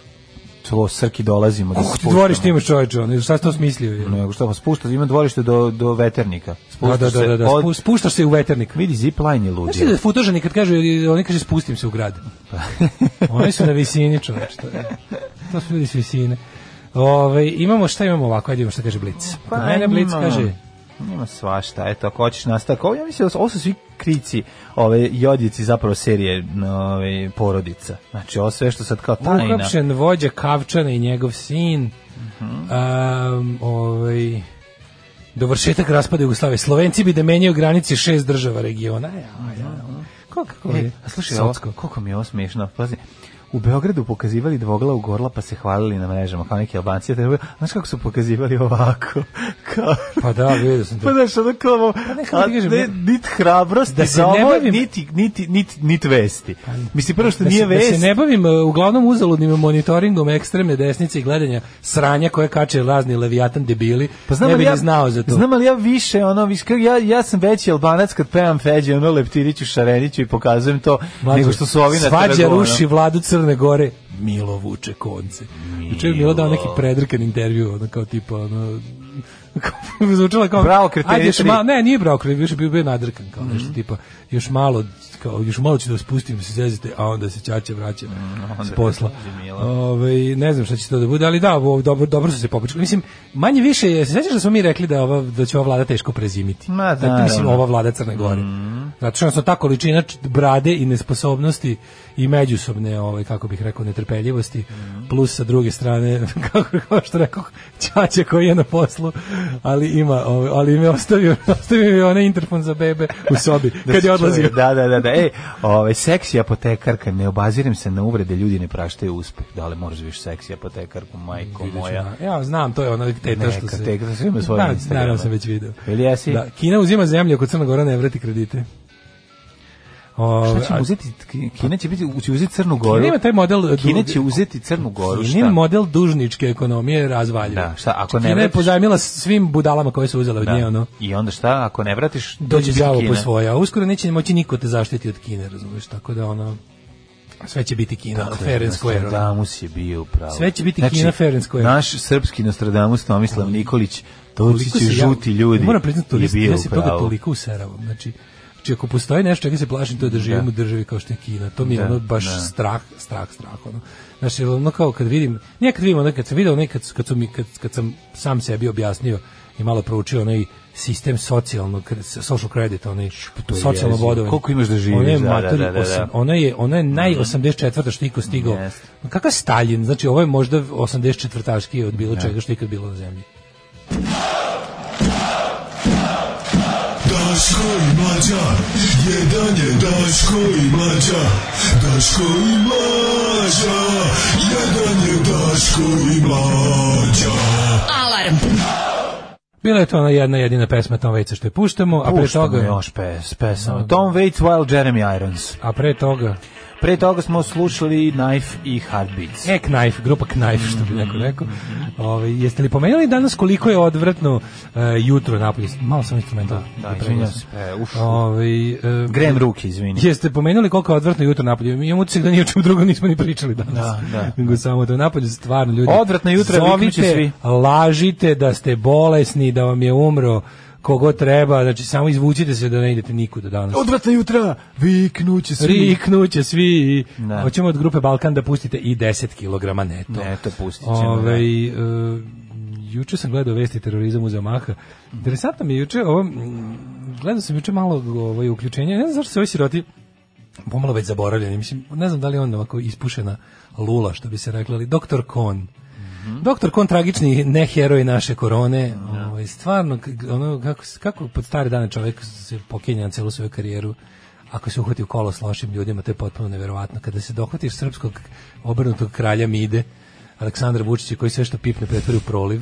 Speaker 6: to srki dolazimo. da se
Speaker 5: Kako ti
Speaker 6: spuštamo.
Speaker 5: dvorište imaš čoveče, ono, šta si to smislio? je?
Speaker 6: Nego što, pa spušta, ima dvorište do, do veternika.
Speaker 5: Da,
Speaker 6: Spuštaš
Speaker 5: da, da, da, da,
Speaker 6: se od-
Speaker 5: spu- spuštaš se u veternik.
Speaker 6: Vidi, zip line je
Speaker 5: Znaš ti
Speaker 6: ludio.
Speaker 5: da futažani kad kažu, oni kaže spustim se u grad. Oni su na visini čoveč. To, je- to su ljudi s visine. Ove, imamo šta imamo ovako, ajde imamo šta kaže Blic. Pa, mene Blic
Speaker 6: ima-
Speaker 5: kaže,
Speaker 6: Ima svašta, eto, ako hoćeš nastavak. Ovo, ja mislim, da su- ovo su svi krici, ove, jodici zapravo serije ove, porodica. Znači, ovo sve što sad kao tajna.
Speaker 5: uhapšen vođa Kavčana i njegov sin. Mhm. Am, ovaj, dovršetak raspada Jugoslavije. Slovenci bi da menjaju granice šest država regiona. E, Ja, ja, ja. Kako, kako
Speaker 6: E,
Speaker 5: je?
Speaker 6: a slušaj, ovo,
Speaker 5: Socko.
Speaker 6: koliko mi je ovo smiješno. Pazi, u Beogradu pokazivali dvoglavu gorla pa se hvalili na mrežama kao neki albanci. a tebe- Znaš kako su pokazivali ovako? Kao...
Speaker 5: Pa da, vidio sam to.
Speaker 6: Pa znaš, ono kao ovo,
Speaker 5: ne, kako ti
Speaker 6: a
Speaker 5: kažem,
Speaker 6: ne,
Speaker 5: ja-
Speaker 6: nit hrabrosti
Speaker 5: Da se
Speaker 6: za
Speaker 5: ne
Speaker 6: ovo,
Speaker 5: bavim-
Speaker 6: niti, niti, niti, niti vesti. Mislim, prvo što
Speaker 5: da
Speaker 6: nije
Speaker 5: se,
Speaker 6: vest,
Speaker 5: Da se ne bavim e, uglavnom uzaludnim monitoringom ekstremne desnice i gledanja sranja koje kače razni levijatan debili.
Speaker 6: Pa znam
Speaker 5: ne
Speaker 6: ali
Speaker 5: bi
Speaker 6: ja,
Speaker 5: ni znao za to.
Speaker 6: Znam ali ja više, ono, viš, kako ja, ja sam veći albanac kad pevam Feđe, ono, Leptiriću, Šareniću i pokazujem to,
Speaker 5: Mlađe,
Speaker 6: nego što su ovi na
Speaker 5: Svađa
Speaker 6: trgu, ono.
Speaker 5: ruši vladu Crne Gore. Milo vuče konce. Juče je Milo dao neki predrkan intervju, ono kao tipa, ono, kao- zvučalo kao
Speaker 6: Bravo, kreteni
Speaker 5: "Ajde, još
Speaker 6: tri." Mhm.
Speaker 5: malo, ne nije bravo kreteni više bio bio nadrkan kao nešto tipa još malo kao još malo ću da vas pustim se zezite a onda se ćaće vraća
Speaker 6: Mhm,
Speaker 5: s posla Ovaj, ne znam šta će to da bude ali da ovo, dobro dobro su se popričali mislim manje više je se sećaš da smo mi rekli da ova da će ova vlada teško prezimiti
Speaker 6: Ma,
Speaker 5: Da, mislim
Speaker 6: naravno.
Speaker 5: ova vlada Crne Gore.
Speaker 6: Mm-hmm.
Speaker 5: Zato što jednostavno ta količina č- brade i nesposobnosti i međusobne, ovaj, kako bih rekao, netrpeljivosti,
Speaker 6: Mm-hmm.
Speaker 5: plus sa druge strane, kako, kao što rekao, Ćaća koji je na poslu, ali ima, ovaj, ali me ostavio, ostavio mi onaj interfon za bebe u sobi,
Speaker 6: Da
Speaker 5: kad
Speaker 6: se
Speaker 5: je odlazio.
Speaker 6: čuje, Da, da, da, da. Ej, ovaj seksi apotekarka, ne obazirem se na uvrede, ljudi ne praštaju uspeh. Da li možeš više seksi apotekarku, majko moja?
Speaker 5: Znači, Ja znam, to je ona teta što
Speaker 6: Neka
Speaker 5: se...
Speaker 6: teta, svi imaju svoje
Speaker 5: Da,
Speaker 6: Instagrame.
Speaker 5: naravno sam već video.
Speaker 6: Ili jesi?
Speaker 5: Da, Kina uzima zemlje ako Crna Gora ne vrati kredite. Ove,
Speaker 6: Šta će
Speaker 5: a-
Speaker 6: uzeti? Kina će biti će uzeti Crnu Goru.
Speaker 5: Kina ima taj model, e,
Speaker 6: Kina
Speaker 5: du-
Speaker 6: će uzeti Crnu Goru.
Speaker 5: Kinin
Speaker 6: šta?
Speaker 5: model dužničke ekonomije razvalja.
Speaker 6: Da, šta, ako ne
Speaker 5: Kina je
Speaker 6: vratiš-
Speaker 5: pozajmila svim budalama koje su uzele od nje, ono.
Speaker 6: I onda šta, ako ne vratiš,
Speaker 5: dođe
Speaker 6: ti
Speaker 5: đavo
Speaker 6: Kina.
Speaker 5: po svoje, a uskoro neće moći niko te zaštiti od Kine, razumeš, tako da ono sve će biti Kina,
Speaker 6: Dakle,
Speaker 5: fair and square. ono.
Speaker 6: Nostradamus je bio upravo.
Speaker 5: Sve će biti Kina fair and square.
Speaker 6: Naš srpski Nostradamus Tomislav Nikolić, to
Speaker 5: Toliko
Speaker 6: će
Speaker 5: se ja-
Speaker 6: žuti ljudi.
Speaker 5: Moram priznati,
Speaker 6: je
Speaker 5: toliko,
Speaker 6: bio
Speaker 5: ja se toga
Speaker 6: upravo.
Speaker 5: toliko useravam. Znači, znači, ako postoji nešto čega se plašim, to je da živim u državi kao što je Kina. To mi je
Speaker 6: Da,
Speaker 5: ono baš
Speaker 6: da.
Speaker 5: strah, strah, strah. Ono. Znači, ono kao kad vidim, nije kad vidim, ono kad sam video, nekad kad, su mi, kad, kad sam sam sebi objasnio i malo proučio onaj sistem socijalnog, kre- social credit, onaj socijalno
Speaker 6: pa jezivo.
Speaker 5: bodovanje.
Speaker 6: Koliko imaš da živiš,
Speaker 5: Ono je,
Speaker 6: da,
Speaker 5: maturi,
Speaker 6: da, da, da, da.
Speaker 5: osam- ona je, ona je naj 84. što je iko stigao.
Speaker 6: Jeste.
Speaker 5: Kakav Stalin, znači ovo je možda 84. od bilo čega što je ikad bilo na zemlji.
Speaker 9: Daško i mlađa, jedan je Daško i mlađa, Daško i mlađa, jedan je Daško i mlađa.
Speaker 8: Alarm.
Speaker 5: Bila je to ona jedna jedina pesma Tom Waitsa što je puštamo, a pre
Speaker 6: Puštamo
Speaker 5: toga...
Speaker 6: još pes, pesama. Tom Waits, Wild Jeremy Irons.
Speaker 5: A pre toga...
Speaker 6: Pre toga smo slušali Knife i Heartbeats.
Speaker 5: E, Knife, grupa Knife, što bi neko rekao. Ove, jeste li pomenuli danas koliko je odvratno e, jutro napolje? Malo sam instrumental.
Speaker 6: Da,
Speaker 5: napravio
Speaker 6: izvinjam
Speaker 5: sam.
Speaker 6: se. E, uf.
Speaker 5: Ove, e,
Speaker 6: Grem ruke, izvini.
Speaker 5: Jeste pomenuli koliko je odvratno jutro napolje? Mi imamo utisak da ni o čemu drugom nismo ni pričali danas.
Speaker 6: Da, da.
Speaker 5: Nego samo da napolje stvarno ljudi.
Speaker 6: Odvratno jutro, viknuće
Speaker 5: Zovite,
Speaker 6: svi.
Speaker 5: lažite da ste bolesni, da vam je umro kogo treba, znači samo izvučite se da ne idete nikuda danas.
Speaker 6: Odvratna jutra, viknuće
Speaker 5: Riknuće svi.
Speaker 6: Da.
Speaker 5: Hoćemo od grupe Balkan da pustite i 10 kg neto.
Speaker 6: Neto pustit ćemo,
Speaker 5: Ove, e, juče sam gledao vesti terorizam u Zamaha. Interesantno mi je juče, ovo, mm, gledao sam juče malo ovaj, uključenja, ne znam zašto se ovoj siroti pomalo već zaboravljeni. Mislim, ne znam da li je on ovako ispušena lula, što bi se rekla, ali doktor Kon. Doktor Kon, tragični ne heroj naše korone, ovaj, stvarno, k- ono, kako, s- kako pod stare dane čovjek se pokinja na celu svoju karijeru, ako se uhvati u kolo s lošim ljudima, to je potpuno neverovatno. Kada se dohvatiš srpskog obrnutog kralja Mide, Aleksandra Vučića, koji sve što pipne pretvori u proliv,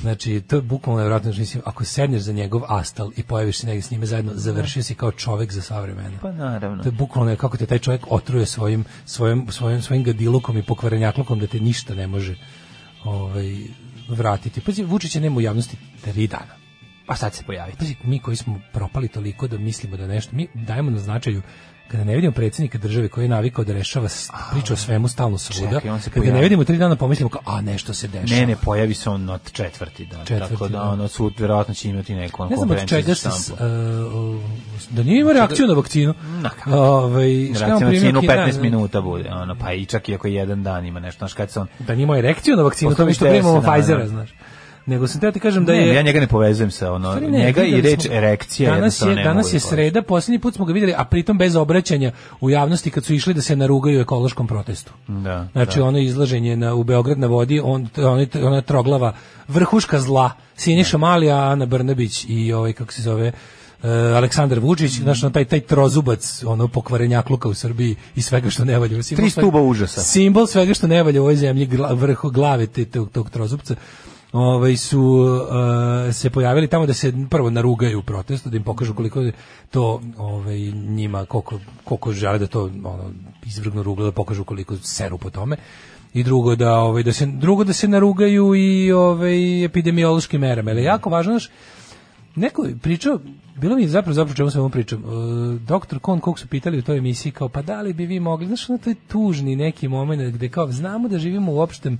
Speaker 5: Znači, to je bukvalno nevjerojatno, znači, mislim, ako sedneš za njegov astal i pojaviš se negdje s njime zajedno, završio si kao čovek za sva vremena.
Speaker 6: Pa naravno.
Speaker 5: To je bukvalno je kako te taj čovjek otruje svojim, svojim, svojim, svojim gadilukom i pokvarenjaklukom da te ništa ne može ovaj, vratiti. Pazi, Vučića nema u javnosti tri dana.
Speaker 6: Pa sad se pojavite.
Speaker 5: Pazi, mi koji smo propali toliko da mislimo da nešto, mi dajemo na značaju kada ne vidimo predsjednika države koji je navikao da rešava s- priču o svemu stalno svuda,
Speaker 6: čekaj, on se
Speaker 5: kada ga
Speaker 6: pojavi.
Speaker 5: ne vidimo tri dana pomislimo kao, a nešto se dešava.
Speaker 6: Pa, Ne, ne, pojavi se on od četvrti dan.
Speaker 5: Četvrti
Speaker 6: tako da
Speaker 5: dan.
Speaker 6: ono sud verovatno će imati neku ono,
Speaker 5: Ne znam od
Speaker 6: konferenciju za
Speaker 5: čega se s-
Speaker 6: štampu.
Speaker 5: e, da nije imao reakciju na vakcinu.
Speaker 6: Na kako?
Speaker 5: Ovaj, šta je on
Speaker 6: Reakcija na
Speaker 5: primio
Speaker 6: cijenu
Speaker 5: Kina-
Speaker 6: 15 minuta bude, ono, pa i čak i ako je jedan dan ima nešto, znaš kad se on...
Speaker 5: da nije imao erekciju na vakcinu, to mi što
Speaker 6: Poslušajte,
Speaker 5: primamo
Speaker 6: ja se
Speaker 5: Pfizera,
Speaker 6: nadam.
Speaker 5: znaš. Nego sam teo ti kažem da
Speaker 6: Ne,
Speaker 5: je...
Speaker 6: ja njega ne povezujem sa ono,
Speaker 5: stvari ne,
Speaker 6: njega i
Speaker 5: videli
Speaker 6: reč
Speaker 5: smo-
Speaker 6: erekcija
Speaker 5: Danas
Speaker 6: jednostavno
Speaker 5: je,
Speaker 6: ne mogu
Speaker 5: danas
Speaker 6: da
Speaker 5: je
Speaker 6: povežem.
Speaker 5: sreda, posljednji put smo ga vidjeli, a pritom bez obraćanja u javnosti kad su išli da se narugaju ekološkom protestu.
Speaker 6: Da,
Speaker 5: Znači ono izlaženje na, u Beograd na vodi, on, on, ona troglava vrhuška zla, Siniša Malija, Ana Brnabić i ovaj, kako se zove, e, Aleksandar Vučić, znači ono, taj taj trozubac, ono pokvarenjak luka u Srbiji i svega što ne valja. Simbol
Speaker 6: Tri
Speaker 5: svega-
Speaker 6: stuba užasa.
Speaker 5: Simbol svega što ne valja u ovoj zemlji, gla, vrh glave te, tog, tog trozupca. Ovaj su e, se pojavili tamo da se prvo narugaju u protestu, da im pokažu koliko je to ovaj njima koliko koliko žele da to ono izvrgnu ruglu da pokažu koliko seru po tome. I drugo da ovaj da se drugo da se narugaju i ovaj epidemiološkim merama. Ali je jako važno znaš, Neko je pričao, bilo mi je zapravo zapravo čemu sam ovom pričam, E, doktor Kon, kog su pitali u toj emisiji, kao pa da li bi vi mogli, znaš, ono to je tužni neki moment gde kao znamo da živimo u opštem,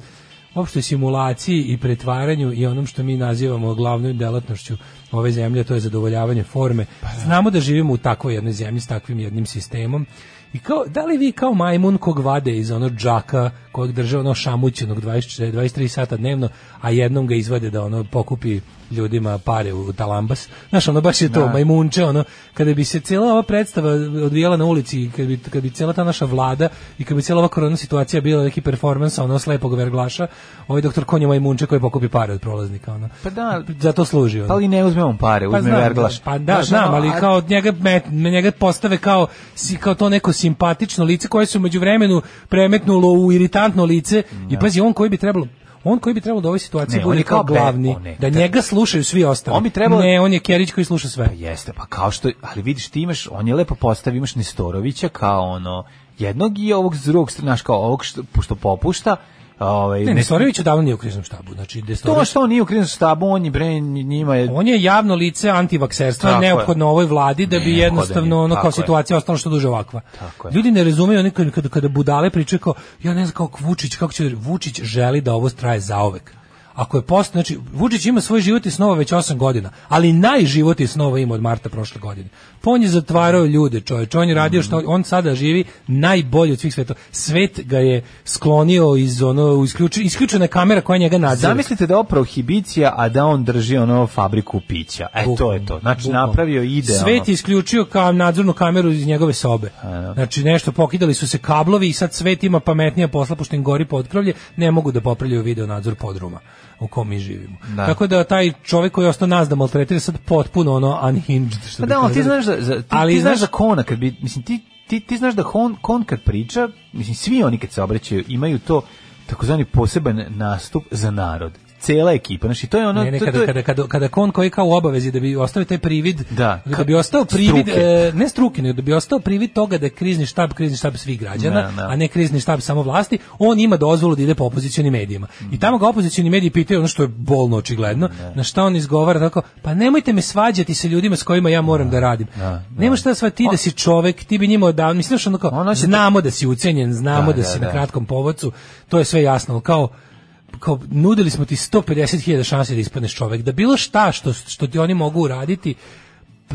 Speaker 5: opštoj simulaciji i pretvaranju i onom što mi nazivamo glavnom delatnošću ove zemlje, a to je zadovoljavanje forme. Znamo da živimo u takvoj jednoj zemlji s takvim jednim sistemom I kao, da li vi kao majmun kog vade iz onog džaka kojeg drže ono šamućenog 24, 23 sata dnevno, a jednom ga izvade da ono pokupi ljudima pare u talambas. Znaš, ono baš je to, majmunče, ono, kada bi se cijela ova predstava odvijela na ulici, i kada bi, kada bi cijela ta naša vlada i kada bi cijela ova korona situacija bila neki performans, ono, slepog verglaša, ovaj doktor Konja majmunče koji pokupi pare od prolaznika, ono.
Speaker 6: Pa da,
Speaker 5: Za to služi, ono.
Speaker 6: Pa ali ne uzme on pare, uzme
Speaker 5: znam,
Speaker 6: verglaš.
Speaker 5: Pa da,
Speaker 6: Znaš,
Speaker 5: znam,
Speaker 6: ono,
Speaker 5: ali
Speaker 6: a-
Speaker 5: kao od njega, met- njega postave kao, si- kao to neko simpatično lice koje se umeđu vremenu premetnulo u iritantno lice i pazi, on koji bi trebalo on koji bi trebalo da u ovoj situaciji
Speaker 6: Ne, on
Speaker 5: bude
Speaker 6: je
Speaker 5: kao
Speaker 6: kao be-
Speaker 5: glavni,
Speaker 6: o, ne,
Speaker 5: da
Speaker 6: te-
Speaker 5: njega slušaju svi ostali.
Speaker 6: On bi trebao-
Speaker 5: Ne, on je Kerić koji sluša sve.
Speaker 6: Pa jeste, pa kao što, ali vidiš ti imaš, on je lepo postav, imaš Nestorovića kao ono, jednog i ovog s drugog, znaš kao ovog što, što popušta, ovaj,
Speaker 5: Ne,
Speaker 6: ne-
Speaker 5: Nestorović odavno nije u kriznom štabu. Znači,
Speaker 6: to
Speaker 5: Nestorović,
Speaker 6: što on nije u kriznom štabu, on je bre, njima je,
Speaker 5: on je javno lice antivakserstva,
Speaker 6: Tako je.
Speaker 5: neophodno ovoj vladi da bi
Speaker 6: Neophodan
Speaker 5: jednostavno
Speaker 6: je,
Speaker 5: ono kao
Speaker 6: tako je.
Speaker 5: situacija ostala što duže ovakva.
Speaker 6: Tako je.
Speaker 5: Ljudi ne razumeju oni kad- kada, kada budale pričaju kao ja ne znam kako Vučić, kako će Vučić želi da ovo traje zaovek. Ako je post, znači Vučić ima svoj život i snova već 8 godina, ali najživot i snova ima od marta prošle godine. Pa on je zatvarao ljude, čoveče, on je
Speaker 6: Mhm.
Speaker 5: radio što on sada živi najbolje od svih sveta. Svet ga je sklonio iz ono isključi, isključena je kamera koja njega nadzire.
Speaker 6: Zamislite da je ovo prohibicija, a da on drži ono fabriku pića. E, to je to. Znači,
Speaker 5: Bukvalno.
Speaker 6: napravio idealno. E,
Speaker 5: Svet je isključio kao nadzornu kameru iz njegove sobe. Znači nešto pokidali su se kablovi i sad svet ima pametnija posla pošto im gori potkrovlje, ne mogu da popravljaju video nadzor podruma u kom mi živimo.
Speaker 6: Da.
Speaker 5: Tako da taj čovjek koji je ostao nas da maltretira sad potpuno ono unhinged što
Speaker 6: Pa
Speaker 5: bi
Speaker 6: da, ali ti
Speaker 5: kazali.
Speaker 6: znaš da, za, ti,
Speaker 5: Ali
Speaker 6: ti znaš,
Speaker 5: znaš-
Speaker 6: da Kona, kad bi, mislim, ti, ti, ti znaš da Kon, Kon kad priča, mislim, svi oni kad se obraćaju imaju to takozvani poseban nastup za narod. Cela ekipa, znači to je ono...
Speaker 5: Ne, ne,
Speaker 6: to,
Speaker 5: kada,
Speaker 6: to je-
Speaker 5: kada, kada, kada kon koji je kao u obavezi da bi ostao taj privid,
Speaker 6: Da,
Speaker 5: da
Speaker 6: ka-
Speaker 5: bi ostao privid,
Speaker 6: struke.
Speaker 5: e, ne struke, nego da bi ostao privid toga da je krizni štab, krizni štab svih građana,
Speaker 6: Da, da.
Speaker 5: a ne krizni štab samo vlasti, on ima dozvolu da ide po opozicionim medijima. I tamo ga opozicioni mediji pitaju ono što je bolno očigledno, na šta on izgovara tako, pa nemojte me svađati sa ljudima s kojima ja moram da, radim. Nema šta da sva ti da si čovek, ti bi njima odavno, mislim što ono kao,
Speaker 6: Ono će-
Speaker 5: znamo da si ucenjen, znamo da,
Speaker 6: Da, da,
Speaker 5: si na
Speaker 6: da.
Speaker 5: kratkom povodcu, to je sve jasno, ali kao kao nudili smo ti 150.000 šanse da ispadneš čovek, da bilo šta što, što ti oni mogu uraditi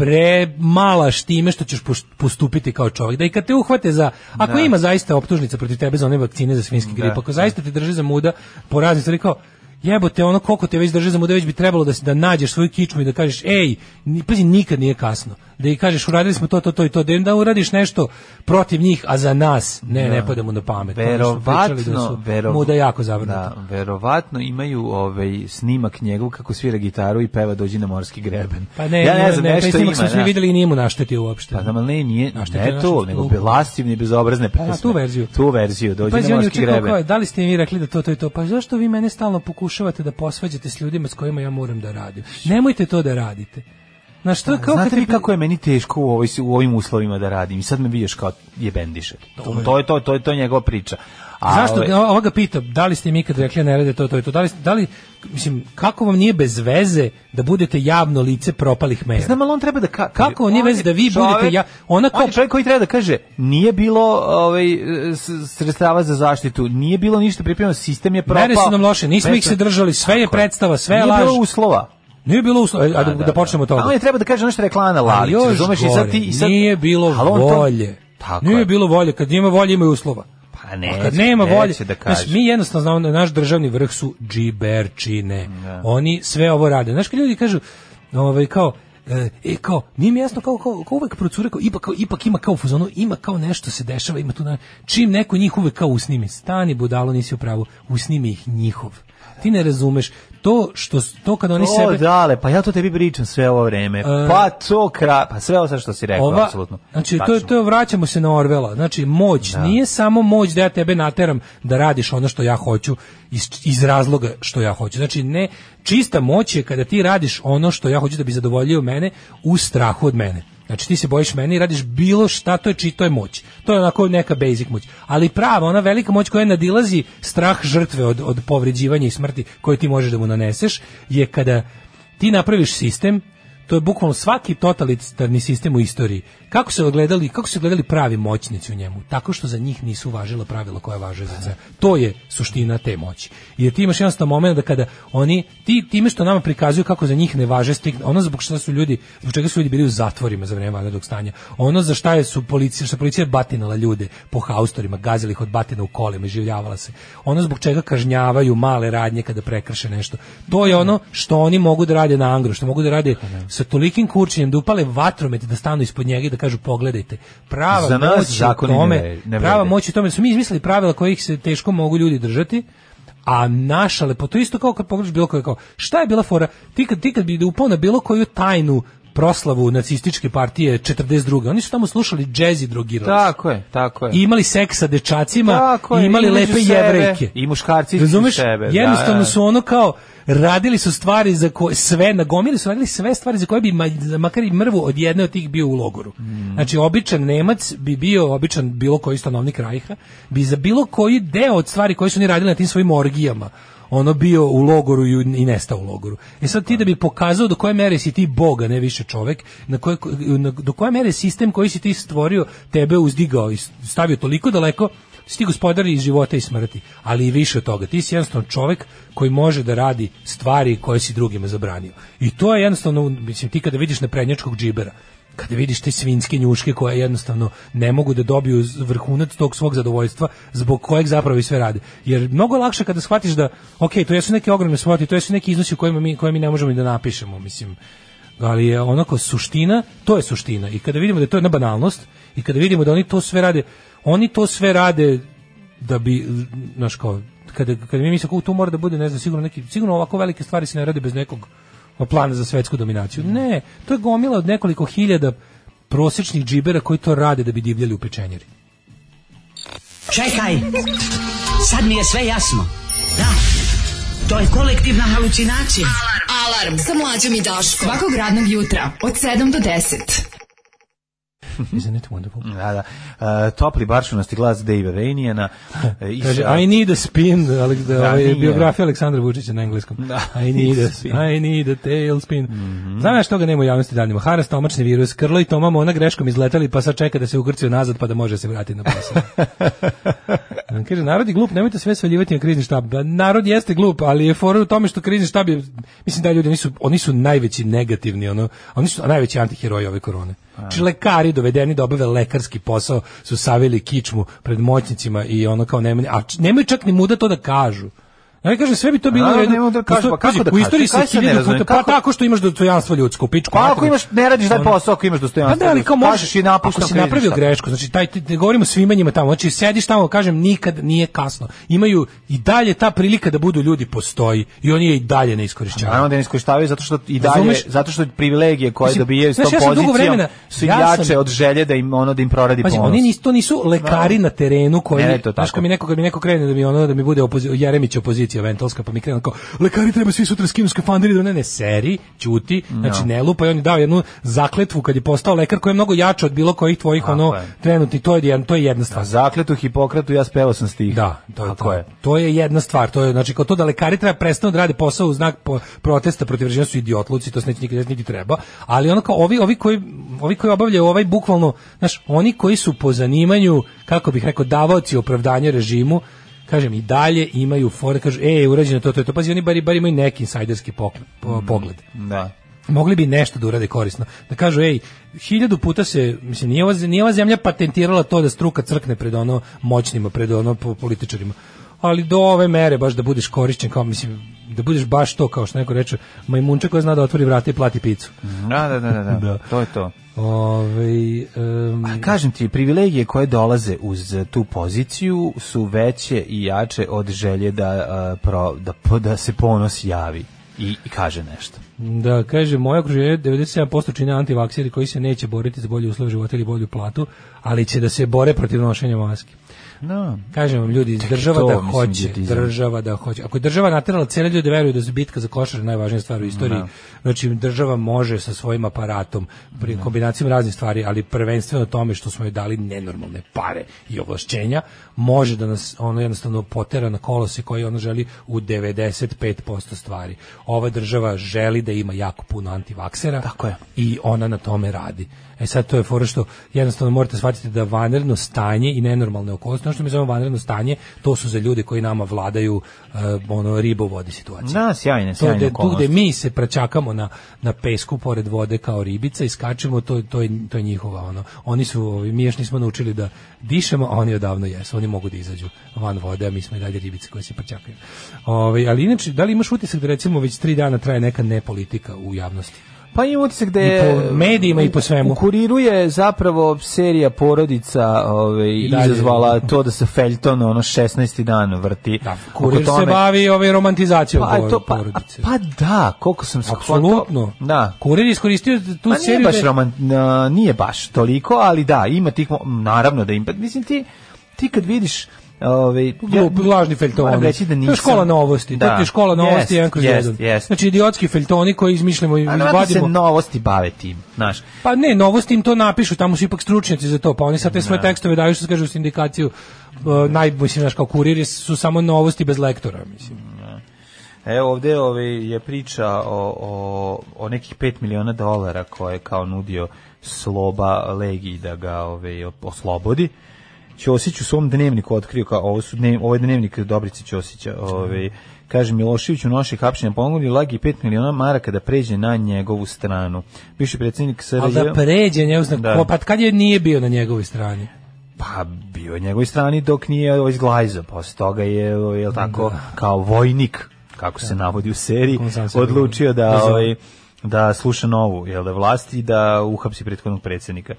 Speaker 5: premalaš time što ćeš poš- postupiti kao čovjek. Da i kad te uhvate za, ako ima zaista optužnica protiv tebe za one vakcine za svinski grip, ako zaista te drže za muda po raznim stvari kao, jebote, ono koliko te već drže za muda, već bi trebalo da, se- da nađeš svoju kičmu i da kažeš, ej, ni, pazi, nikad nije kasno. Da i kažeš, uradili smo to, to, to i to, da im da uradiš nešto protiv njih, a za nas, ne, ne pada mu na pamet. Ono što su pričali da su
Speaker 6: verovatno, verov-
Speaker 5: muda jako zavrnuta.
Speaker 6: Da, verovatno imaju ovaj snimak njegov kako svira gitaru i peva dođi na morski greben.
Speaker 5: Pa ne,
Speaker 6: ja ne
Speaker 5: ne,
Speaker 6: znam
Speaker 5: ne, taj
Speaker 6: nešto
Speaker 5: snimak
Speaker 6: ima.
Speaker 5: smo svi
Speaker 6: da.
Speaker 5: videli i nije mu naštetio uopšte.
Speaker 6: Pa znam, ali ne, nije,
Speaker 5: Znaš šta je
Speaker 6: ne
Speaker 5: to
Speaker 6: to,
Speaker 5: naša-
Speaker 6: nego belastivne i bezobrazne pesme.
Speaker 5: tu verziju.
Speaker 6: Tu verziju, dođi
Speaker 5: Pazi,
Speaker 6: na
Speaker 5: on je
Speaker 6: morski
Speaker 5: juče kao,
Speaker 6: greben.
Speaker 5: kao, da li ste mi rekli da to, to i to? Pa zašto vi mene stalno pokušavate da posvađate s ljudima s kojima ja moram da radim? Nemojte to da radite. Na što je kao
Speaker 6: Pa, Znate
Speaker 5: kad
Speaker 6: vi
Speaker 5: te-
Speaker 6: kako je meni teško u, ovoj, u ovim uslovima da radim i sad me vidiš kao je bendišer. To, to je to, to je to je njegova priča. A,
Speaker 5: Zašto
Speaker 6: ovaj,
Speaker 5: o- ova ga pita, da li ste mi ikad rekli da ne rade to, to i to? Da li, da li, mislim, kako vam nije bez veze da budete javno lice propalih mera?
Speaker 6: Pa Znam, ali on treba da ka,
Speaker 5: Kako on nije vezi da vi budete ja- ona
Speaker 6: on
Speaker 5: kao-
Speaker 6: je čovjek koji treba da kaže nije bilo ovaj s- sredstava za zaštitu, nije bilo ništa pripremljeno, sistem je propao.
Speaker 5: Mere su nam loše, nismo ih se držali, sve je
Speaker 6: Tako je.
Speaker 5: predstava, sve je
Speaker 6: Nije
Speaker 5: laž.
Speaker 6: bilo uslova.
Speaker 5: Nije bilo uslo- e, a da, da, počnemo od toga.
Speaker 6: A on je treba da kaže ono što je rekla Ana
Speaker 5: Ali
Speaker 6: Lalić,
Speaker 5: još
Speaker 6: razumeš? I sad ti, i sad,
Speaker 5: nije bilo
Speaker 6: Ali on to-
Speaker 5: volje.
Speaker 6: Tako
Speaker 5: nije
Speaker 6: je.
Speaker 5: bilo volje, kad ima volje ima i uslova.
Speaker 6: Pa ne,
Speaker 5: A kad nema volje,
Speaker 6: da
Speaker 5: znaš,
Speaker 6: kaže.
Speaker 5: mi jednostavno znamo, da naš državni vrh su džiberčine. Oni sve ovo rade. Znaš, kad ljudi kažu, ovaj, kao, e, e, kao, nije mi jasno kao, kao, kao uvek procure, kao, ipak, kao, ipak ima kao u fazonu, ima kao nešto se dešava, ima tu, na, čim neko njih uvek kao usnimi, stani budalo, nisi u pravu, usnimi ih njihov. Ti ne razumeš, to što, s- to kad oni
Speaker 6: O,
Speaker 5: sebe... E,
Speaker 6: dale, pa ja to tebi pričam sve ovo vreme. pa to kra, pa sve ovo sad što si rekao,
Speaker 5: Ova,
Speaker 6: apsolutno.
Speaker 5: znači to je
Speaker 6: Tačno.
Speaker 5: to je- vraćamo se na Orvela. Znači moć nije samo moć da ja tebe nateram da radiš ono što ja hoću iz, iz razloga što ja hoću. Znači ne čista moć je kada ti radiš ono što ja hoću da bi zadovoljio mene u strahu od mene. Znači ti se bojiš mene i radiš bilo šta, to je čito je moć. To je onako neka basic moć. Ali prava, ona velika moć koja nadilazi strah žrtve od, od povređivanja i smrti koju ti možeš da mu naneseš, je kada ti napraviš sistem to je bukvalno svaki totalitarni sistem u istoriji. Kako su gledali, kako su gledali pravi moćnici u njemu? Tako što za njih nisu važila pravila koja važe za sve. To je suština te moći. Jer ti imaš jednostavno moment da kada oni, ti, time što nama prikazuju kako za njih ne važe striktno, ono zbog šta su ljudi, zbog čega su ljudi bili u zatvorima za vreme vanrednog stanja, ono za šta je su policija, šta policija je batinala ljude po haustorima, gazili ih od batina u kolima i življavala se, ono zbog čega kažnjavaju male radnje kada prekrše nešto, to je ono što oni mogu da rade na angro, što mogu da rade sa tolikim kurčenjem, da upale vatromet, da stanu ispod njega i da kažu pogledajte, prava
Speaker 6: Za nas
Speaker 5: moć je u
Speaker 6: zakoni ne
Speaker 5: tome,
Speaker 6: vre- ne
Speaker 5: prava
Speaker 6: vrede.
Speaker 5: moć je u tome da su mi izmislili pravila kojih se teško mogu ljudi držati, a naša lepo, to je isto kao kad pogledaš bilo koje kao, šta je bila fora, ti kad, ti kad bi upao na bilo koju tajnu proslavu nacističke partije 42. Oni su tamo slušali džez i drogirali. se.
Speaker 6: Tako je, tako je.
Speaker 5: I imali seks sa dečacima
Speaker 6: Tako
Speaker 5: i
Speaker 6: je,
Speaker 5: imali
Speaker 6: i među
Speaker 5: lepe
Speaker 6: sebe,
Speaker 5: jevrejke.
Speaker 6: i muškarci između
Speaker 5: Razumeš?
Speaker 6: sebe, da,
Speaker 5: Jednostavno
Speaker 6: da.
Speaker 5: su ono kao radili su stvari za koje sve nagomili su radili sve stvari za koje bi ma- za makar i mrvu od jedne od tih bio u logoru.
Speaker 6: Mm.
Speaker 5: Znači običan Nemac bi bio običan bilo koji stanovnik Rajha bi za bilo koji deo od stvari koje su oni radili na tim svojim orgijama ono bio u logoru i, u- i nestao u logoru. E sad ti da bi pokazao do koje mere si ti boga, ne više čovek, na koje, na, do koje mere sistem koji si ti stvorio tebe uzdigao i stavio toliko daleko si ti gospodar i života i smrti, ali i više od toga. Ti si jednostavno čovek koji može da radi stvari koje si drugima zabranio. I to je jednostavno, mislim, ti kada vidiš naprednjačkog džibera, kada vidiš te svinjske njuške koje jednostavno ne mogu da dobiju z- vrhunac tog svog zadovoljstva zbog kojeg zapravo i sve rade. Jer mnogo je lakše kada shvatiš da, ok, to jesu neke ogromne svote, to jesu neki iznosi u kojima mi, koje mi ne možemo i da napišemo, mislim ali je onako suština, to je suština. I kada vidimo da je to jedna banalnost i kada vidimo da oni to sve rade, oni to sve rade da bi, znaš kao, kada, kada mi mislimo kako to mora da bude, ne znam, sigurno, neki, sigurno ovako velike stvari se ne rade bez nekog plana za svetsku dominaciju. Ne, to je gomila od nekoliko hiljada prosječnih džibera koji to rade da bi divljali u pečenjeri.
Speaker 8: Čekaj, sad mi je sve jasno. Da, to je kolektivna halucinacija.
Speaker 4: Alarm sa mlađom i Daškom. Svakog radnog jutra od 7 do 10.
Speaker 5: Isn't it wonderful?
Speaker 6: Da, da. E, topli baršunasti glas Dave e, Vainijana.
Speaker 5: Kaže, I need a spin, ali da,
Speaker 6: Da,
Speaker 5: ovaj,
Speaker 6: nije.
Speaker 5: biografija Aleksandra Vučića na engleskom.
Speaker 6: Da.
Speaker 5: I need a spin.
Speaker 6: Spin.
Speaker 5: I need a tail spin. Znam ja što ga nema u javnosti danima. Haras, tomačni virus, Krlo i Toma mu ona greškom izletali, pa sad čeka da se ugrcaju nazad pa da može se vratiti na posao. Kaže, narod je glup, nemojte sve svaljivati na krizni štab. Ba, Narod jeste glup, ali je fora u tome što krizni štab je, mislim da ljudi, oni su, oni su najveći negativni, ono, oni su najveći antiheroji ove korone. Znači, lekari dovedeni da obave lekarski posao su savili kičmu pred moćnicima i ono kao nemaju, a č- nemaju čak ni muda to da kažu. Ja mi kažem, sve bi to bilo
Speaker 6: A,
Speaker 5: u redu.
Speaker 6: nemaju da kažu,
Speaker 5: Postoje-
Speaker 6: pa kako
Speaker 5: pazi,
Speaker 6: da
Speaker 5: U
Speaker 6: kažu?
Speaker 5: istoriji se
Speaker 6: Kaj se ne
Speaker 5: hiljadu
Speaker 6: razumem,
Speaker 5: puta, pa
Speaker 6: kako-
Speaker 5: tako što imaš dostojanstvo ljudsko, pičku.
Speaker 6: Pa ako
Speaker 5: materinu.
Speaker 6: imaš, ne radiš taj
Speaker 5: Ono-
Speaker 6: posao, ako imaš
Speaker 5: pa
Speaker 6: dostojanstvo.
Speaker 5: da, ali kao možeš,
Speaker 6: Kažeš i napuštam
Speaker 5: ako si
Speaker 6: krizni
Speaker 5: napravio
Speaker 6: štab.
Speaker 5: grešku, znači taj, ti- ne govorimo svima njima tamo, znači sediš tamo, kažem, nikad nije kasno. Imaju i dalje ta prilika da budu ljudi postoji i oni je i dalje ne
Speaker 6: Naravno
Speaker 5: iskorišćavaju.
Speaker 6: da ne iskoristavaju zato što i dalje
Speaker 5: Razumeš?
Speaker 6: zato što privilegije koje
Speaker 5: Mislim,
Speaker 6: dobijaju s
Speaker 5: znaš,
Speaker 6: tom
Speaker 5: ja sam dugo
Speaker 6: pozicijom
Speaker 5: vremena-
Speaker 6: su im
Speaker 5: ja sam-
Speaker 6: jače od želje da im ono da im proradi
Speaker 5: Pazi,
Speaker 6: ponos.
Speaker 5: oni nisu, to nisu lekari na terenu koji,
Speaker 6: Ne, ne, to je
Speaker 5: znaš,
Speaker 6: tako.
Speaker 5: kad mi neko, kad mi neko krene da mi ono, da mi bude opozi, Jeremić opozicija ventolska, pa mi krene kao, lekari treba svi sutra skinu skafanderi, da ne, ne, seri, ćuti, znači ne lupa i on je dao jednu zakletvu kad je postao lekar koji je mnogo jače od bilo kojih tvojih,
Speaker 6: Tako
Speaker 5: ono,
Speaker 6: je.
Speaker 5: trenutni, to je, jedan- to je jedna stvar.
Speaker 6: Zakletu Hipokratu ja spevao sam stih.
Speaker 5: Da, to je,
Speaker 6: Tako
Speaker 5: to,
Speaker 6: je.
Speaker 5: to je jedna stvar, to je znači kao to da lekari treba prestanu da rade posao u znak po, protesta protiv režima su idiotluci, to se neće nikad desiti, niti treba, ali ono kao ovi ovi koji ovi koji obavljaju ovaj bukvalno, znaš, oni koji su po zanimanju, kako bih rekao, davaoci opravdanja režimu, kažem i dalje imaju fore, kažu ej, urađeno je to, to je to, pazi, oni bar, bar imaju neki insajderski pokl- po- pogled
Speaker 6: Da.
Speaker 5: mogli bi nešto da urade korisno. Da kažu, ej, hiljadu puta se, mislim, nije ova, nije ova zemlja patentirala to da struka crkne pred ono moćnima, pred ono po- političarima. Ali do ove mere baš da budeš korišćen, kao, mislim, da budeš baš to, kao što neko reče, majmunča koja zna da otvori vrata i plati picu.
Speaker 6: Da, da, da, da, da. To je to.
Speaker 5: Ove, Ovaj, em,
Speaker 6: A kažem ti, privilegije koje dolaze uz eh, tu poziciju su veće i jače od želje da, eh, pro, da, po- da se ponos javi i, i kaže nešto.
Speaker 5: Da, kaže, moje okruženje 97% čine antivakseri koji se neće boriti za bolje uslove života ili bolju platu, ali će da se bore protiv nošenja maske.
Speaker 6: No.
Speaker 5: Kažem vam ljudi, država
Speaker 6: Mhm. to,
Speaker 5: da
Speaker 6: mislim,
Speaker 5: hoće,
Speaker 6: idiotizam.
Speaker 5: država da hoće. Ako je država naterala cele ljude da veruju da su bitka za košar najvažnija stvar u
Speaker 6: Mhm,
Speaker 5: istoriji, znači država može sa svojim aparatom, pri kombinacijom raznih stvari, ali prvenstveno tome što smo joj dali nenormalne pare i ovlašćenja, može da nas ono jednostavno potera na kolose koji ono želi u 95% stvari. Ova država želi da ima jako puno antivaksera
Speaker 6: Tako je.
Speaker 5: i ona na tome radi. E sad to je fora što jednostavno morate shvatiti da vanredno stanje i nenormalne okolnosti, ono što mi zovemo vanredno stanje, to su za ljude koji nama vladaju eh, ono ribovode situacije.
Speaker 6: Da, sjajne,
Speaker 5: To
Speaker 6: sjajne
Speaker 5: gde, tu
Speaker 6: okolnosti.
Speaker 5: gde mi se praćakamo na, na pesku pored vode kao ribica i skačemo, to, to, je, to je njihova. Ono. Oni su, ovi, mi još nismo naučili da dišemo, a oni odavno jesu. Oni mogu da izađu van vode, a mi smo i dalje ribice koje se Ovaj, praćakaju. Ove, ali inače, da li imaš utisak da recimo već tri dana traje neka nepolitika u javnosti?
Speaker 6: Pa ima utisak da
Speaker 5: I
Speaker 6: je...
Speaker 5: po medijima i po svemu.
Speaker 6: U kuriru je zapravo serija porodica ovaj,
Speaker 5: I dalje.
Speaker 6: izazvala to da se Felton ono 16. dan vrti.
Speaker 5: Da,
Speaker 6: oko
Speaker 5: kurir se
Speaker 6: tome.
Speaker 5: bavi ovaj romantizacijom
Speaker 6: Pa,
Speaker 5: pa,
Speaker 6: to, pa,
Speaker 5: porodice.
Speaker 6: pa da, koliko sam shvatio.
Speaker 5: Apsolutno.
Speaker 6: Da.
Speaker 5: Kurir je iskoristio
Speaker 6: Pa
Speaker 5: tu
Speaker 6: nije
Speaker 5: seriju.
Speaker 6: baš
Speaker 5: da je-
Speaker 6: roman, na- nije baš toliko, ali da, ima tih, mo- naravno da ima, mislim ti, ti kad vidiš Ove,
Speaker 5: Glup, lažni feltoni.
Speaker 6: Moram reći da
Speaker 5: To
Speaker 6: nisam.
Speaker 5: je škola novosti. Da. To je škola novosti
Speaker 6: Jest,
Speaker 5: jedan kroz
Speaker 6: jest,
Speaker 5: jedan.
Speaker 6: jest.
Speaker 5: Znači idiotski feltoni koji izmišljamo i
Speaker 6: A verovatno se
Speaker 5: izvadimo.
Speaker 6: novosti bave tim, znaš.
Speaker 5: Pa ne, novosti im to napišu, tamo su ipak stručnjaci za to, pa oni sad te svoje tekstove daju što se kaže u sindikaciju. Uh, naj, mislim, znaš, kao kuriri su samo novosti bez lektora, mislim.
Speaker 6: Evo ovde ovaj, je priča o, o, o nekih 5 miliona dolara koje je kao nudio Sloba Legiji da ga ovaj, oslobodi. Ćosić u svom dnevniku otkrio kao ovo su dnev, ovo je dnevnik Dobrice Ćosića, ovaj kaže Milošević u noši hapšenja ponudi Lagi 5 miliona maraka da pređe na njegovu stranu. Bivši predsjednik SRJ
Speaker 5: Ali da pređe, ne uzna,
Speaker 6: Da.
Speaker 5: da. pa kad je nije bio na njegovoj strani?
Speaker 6: pa bio je na njegovoj strani dok nije ovaj zglajzo, posle toga je ovaj, jel tako kao vojnik kako se navodi u seriji
Speaker 5: Kako sam se
Speaker 6: odlučio da
Speaker 5: razumeo.
Speaker 6: ovaj da sluša novu jel da vlast i da uhapsi prethodnog predsjednika.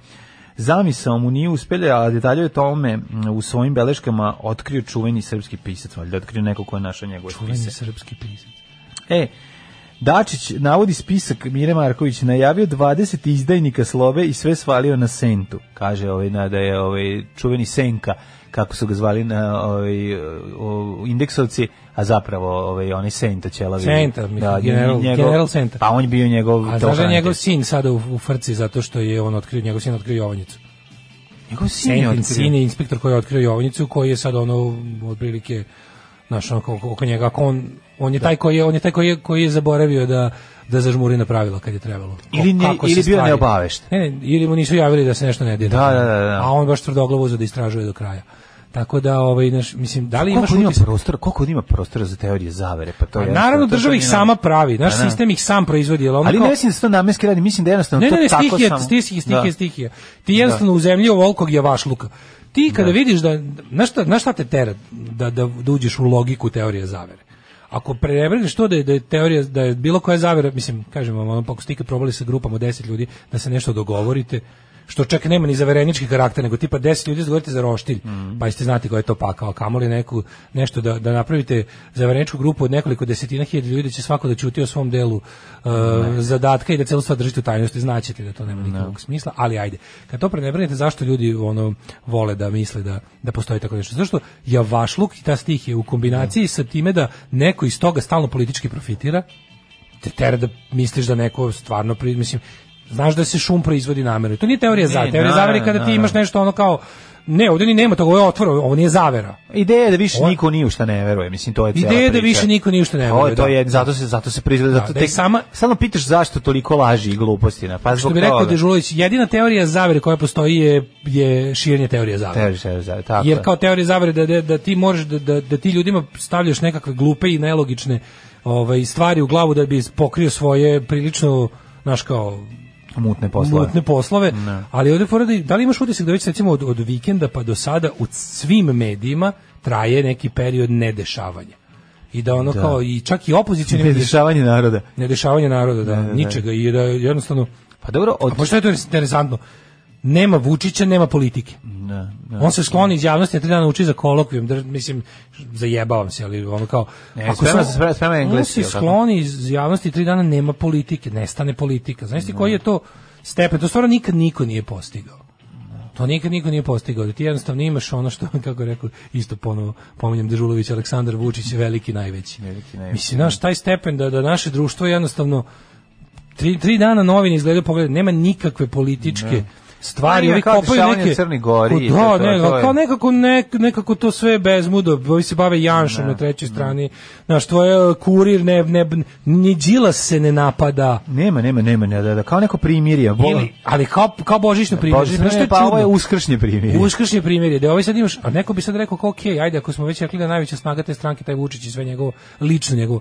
Speaker 6: Zamisao mu nije uspjela, a detalje o tome m, u svojim beleškama otkrio čuveni srpski pisac, valjda otkrio neko ko je našao njegove
Speaker 5: Čuveni
Speaker 6: spise.
Speaker 5: srpski pisac.
Speaker 6: E, Dačić navodi spisak Mire Marković najavio 20 izdajnika slobe i sve svalio na Sentu. Kaže ovaj na da je ovaj čuveni Senka kako su ga zvali na ovaj o, indeksovci, a zapravo ovaj onaj Senta ćelavi.
Speaker 5: Senta, mislim, general- general Senta.
Speaker 6: Pa on je bio njegov
Speaker 5: A znaš da je
Speaker 6: tovarante.
Speaker 5: njegov sin sada u, u frci zato što je on otkrio, njegov sin otkrio Jovanjicu.
Speaker 6: njegov sin je
Speaker 5: Sentin
Speaker 6: otkrio.
Speaker 5: sin je inspektor koji je otkrio Jovanjicu, koji je sad ono, otprilike, znaš, ono, oko, oko njega, ako on, on je taj koji je, on je, taj koji je, koji je zaboravio da da zažmuri na pravila kad je trebalo.
Speaker 6: Ili ne-
Speaker 5: Kako se
Speaker 6: ili bio
Speaker 5: stvari-
Speaker 6: neobavešten.
Speaker 5: Ne, ne, ili mu nisu javili da se nešto ne dira.
Speaker 6: Da, da, da, da.
Speaker 5: A on baš tvrdoglavo uzeo da istražuje do kraja. Tako da, ovaj, naš, mislim, da li imaš
Speaker 6: Koliko on ima
Speaker 5: utisak-
Speaker 6: prostora, koliko on ima prostora za teorije zavere, pa to
Speaker 5: Pa
Speaker 6: je.
Speaker 5: naravno,
Speaker 6: to- to- to
Speaker 5: država
Speaker 6: nije
Speaker 5: ih
Speaker 6: nam-
Speaker 5: sama pravi. Naš
Speaker 6: Da, da.
Speaker 5: sistem ih sam proizvodi. jel ono
Speaker 6: Ali ne
Speaker 5: kao-
Speaker 6: mislim da se to namenski radi, mislim da jednostavno
Speaker 5: ne,
Speaker 6: to
Speaker 5: ne, ne,
Speaker 6: tako
Speaker 5: stihija,
Speaker 6: samo.
Speaker 5: stihija, stihija,
Speaker 6: Da.
Speaker 5: stihija. Ti jednostavno u zemlji ovolkog javašluka. Ti kada vidiš da, znaš šta, znaš šta te tera da, da, da uđeš u logiku teorije zavere? Ako prebregneš to da je, da je teorija, da je bilo koja zavera, mislim, kažem vam, ono, pa ako ste ikad probali sa grupom od 10 ljudi da se nešto dogovorite, što čak nema ni zaverenički karakter, nego tipa 10 ljudi dogovorite za roštilj, pa ste znati ko je to pakao, kamoli neku, nešto da, da napravite zavereničku grupu od nekoliko desetina hiljada ljudi, da će svako da ćuti o svom delu uh, zadatka i da celu stvar držite u tajnosti, znaćete da to nema nikakvog smisla, ali ajde. Kad to prenebrenete, zašto ljudi ono vole da misle da, da postoji tako nešto? Zašto javašluk i ta stih je u kombinaciji sa time da neko iz toga stalno politički profitira, te tera da misliš da neko stvarno pri, mislim znaš da se šum proizvodi namerno. To nije teorija zavere. Teorija
Speaker 6: naravno,
Speaker 5: zavere je kada ti
Speaker 6: naravno.
Speaker 5: imaš nešto ono kao ne, ovdje ni nema toga, ovo je otvor, ovo nije zavera.
Speaker 6: Ideja je da više niko ni u šta ne veruje, mislim to je cela
Speaker 5: Ideja je da
Speaker 6: priča.
Speaker 5: više niko ni u šta ne
Speaker 6: Ovo je
Speaker 5: veruje,
Speaker 6: to
Speaker 5: da.
Speaker 6: je zato se zato se prizna zato
Speaker 5: da je
Speaker 6: tek-
Speaker 5: sama-
Speaker 6: stalno pitaš zašto toliko laži i gluposti na pa
Speaker 5: Što
Speaker 6: zbog
Speaker 5: bi rekao
Speaker 6: toga.
Speaker 5: Dežulović, jedina teorija zavere koja postoji je, je širenje teorije zavere.
Speaker 6: Teorija zavere, zavere, tako je.
Speaker 5: Jer kao teorija zavere da, da, da ti možeš da, da, da ti ljudima stavljaš nekakve glupe i nelogične ovaj, stvari u glavu da bi pokrio svoje prilično, znaš kao,
Speaker 6: mutne poslove.
Speaker 5: mutne poslove, ali ovdje fora da, da li imaš utisak da već recimo od, od vikenda pa do sada u svim medijima traje neki period nedešavanja. I da ono kao i čak i opozicioni mediji-
Speaker 6: Nedešavanje naroda.
Speaker 5: nedešavanje naroda, da, ničega i da jednostavno
Speaker 6: Pa dobro, od
Speaker 5: a pošto je to interesantno, nema Vučića, nema politike.
Speaker 6: da, da.
Speaker 5: On se skloni iz javnosti, na tri dana uči za kolokvijum, drž- mislim, zajebavam se, ali ono kao...
Speaker 6: Ne, sprema se- sprema- sprema
Speaker 5: on
Speaker 6: engleski,
Speaker 5: se
Speaker 6: jel tako?
Speaker 5: skloni iz javnosti, tri dana nema politike, nestane politika. Znaš ti koji je to stepen? To stvarno nikad niko nije postigao. To nikad niko nije postigao, da ti jednostavno imaš ono što, kako je rekao, isto ponovo pominjem Dežulović, Aleksandar Vučić, veliki najveći.
Speaker 6: Veliki najveći,
Speaker 5: Mislim, naš taj stepen da, da naše društvo jednostavno tri, tri dana novine izgledaju pogled, nema nikakve političke stvari,
Speaker 6: Pa,
Speaker 5: ovi
Speaker 6: kao
Speaker 5: kopaju
Speaker 6: dešavanje u
Speaker 5: neke...
Speaker 6: Crnoj Gori i
Speaker 5: Ko-
Speaker 6: to,
Speaker 5: Da,
Speaker 6: to,
Speaker 5: ne,
Speaker 6: to je.
Speaker 5: kao nekako, nek, nekako to sve bezmudo, ovi se bave Janšom na trećoj strani, znaš, tvoje e, kurir, ne, ne, ni Đilas se ne napada,
Speaker 6: Nema, nema, nema, ne, da, da, kao neko primirje. Bo-
Speaker 5: Ili, ali kao, kao božićno primjer,
Speaker 6: Božić,
Speaker 5: znaš što je
Speaker 6: pa ovo je
Speaker 5: čudno?
Speaker 6: uskršnje primirje.
Speaker 5: Uskršnji primjer je da ovaj sad imaš, a neko bi sad rekao kao, ok, ajde, ako smo već rekli da je najveća snaga te stranke, taj Vučić i sve njegovo, lično njegovo,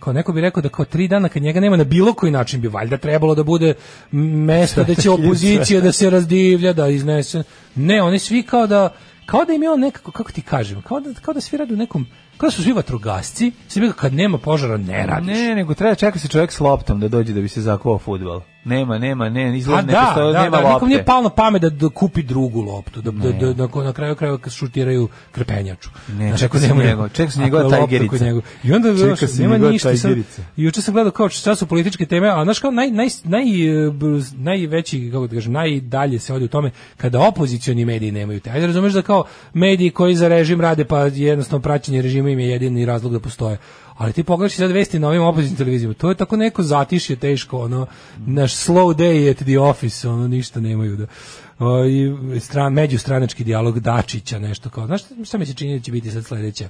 Speaker 5: kao neko bi rekao da kao tri dana kad njega nema na bilo koji način bi valjda trebalo da bude mesto da će opozicija da se razdivlja, da iznese. Ne, oni svi kao da kao da im je on nekako, kako ti kažem, kao da, kao da svi rade u nekom, kao da su svi vatrogasci, svi bi kad nema požara ne radiš.
Speaker 6: Ne, nego treba čeka se čovjek s loptom da dođe da bi se zakuvao fudbal. Nema, nema, ne,
Speaker 5: A
Speaker 6: izgleda ne
Speaker 5: Pa da,
Speaker 6: postoje,
Speaker 5: da,
Speaker 6: nema
Speaker 5: da, nikom nije
Speaker 6: lopte.
Speaker 5: palo na pamet da, da kupi drugu loptu, da, da, da, da na kraju krajeva kad šutiraju krpenjaču. Znači,
Speaker 6: Ne, čeka se njegov- čeka se njegova
Speaker 5: ako je lopta
Speaker 6: tajgerica.
Speaker 5: kod njegov. I onda
Speaker 6: Čeka
Speaker 5: znaš,
Speaker 6: se
Speaker 5: nema
Speaker 6: njegova
Speaker 5: ništa. Sad,
Speaker 6: tajgerica.
Speaker 5: juče sam gledao kao šta su političke teme, a znaš kao naj, naj, naj, e, b- najveći, kako da kažem, najdalje se ode u tome kada opozicioni mediji nemaju te. Ajde, razumeš da kao mediji koji za režim rade, pa jednostavno praćenje režima im je jedini razlog da postoje. Ali ti pogledaš i sad vesti na ovim opozicijnim televizijama, to je tako neko zatišje teško, ono, naš slow day at the office, ono, ništa nemaju da o, i stra, međustranački dijalog Dačića, nešto kao, znaš šta mi se čini da će biti sad sledeća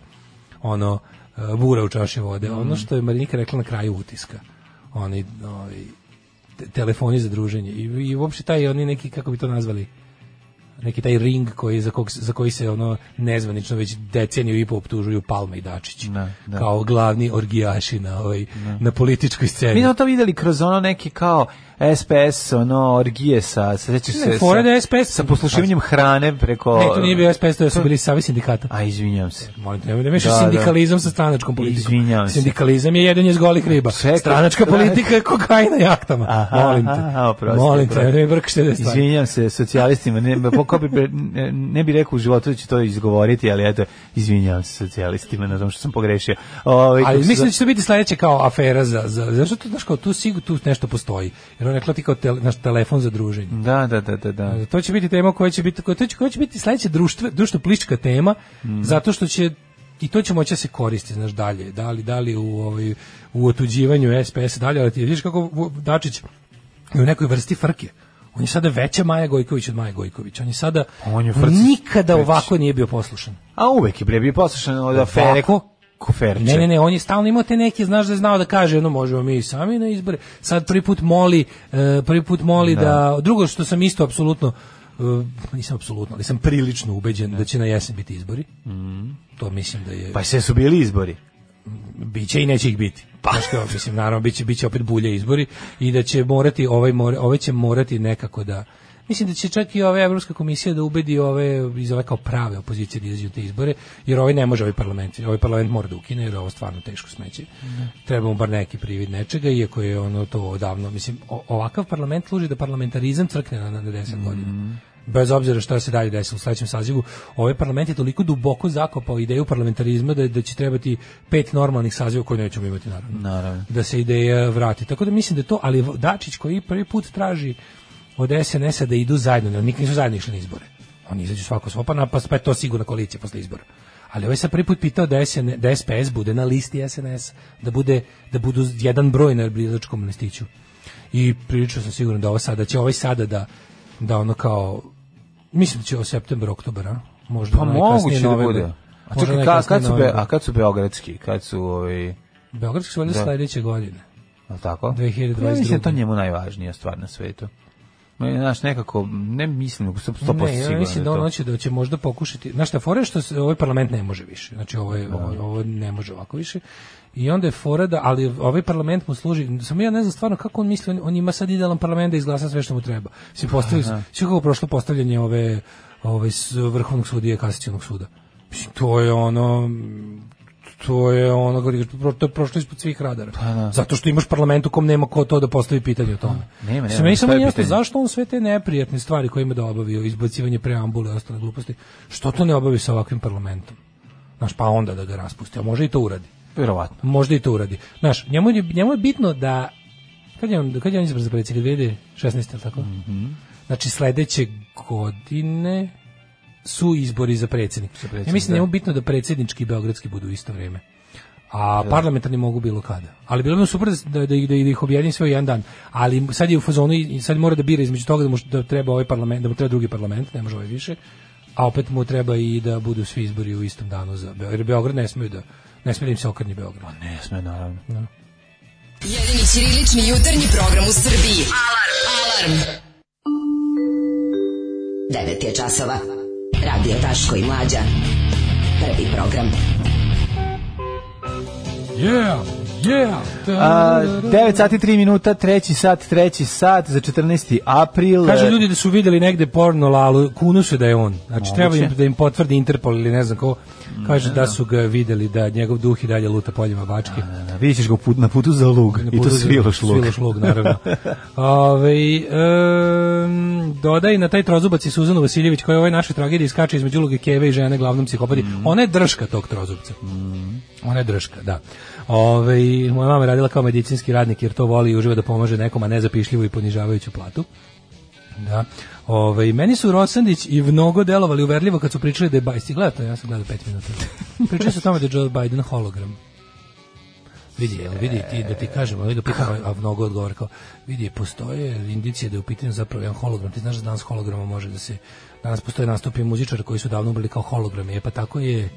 Speaker 5: ono e, bura u čaši vode.
Speaker 6: Mhm.
Speaker 5: Ono što je Marinika rekla na kraju utiska. Oni ovaj te- telefoni za druženje i i uopšte taj oni neki kako bi to nazvali neki taj ring koji za kog, za koji se ono nezvanično već deceniju i po optužuju Palma i Dačić
Speaker 6: Da, da.
Speaker 5: kao glavni orgijaši na ovaj na političkoj
Speaker 6: Mi
Speaker 5: sceni.
Speaker 6: smo to videli kroz ono neke kao SPS, ono, orgije sa, sa sećaš se,
Speaker 5: Ne, fora da je
Speaker 6: sa,
Speaker 5: SPS
Speaker 6: sa poslušivanjem hrane preko...
Speaker 5: Znači. Ne, to nije bio SPS, to su bili savez sindikata.
Speaker 6: A, izvinjam se.
Speaker 5: Molim te, nemoj da mešaš
Speaker 6: Da, da.
Speaker 5: sindikalizam sa stranačkom politikom.
Speaker 6: Izvinjavam se.
Speaker 5: Sindikalizam je jedan iz golih riba.
Speaker 6: Čekaj,
Speaker 5: Stranačka
Speaker 6: stranač-
Speaker 5: politika je kokain na jahtama.
Speaker 6: Aha,
Speaker 5: molim te.
Speaker 6: aha, oprosti,
Speaker 5: molim te,
Speaker 6: oprosti.
Speaker 5: ne brkšte da stvari.
Speaker 6: Izvinjam se socijalistima, ne, pa ko bi, pre- ne, ne bi rekao u životu da ću to izgovoriti, ali eto, izvinjam se socijalistima na tom što sam pogrešio. Ovaj, kako
Speaker 5: Ali
Speaker 6: se
Speaker 5: mislim
Speaker 6: zove-
Speaker 5: da će to biti sledeće kao afera za, za zašto to, znaš, kao tu sigur, tu nešto postoji. Jer on je rekla ti kao tele, naš telefon za druženje.
Speaker 6: Da, da, da, da, da.
Speaker 5: To će biti tema koja će biti koja, to će, koja će biti sledeća društve, društvo plička tema
Speaker 6: Mhm.
Speaker 5: zato što će i to će moći da se koristi znaš dalje da li da li u ovaj u otuđivanju SPS dalje ali ti vidiš kako Vu- Dačić je u nekoj vrsti frke on je sada veća Maja Gojković od Maja Gojković on je sada
Speaker 6: On je u frci
Speaker 5: nikada
Speaker 6: veći.
Speaker 5: ovako nije bio poslušan
Speaker 6: A uvek je bre bio poslušan od afere
Speaker 5: Ovako?
Speaker 6: Koferče.
Speaker 5: Ne, ne, ne, on je stalno imao te neke, znaš da je znao da kaže, ono možemo mi i sami na izbore. Sad prvi put moli, e, prvi put moli da. drugo što sam isto apsolutno e, nisam apsolutno, ali sam prilično ubeđen da će na jesen biti izbori. To mislim da je
Speaker 6: Pa sve su bili izbori.
Speaker 5: biće i neće ih biti. Pa što mislim naravno biće biće opet bulje izbori i da će morati ovaj mora, ovaj će morati nekako da Mislim da će čak i ova Evropska komisija da ubedi ove iz ove kao prave opozicije da izađu u te izbore, jer ovaj ne može ovaj parlament, ovaj parlament mora da ukine, jer je ovo stvarno teško smeće. Treba mu bar neki privid nečega, iako je ono to odavno, mislim, o- ovakav parlament služi da parlamentarizam crkne na, na 10 godina bez obzira šta se dalje desi u sledećem sazivu, ovaj parlament je toliko duboko zakopao ideju parlamentarizma da, da će trebati pet normalnih saziva koje nećemo imati naravno.
Speaker 6: Naravno.
Speaker 5: Da se ideja vrati. Tako da mislim da je to, ali Dačić koji prvi put traži od SNS-a da idu zajedno, jer nikad nisu zajedno išli na izbore. Oni izađu svako svoje, pa, na- pa je to sigurna koalicija posle izbora. Ali ovaj sam prvi put pitao da, SN, da SPS bude na listi SNS, da, bude, da budu jedan broj na brilačkom listiću. I prilično sam siguran da ovo sada, da će ovaj sada da, da ono kao mislim da će o septembru, oktobar, a? Možda
Speaker 6: Pa
Speaker 5: najkasnije
Speaker 6: moguće da
Speaker 5: novembar.
Speaker 6: bude. A
Speaker 5: Možda
Speaker 6: čekaj, ka,
Speaker 5: najkasnije
Speaker 6: kad su be,
Speaker 5: novembar.
Speaker 6: a kad su beogradski, kad su ovaj,
Speaker 5: Beogradski su valjda
Speaker 6: Da.
Speaker 5: sledeće godine.
Speaker 6: al tako? Pa
Speaker 5: 2022..
Speaker 6: Ja mislim da je to njemu najvažnija stvar na svetu. Ma, znaš, nekako, ne mislim, nego sam 100%
Speaker 5: Ne,
Speaker 6: siguran.
Speaker 5: ja mislim da
Speaker 6: je
Speaker 5: on
Speaker 6: to.
Speaker 5: hoće da će možda pokušati. Znaš šta, fora je što se, ovaj parlament ne može više. Znači ovo, je, ovo, ovo ne može ovako više. I onda je fora da, ali ovaj parlament mu služi, samo ja ne znam stvarno kako on misli, on, on ima sad idealan parlament da izglasa sve što mu treba. Mislim, postavili, sve kako je prošlo postavljanje ove, ove s- vrhovnog sudije i kasacionog suda. Mislim, to je ono, to je ono kako ti kažeš, pro- to je prošlo ispod svih radara.
Speaker 6: Pa
Speaker 5: Zato što imaš parlament u kom nema ko to da postavi pitanje o tome.
Speaker 6: Nema, nema,
Speaker 5: Mislim, meni samo
Speaker 6: postoje
Speaker 5: nije jasno
Speaker 6: pitanje.
Speaker 5: zašto on sve te neprijatne stvari koje ima da obavi, izbacivanje preambule i ostale gluposti, što to ne obavi sa ovakvim parlamentom? Znaš, pa onda da ga raspusti, a može i to uradi.
Speaker 6: Verovatno.
Speaker 5: Možda i to uradi. Znaš, njemu je, njemu je bitno da kad je on, kad je on izbor za predsjednika 2016, ili tako? Znači, sledeće godine su izbori za predsjednik.
Speaker 6: predsjednik,
Speaker 5: ja mislim da je
Speaker 6: da.
Speaker 5: njemu bitno da predsjednički i beogradski budu u isto vrijeme. A parlamentarni mogu bilo kada. Ali bilo bi mu super da, da, ih- da, ih objedini sve u jedan dan. Ali sad je u fazonu i sad mora da bira između toga da mu, da treba ovaj parlament, da mu treba drugi parlament, ne može ovaj više. A opet mu treba i da budu svi izbori u istom danu za Beograd. Jer Beograd ne smeju da ne smeju da im se okrni Beograd.
Speaker 6: Ne sme, naravno.
Speaker 4: Jedini ćirilični jutarnji program u Srbiji. Alarm! Alarm!
Speaker 8: 9 je časova. Radio Daško i Mlađa. Prvi program.
Speaker 5: Yeah, Yeah.
Speaker 6: A, 9 sati 3 minuta, treći sat, treći sat za 14. april. e,
Speaker 5: Kažu ljudi da su videli negde porno lalu, kunu se da je on. Znači,
Speaker 6: Moguće.
Speaker 5: treba im, da im potvrdi Interpol ili ne znam ko. Kaže da su ga videli, da njegov duh i dalje luta poljima bačke.
Speaker 6: Da, Vidjet ćeš ga u put, na putu za lug.
Speaker 5: Na
Speaker 6: I to
Speaker 5: putu za-
Speaker 6: sviloš lug.
Speaker 5: Sviloš lug, naravno. Ove, em, dodaj na taj trozubac i Suzanu Vasiljević koja u ovoj našoj tragediji skače između uloge Keve i žene glavnom psihopati.
Speaker 6: Mm.
Speaker 5: Ona je drška tog trozubca. Ona je drška, da. Ove, moja mama je radila kao medicinski radnik jer to voli i uživa da pomaže nekom, a ne za pišljivu i ponižavajuću platu. Da. Ove, meni su Rosandić i mnogo delovali uverljivo kad su pričali da je Bajsti. Gledajte, ja sam gledao pet minuta. Pričali su o tome da je Joe Biden hologram. Vidi, jel, vidi ti, da ti kažem, ali ga pitam, a mnogo odgovor kao, vidi, postoje indicije da je u pitanju zapravo jedan hologram, ti znaš da danas holograma može da se, danas postoje nastupi muzičara koji su davno bili kao hologrami, e pa tako je,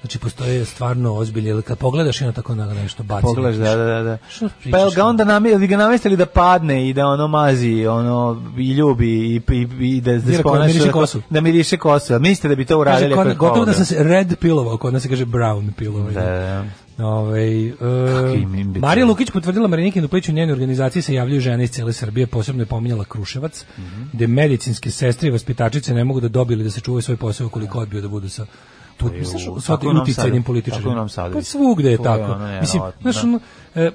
Speaker 5: znači postoje stvarno ozbilje, jer kad pogledaš i ono tako na nešto baci.
Speaker 6: Pogledaš, da, da, da. da.
Speaker 5: Što
Speaker 6: Pa
Speaker 5: pričaš,
Speaker 6: jel ga
Speaker 5: ono?
Speaker 6: onda nami, jel bi ga namestili da padne i da ono mazi, ono, i ljubi, i, i, i da, da
Speaker 5: Jer ako
Speaker 6: sponaša-
Speaker 5: miriše kosu.
Speaker 6: Da miriše kosu. A mislite da bi to
Speaker 5: Kaže,
Speaker 6: uradili?
Speaker 5: kod-
Speaker 6: ako je
Speaker 5: gotovo da
Speaker 6: hologram?
Speaker 5: sam se red pilovao, kod nas se kaže brown pilovao.
Speaker 6: Da, da,
Speaker 5: Ovaj e,
Speaker 6: im imbecili.
Speaker 5: Marija Lukić potvrdila Mariniki Duplić u njenoj organizaciji se javljaju žene iz cele Srbije, posebno je pominjala Kruševac,
Speaker 6: Mhm.
Speaker 5: gde medicinske sestre i vaspitačice ne mogu da dobiju ili da se čuvaju svoj posao koliko odbiju da budu sa tu,
Speaker 6: je
Speaker 5: misliš,
Speaker 6: u-
Speaker 5: sa
Speaker 6: tako je u Novom
Speaker 5: uticajnim
Speaker 6: Sadu,
Speaker 5: političarima.
Speaker 6: tako je u Novom Sadu.
Speaker 5: Pa svugde je
Speaker 6: To je
Speaker 5: tako.
Speaker 6: ono, je,
Speaker 5: Mislim,
Speaker 6: verovatno,
Speaker 5: znaš,
Speaker 6: da.
Speaker 5: ono, e,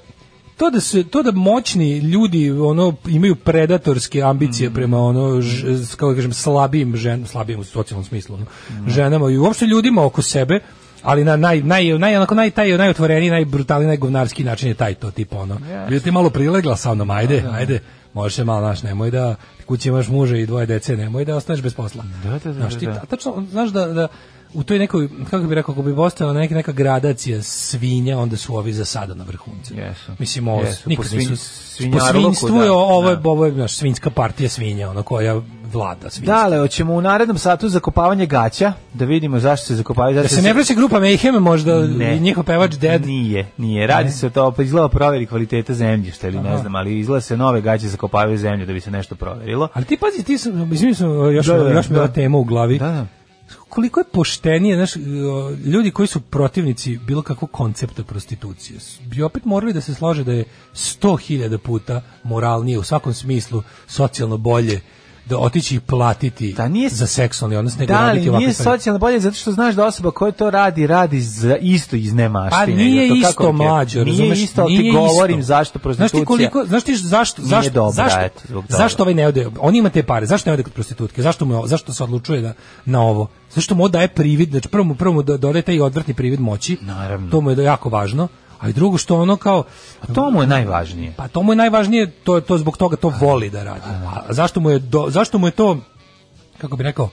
Speaker 5: to da se to da moćni ljudi ono imaju predatorske
Speaker 6: Mm.
Speaker 5: ambicije prema ono ž, s- kako da kažem slabijim ženama slabijim u socijalnom smislu ono,
Speaker 6: Mm.
Speaker 5: ženama i uopšte ljudima oko sebe ali na naj naj naj onako naj taj najotvoreniji najbrutalniji najgovnarski način je taj to tipa ono yes. ti malo prilegla sa mnom ajde ajde možeš se malo naš nemoj da kući imaš muža i dvoje dece nemoj da ostaneš bez posla
Speaker 6: Da, da, da,
Speaker 5: Znaš, ti
Speaker 6: da, da.
Speaker 5: ta- tačno znaš da, da u toj nekoj kako bi rekao ako bi postala neka neka gradacija svinja onda su ovi za sada na vrhuncu
Speaker 6: Jesu.
Speaker 5: Mislim, ovo
Speaker 6: Jesu,
Speaker 5: nikad
Speaker 6: po svin-
Speaker 5: nisu... Po
Speaker 6: svinjarluku,
Speaker 5: svinjstvu
Speaker 6: da,
Speaker 5: je ovo, je,
Speaker 6: da.
Speaker 5: ovo je znaš, svinjska partija svinja, ona koja vlada svinjstvu.
Speaker 6: Dale, hoćemo u narednom satu zakopavanje gaća, da vidimo zašto se zakopavaju.
Speaker 5: Da
Speaker 6: zašto
Speaker 5: se ne vraća grupa Mayhem, možda
Speaker 6: Ne.
Speaker 5: i njihov pevač Dead.
Speaker 6: Nije, nije. Radi se o to, pa izgleda proveri kvaliteta zemljišta ili ne znam, ali izgleda se nove gaće zakopavaju zemlju da bi se nešto proverilo.
Speaker 5: Ali ti pazi, ti sam, izmijem sam, još,
Speaker 6: Da, da,
Speaker 5: još mi
Speaker 6: da.
Speaker 5: ova tema u glavi.
Speaker 6: Da, da.
Speaker 5: Koliko je poštenije, znaš, e, ljudi koji su protivnici bilo kakvog koncepta prostitucije, s- bi opet morali da se slože da je sto hiljada puta moralnije, u svakom smislu, socijalno bolje, da otići i platiti
Speaker 6: Da, nije-
Speaker 5: za seksualni odnos, nego
Speaker 6: Da,
Speaker 5: raditi
Speaker 6: ali
Speaker 5: ovakve
Speaker 6: nije
Speaker 5: stvari.
Speaker 6: socijalno bolje zato što znaš da osoba koja to radi, radi za isto iz nemaštine.
Speaker 5: Pa nije
Speaker 6: To kako
Speaker 5: isto
Speaker 6: ti je?
Speaker 5: mlađo,
Speaker 6: Nije
Speaker 5: razumeš?
Speaker 6: isto, ali ti
Speaker 5: Nije isto.
Speaker 6: govorim zašto prostitucija.
Speaker 5: Znaš ti koliko, znaš ti zašto,
Speaker 6: Nije
Speaker 5: zašto,
Speaker 6: dobra,
Speaker 5: zašto,
Speaker 6: eto, zbog toga.
Speaker 5: zašto ovaj ne ode, on ima te pare, zašto ne ode kod prostitutke, zašto, mu, je ovo- zašto se odlučuje da, na ovo, zašto mu ovo daje privid, znači prvo mu, prvo mu da- dodaje taj odvrtni privid moći,
Speaker 6: Naravno.
Speaker 5: to mu je jako važno, a i drugo što ono kao,
Speaker 6: A to mu je najvažnije.
Speaker 5: pa to mu je najvažnije, to je to zbog toga to voli da radi. A zašto mu je do, zašto mu je to kako bi rekao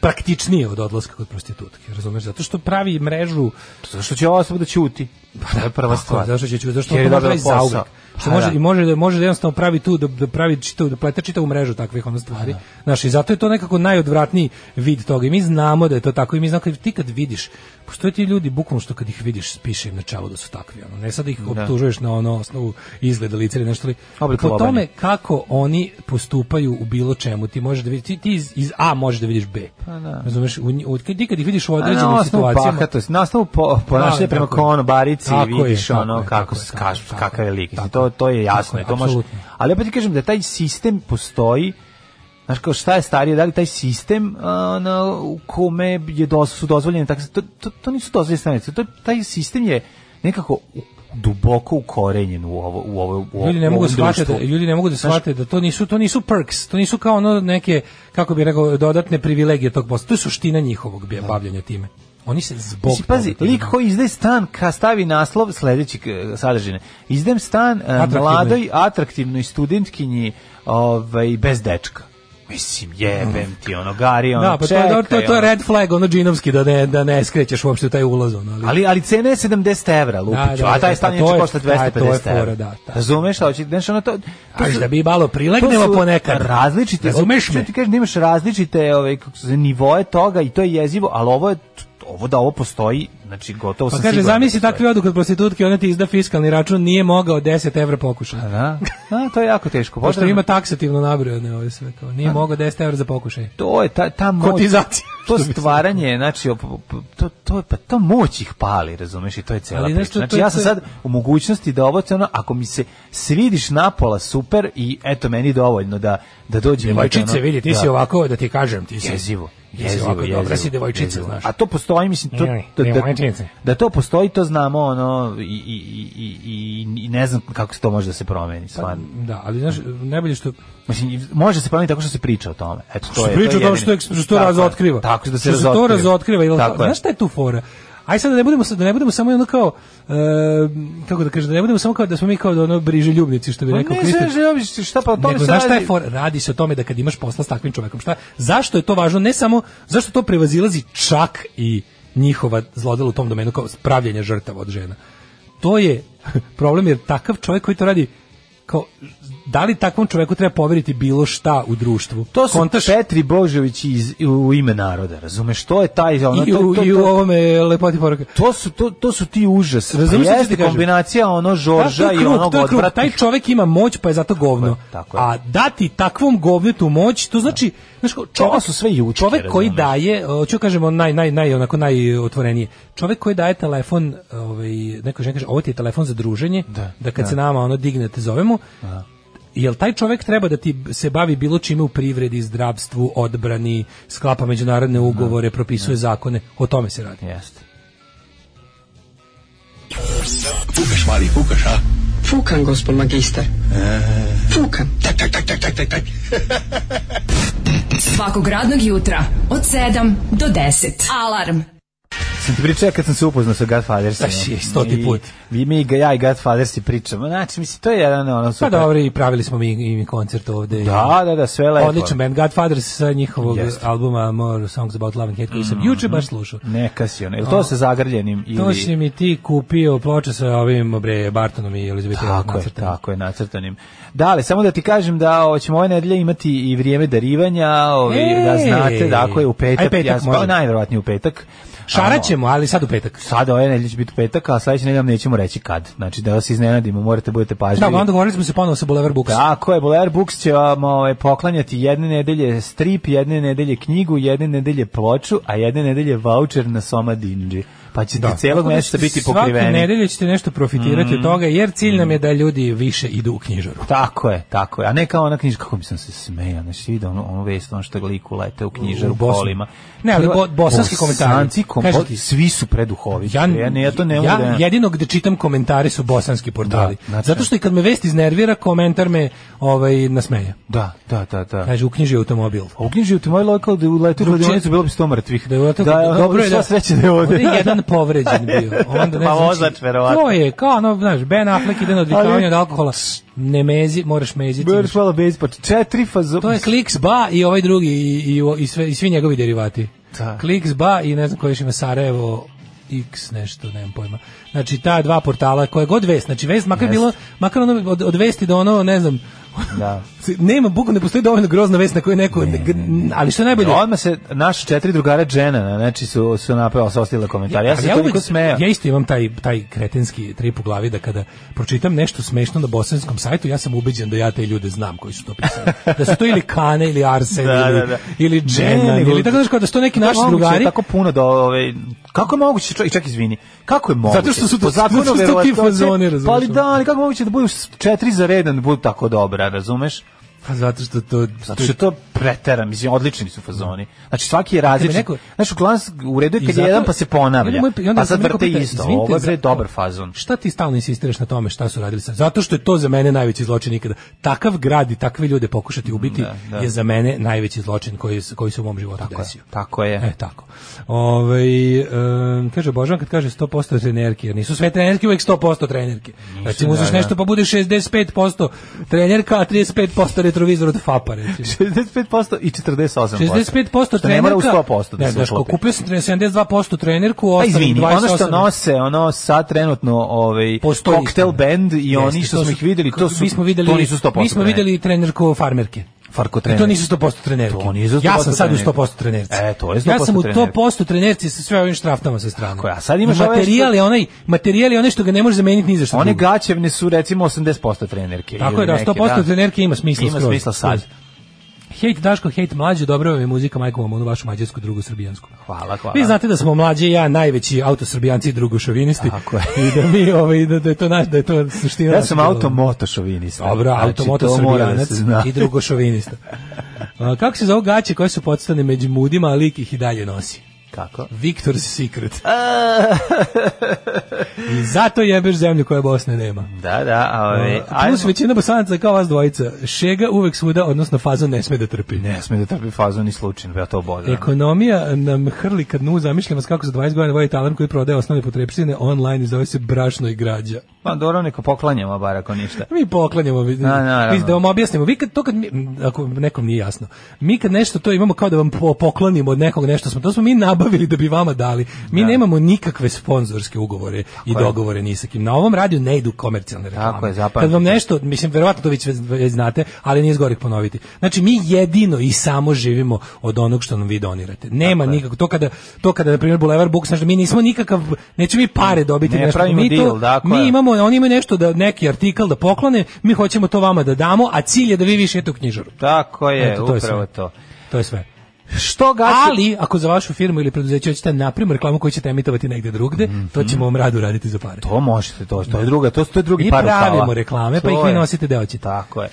Speaker 5: praktičnije od odlaska kod prostitutke, razumeš? Zato što pravi mrežu
Speaker 6: Zašto će ova osoba da ćuti? Pa, to je prva
Speaker 5: Tako,
Speaker 6: stvar.
Speaker 5: Zašto će ću, zašto
Speaker 6: Jer
Speaker 5: to
Speaker 6: je
Speaker 5: može
Speaker 6: dobila
Speaker 5: raditi zauvek.
Speaker 6: posao.
Speaker 5: Što
Speaker 6: Pa
Speaker 5: može
Speaker 6: da.
Speaker 5: i može da može da jednostavno pravi tu da, da pravi čitavu da plete čitavu mrežu takvih ono stvari. Znaš, i zato je to nekako najodvratniji vid toga. I mi znamo da je to tako i mi znamo kad ti kad vidiš, postoje ti ljudi bukvalno što kad ih vidiš spiše im na čelo da su takvi, ono. Ne sad da ih optužuješ na ono osnovu izgleda lica ili nešto ali
Speaker 6: Oblik
Speaker 5: po
Speaker 6: lovanja.
Speaker 5: tome kako oni postupaju u bilo čemu, ti možeš da vidiš ti, ti iz, iz A možeš da vidiš B. Razumeš, u, nji- u, ti kad ih vidiš u
Speaker 6: Pa A na
Speaker 5: određenim
Speaker 6: osnovu
Speaker 5: situacijama,
Speaker 6: bahatosti, na osnovu po, ponašanja
Speaker 5: Da,
Speaker 6: prema
Speaker 5: tako je.
Speaker 6: konobarici
Speaker 5: Tako je,
Speaker 6: vidiš
Speaker 5: tako
Speaker 6: ono
Speaker 5: je,
Speaker 6: kako
Speaker 5: tako je,
Speaker 6: se
Speaker 5: tako
Speaker 6: kaže,
Speaker 5: je, tako
Speaker 6: kakav je
Speaker 5: je,
Speaker 6: lik. Mislim,
Speaker 5: tako
Speaker 6: To,
Speaker 5: je,
Speaker 6: to je jasno.
Speaker 5: tako je,
Speaker 6: to može,
Speaker 5: apsolutno.
Speaker 6: ali opet ti kažem da taj sistem postoji Znaš kao šta je starije, da li taj sistem a, na, u kome je dos, su dozvoljene takse, to, to, to nisu dozvoljene stanice, to, taj sistem je nekako u- duboko ukorenjen u ovo u ovo u,
Speaker 5: ljudi ne
Speaker 6: u
Speaker 5: mogu
Speaker 6: ovom
Speaker 5: shvatiti da,
Speaker 6: društvu.
Speaker 5: ljudi ne mogu da
Speaker 6: Znaš,
Speaker 5: shvate da to nisu to nisu perks, to nisu kao ono neke kako bih rekao dodatne privilegije tog posla. To je suština njihovog bi- bavljenja time. Oni se zbog
Speaker 6: Mislim, pazi,
Speaker 5: toga-
Speaker 6: lik koji izdaje stan, ka stavi naslov sledećeg e, sadržine. Izdajem stan e,
Speaker 5: Atraktivnoj.
Speaker 6: mladoj, atraktivnoj studentkinji ovaj, bez dečka. Mislim, jebem ti, ono, gari, ono,
Speaker 5: Da, pa to je,
Speaker 6: čekaj,
Speaker 5: dobro, to, to je
Speaker 6: ono.
Speaker 5: red flag, ono džinovski, da ne, da ne skrećeš uopšte u taj ulaz. Ono, ali,
Speaker 6: Ali, ali cena je 70 evra, lupiću,
Speaker 5: Da, da,
Speaker 6: a taj
Speaker 5: da,
Speaker 6: stan
Speaker 5: pa
Speaker 6: je
Speaker 5: to je-
Speaker 6: košta
Speaker 5: da, to je
Speaker 6: 250 evra.
Speaker 5: fora, da, da.
Speaker 6: Razumeš, šta hoće, znaš, ono, to... to
Speaker 5: Znaš,
Speaker 6: su-
Speaker 5: da bi malo prilegnemo
Speaker 6: to su
Speaker 5: ponekad.
Speaker 6: Različite,
Speaker 5: Razumeš
Speaker 6: što
Speaker 5: me?
Speaker 6: Ti kažeš da imaš različite, ovaj kako se zove, nivoe toga i to je jezivo, ali ovo je ovo da ovo postoji Znači, gotovo
Speaker 5: Pa
Speaker 6: sam
Speaker 5: kaže,
Speaker 6: siguran
Speaker 5: zamisli
Speaker 6: da postoji.
Speaker 5: takvi odu kod prostitutke, ona ti izda fiskalni račun, nije mogao 10 evra pokušaj.
Speaker 6: Da, da, to je jako teško.
Speaker 5: Pošto
Speaker 6: Potrebno-
Speaker 5: ima taksativno nabrojane ove sve, kao, nije mogao 10 evra za pokušaj.
Speaker 6: to je ta, ta moć,
Speaker 5: Kotizacija.
Speaker 6: to stvaranje, znači, op- p- to, to, pa to moć ih pali, razumeš, i to je cela
Speaker 5: Ali
Speaker 6: priča.
Speaker 5: nešto, to
Speaker 6: Znači,
Speaker 5: je
Speaker 6: ja sam
Speaker 5: ce-
Speaker 6: sad u mogućnosti da ovo, ono, ako mi se svidiš napola, super, i eto, meni dovoljno da, da dođem. i da,
Speaker 5: Devojčice,
Speaker 6: ono,
Speaker 5: vidi, ti
Speaker 6: da.
Speaker 5: si ovako, da ti kažem, ti si...
Speaker 6: Jezivo.
Speaker 5: Ti si
Speaker 6: Jezivo,
Speaker 5: ovako,
Speaker 6: jezivo,
Speaker 5: dobra si devojčica,
Speaker 6: jezivo.
Speaker 5: znaš.
Speaker 6: A to postoji, mislim, to,
Speaker 5: Nije,
Speaker 6: da,
Speaker 5: nije
Speaker 6: da,
Speaker 5: devojčice.
Speaker 6: da to postoji, to znamo, ono, i, i, i, i- i, i ne znam kako se to može da se promeni, stvarno.
Speaker 5: Da, ali znaš, najbolje što...
Speaker 6: Mislim, može se promeniti tako što se priča o tome. Eto, to
Speaker 5: što
Speaker 6: je,
Speaker 5: priča
Speaker 6: to
Speaker 5: o
Speaker 6: je
Speaker 5: tome
Speaker 6: jedini-
Speaker 5: što, je- što to
Speaker 6: Tako je.
Speaker 5: razotkriva.
Speaker 6: Tako, da se
Speaker 5: što se to
Speaker 6: razotkriva.
Speaker 5: razotkriva. Jel,
Speaker 6: Tako je.
Speaker 5: znaš šta je tu fora? Aj sad da ne budemo da ne budemo samo ono kao e, kako da kažem da ne budemo samo kao da smo mi kao da ono briže ljubnici što bi
Speaker 6: Pa
Speaker 5: rekao
Speaker 6: ne,
Speaker 5: Kristić.
Speaker 6: sve želiš, šta pa o tome
Speaker 5: Nego,
Speaker 6: se
Speaker 5: znaš šta je
Speaker 6: radi.
Speaker 5: for, radi se o tome da kad imaš posla s takvim čovekom, šta, zašto je to važno, ne samo, zašto to prevazilazi čak i njihova zlodela u tom domenu kao pravljenje žrtava od žena. To je problem jer takav čovjek koji to radi, kao, da li takvom čoveku treba poveriti bilo šta u društvu?
Speaker 6: To su
Speaker 5: Kontaš-
Speaker 6: Petri Božović iz, u ime naroda, razumeš? To je taj... Ono,
Speaker 5: i,
Speaker 6: to,
Speaker 5: u,
Speaker 6: to,
Speaker 5: i u
Speaker 6: to,
Speaker 5: ovome lepoti poruke.
Speaker 6: to su, to, to su ti užas.
Speaker 5: Razumeš šta
Speaker 6: pa
Speaker 5: ću
Speaker 6: jeste
Speaker 5: ti kažem?
Speaker 6: kombinacija ono Žorža
Speaker 5: Da, to je
Speaker 6: i
Speaker 5: krug,
Speaker 6: onog
Speaker 5: to je krug. Taj
Speaker 6: odvratnih.
Speaker 5: čovjek ima moć, pa je zato govno.
Speaker 6: je, tako je.
Speaker 5: A dati takvom govnetu moć, to znači, znači
Speaker 6: Ovo su sve jučke,
Speaker 5: čovjek koji
Speaker 6: razumeš?
Speaker 5: daje, e, hoću kažem on naj naj naj onako najotvorenije. Čovjek koji daje telefon, ovaj neko žena kaže, ovo ti je telefon za druženje, da, kad se nama ono dignete zovemo. Jel taj čovjek treba da ti se bavi bilo čime u privredi, zdravstvu, odbrani, sklapa međunarodne ugovore, propisuje zakone, o tome se radi.
Speaker 6: Jeste.
Speaker 10: Fukan, gospod magister. Fukan. Tak, tak, tak, tak, tak, tak, tak.
Speaker 4: Svakog radnog jutra od 7 do 10. Alarm.
Speaker 6: Sam ti pričao kad sam se upoznao sa Godfathersima.
Speaker 5: Znaš, je, stoti
Speaker 6: I-
Speaker 5: put.
Speaker 6: I, mi, ga- ja i Godfathersi pričamo. Znači, mislim, to je jedan ono
Speaker 5: Pa
Speaker 6: super.
Speaker 5: dobro, i pravili smo mi, i mi koncert ovde.
Speaker 6: Da, da, da, sve lepo.
Speaker 5: Odličan band Godfathers sa njihovog
Speaker 6: Jeste.
Speaker 5: albuma More Songs About Love and Hate koji sam juče baš slušao.
Speaker 6: Neka si ono. Je li to sa zagrljenim ili...
Speaker 5: To si mi ti kupio ploče sa ovim bre Bartonom i Elizabetom.
Speaker 6: Tako je, tako je, nacrtanim. Dale, samo da ti kažem da o, ćemo ove nedelje imati i vrijeme darivanja, ovi,
Speaker 5: Ej!
Speaker 6: da znate, da ako je u petak,
Speaker 5: Aj, petak
Speaker 6: ja sam,
Speaker 5: može.
Speaker 6: pa, najverovatnije u petak.
Speaker 5: Šarat
Speaker 6: Ono,
Speaker 5: ćemo, ali sad u petak.
Speaker 6: Sada ove nedelje će biti petak, a sledeće nedelje vam nećemo reći kad. Znači da vas iznenadimo, morate budete
Speaker 5: Da,
Speaker 6: pažljivi.
Speaker 5: onda govorili smo se ponovo sa Boulevard Books.
Speaker 6: Tako je, Blair Books će vam ovaj, poklanjati jedne nedelje strip, jedne nedelje knjigu, jedne nedelje ploču, a jedne nedelje voucher na Soma Dinđi. Pa ćete celog
Speaker 5: Tako da
Speaker 6: mjeseca biti
Speaker 5: Svake
Speaker 6: pokriveni. Mm.
Speaker 5: nedelje ćete nešto profitirati od toga, jer cilj nam je da ljudi više idu u knjižaru.
Speaker 6: Tako je, tako je. A ne kao ona knjižka, kako mi sam se smejao, znači vidio ono, ono vest, ono što gliku lete u knjižaru
Speaker 5: U
Speaker 6: u
Speaker 5: Bosnu.
Speaker 6: kolima.
Speaker 5: Ne, ali bo- bosanski
Speaker 6: Bosanci
Speaker 5: komentari.
Speaker 6: kom-
Speaker 5: Kažem ti.
Speaker 6: svi su preduhovi. Ja, E, ja, ne, ja to ne
Speaker 5: ja
Speaker 6: mogu da...
Speaker 5: jedino gde čitam komentari su bosanski portali.
Speaker 6: Da, znači-
Speaker 5: Zato što i kad me vest iznervira, komentar me ovaj, nasmeja.
Speaker 6: Da, da, da, da.
Speaker 5: Kaže, uknjiži automobil.
Speaker 6: A u knjiži u Timoj lokal da je uletio u
Speaker 5: Drugčije-
Speaker 6: kladionicu bilo bi sto mrtvih.
Speaker 5: Da je otak,
Speaker 6: da, ono,
Speaker 5: dobro je
Speaker 6: sva
Speaker 5: da
Speaker 6: sreća da je ovde.
Speaker 5: Ovde je jedan povređen bio. Onda ne
Speaker 6: Pa
Speaker 5: znači,
Speaker 6: vozač, verovatno.
Speaker 5: To je kao ono, znaš, Ben Affleck ide na odvikavanje
Speaker 6: Ali-
Speaker 5: od alkohola. Ne mezi, moraš meziti. Znači,
Speaker 6: Boriš malo bez pa četiri fazo...
Speaker 5: To je Kliks Ba i ovaj drugi i, i, i, sve, i svi njegovi derivati.
Speaker 6: Da.
Speaker 5: Kliks Ba i ne znam koji još ima Sarajevo X nešto, nemam pojma. Znači, ta dva portala, koje god vest, znači vest, makar bilo, makar ono od, od vesti do ono, ne znam,
Speaker 6: Da.
Speaker 5: nema, bukvalno ne postoji dovoljno grozna vest na koju neko, g- ali što je najbolje,
Speaker 6: Odmah se naša četiri drugara Džena, znači su, su napeo, sa ostavila komentar. Ja
Speaker 5: Ali
Speaker 6: sam se toliko
Speaker 5: uvek-
Speaker 6: smejao.
Speaker 5: Ja isto imam taj, taj kretenski trip u glavi da kada pročitam nešto smešno na bosanskom sajtu, ja sam ubeđen da ja te ljude znam koji su to pisali. Da su to ili Kane, ili Arsen,
Speaker 6: Da,
Speaker 5: ili,
Speaker 6: da, da.
Speaker 5: ili Dženan,
Speaker 6: Ne, nego-
Speaker 5: ili tako znaš kao da su to neki
Speaker 6: Kako je
Speaker 5: naši
Speaker 6: moguće
Speaker 5: drugari.
Speaker 6: Tako puno da ove kako je moguće čak, čak izvini. Kako je moguće?
Speaker 5: Zato što su to-
Speaker 6: Po zakonu
Speaker 5: zato što su ti
Speaker 6: verovatnoće-
Speaker 5: fazoni, razumeš? ono.
Speaker 6: Pa ali da, ali kako je moguće da budu s- četiri za redan da budu tako dobra, razumeš?
Speaker 5: Pa zato što to...
Speaker 6: Zato što je to pretera, mislim, odlični su fazoni. Znači svaki je različit.
Speaker 5: neko-
Speaker 6: Znači u glas u redu je
Speaker 5: I
Speaker 6: kad je
Speaker 5: zato-
Speaker 6: jedan pa se
Speaker 5: i
Speaker 6: ponavlja.
Speaker 5: onda moj- i onda
Speaker 6: Pa sad
Speaker 5: me neko
Speaker 6: vrte
Speaker 5: pita,
Speaker 6: isto.
Speaker 5: "Izvinite,
Speaker 6: Ovo je bre
Speaker 5: za-
Speaker 6: dobar fazon.
Speaker 5: Šta ti stalno insistiraš na tome šta su radili sad? Zato što je to za mene najveći zločin ikada. Takav grad i takve ljude pokušati ubiti
Speaker 6: da.
Speaker 5: je za mene najveći zločin koji, s- koji se u mom životu desio.
Speaker 6: Tako je.
Speaker 5: E, tako. Ove, kaže Božan kad kaže 100% trenerke, jer nisu sve trenerke uvek 100% trenerke. Recimo, uzmeš nešto pa bude 65% trenerka, a 35% retrovizor od FAPA, recimo.
Speaker 6: 65% i 48%.
Speaker 5: 65%
Speaker 6: Što ne mora u
Speaker 5: trenerka.
Speaker 6: 100% da
Speaker 5: ne,
Speaker 6: se
Speaker 5: znaš, ko,
Speaker 6: uklopi.
Speaker 5: kupio sam 72% trenerku,
Speaker 6: Pa
Speaker 5: ostalo
Speaker 6: izvini,
Speaker 5: 28.
Speaker 6: ono što nose, ono sad trenutno ovaj
Speaker 5: Postoji
Speaker 6: koktel
Speaker 5: istina.
Speaker 6: band i
Speaker 5: Jeste,
Speaker 6: oni što
Speaker 5: to
Speaker 6: smo
Speaker 5: su-
Speaker 6: ih videli, to su
Speaker 5: mi smo videli,
Speaker 6: to nisu 100%.
Speaker 5: Mi smo
Speaker 6: ne.
Speaker 5: videli trenerku farmerke.
Speaker 6: Farko
Speaker 5: I
Speaker 6: trener.
Speaker 5: to nisu 100% trenerke.
Speaker 6: To nisu 100%
Speaker 5: ja sam sad u
Speaker 6: trenerke.
Speaker 5: 100% trenerci.
Speaker 6: E, to je 100%
Speaker 5: Ja sam u
Speaker 6: trenerke.
Speaker 5: 100% trenerci sa sve ovim štraftama sa strane.
Speaker 6: Tako je, a sad imaš ove
Speaker 5: materijal
Speaker 6: što-
Speaker 5: je onaj, materijal je onaj što ga ne može zameniti ni za što.
Speaker 6: One
Speaker 5: drugo.
Speaker 6: gaćevne su recimo 80% trenerke.
Speaker 5: Tako
Speaker 6: ili
Speaker 5: je, da,
Speaker 6: neke,
Speaker 5: 100% trenerke ima smisla
Speaker 6: Ima
Speaker 5: skroz.
Speaker 6: smisla sad.
Speaker 5: Hejt Daško, hejt mlađe, dobro vam je muzika, majko vam, onu vašu mađarsku, drugu srbijansku.
Speaker 6: Hvala, hvala.
Speaker 5: Vi znate da smo mlađi i ja najveći autosrbijanci i drugošovinisti.
Speaker 6: Tako je.
Speaker 5: I da mi ovaj da, da je to naš da je to suština.
Speaker 6: Ja
Speaker 5: našeg
Speaker 6: sam
Speaker 5: delovanja.
Speaker 6: automoto šovinista.
Speaker 5: Dobro,
Speaker 6: Znači,
Speaker 5: automoto
Speaker 6: to mora da
Speaker 5: srbijanac
Speaker 6: se zna.
Speaker 5: i drugošovinista. A, kako se zove gaće koje su podstane među mudima, a lik ih i dalje nosi?
Speaker 6: Kako?
Speaker 5: Victor's Secret. I zato jebeš zemlju koja Bosne nema.
Speaker 6: Da, da, ovaj, a ove,
Speaker 5: A, plus većina bosanaca kao vas dvojica. Šega uvek svuda, odnosno faza ne sme da trpi.
Speaker 6: Ne sme da trpi fazu ni slučajno, pa ja to obožavam.
Speaker 5: Ekonomija nam hrli kad nu zamišljam vas kako za 20 godina vodi talan koji prodaje osnovne potrepštine online i zove se brašno i građa.
Speaker 6: Pa dobro, neko poklanjamo, bar ako ništa.
Speaker 5: Mi poklanjamo, vi,
Speaker 6: A, naravno.
Speaker 5: vi da vam objasnimo. Vi kad, to kad mi, m, ako nekom nije jasno, mi kad nešto to imamo kao da vam po- poklonimo od nekog nešto, smo, to smo mi nabavili da bi vama dali. Mi nemamo nikakve sponzorske ugovore i
Speaker 6: je.
Speaker 5: dogovore ni sa kim. Na ovom radiju ne idu komercijalne reklame.
Speaker 6: Tako je, zapamtite.
Speaker 5: kad vam nešto, mislim, verovatno to već, već znate, ali nije zgorih ponoviti. Znači, mi jedino i samo živimo od onog što nam vi donirate. Nema nikako. To kada, to kada, na primjer, Boulevard Books, znači, mi nismo nikakav, nećemo mi pare dobiti.
Speaker 6: Ne
Speaker 5: nešto.
Speaker 6: pravimo
Speaker 5: mi to-
Speaker 6: deal, dakle. tako
Speaker 5: mi
Speaker 6: je.
Speaker 5: imamo, oni imaju nešto da neki artikl da poklone, mi hoćemo to vama da damo, a cilj je da vi više idete u knjižaru.
Speaker 6: Tako je,
Speaker 5: Eto, to je
Speaker 6: upravo
Speaker 5: sve.
Speaker 6: to.
Speaker 5: To je sve.
Speaker 6: Što gaće?
Speaker 5: Ali, ako za vašu firmu ili preduzeće hoćete napravimo reklamu koju ćete emitovati negde drugde, to ćemo vam radu raditi za pare.
Speaker 6: Mhm. To možete, to, to je druga, to, to je drugi
Speaker 5: I
Speaker 6: par rukava.
Speaker 5: pravimo reklame, pa
Speaker 6: To
Speaker 5: ih vi
Speaker 6: je.
Speaker 5: nosite da hoćete.
Speaker 6: Tako je.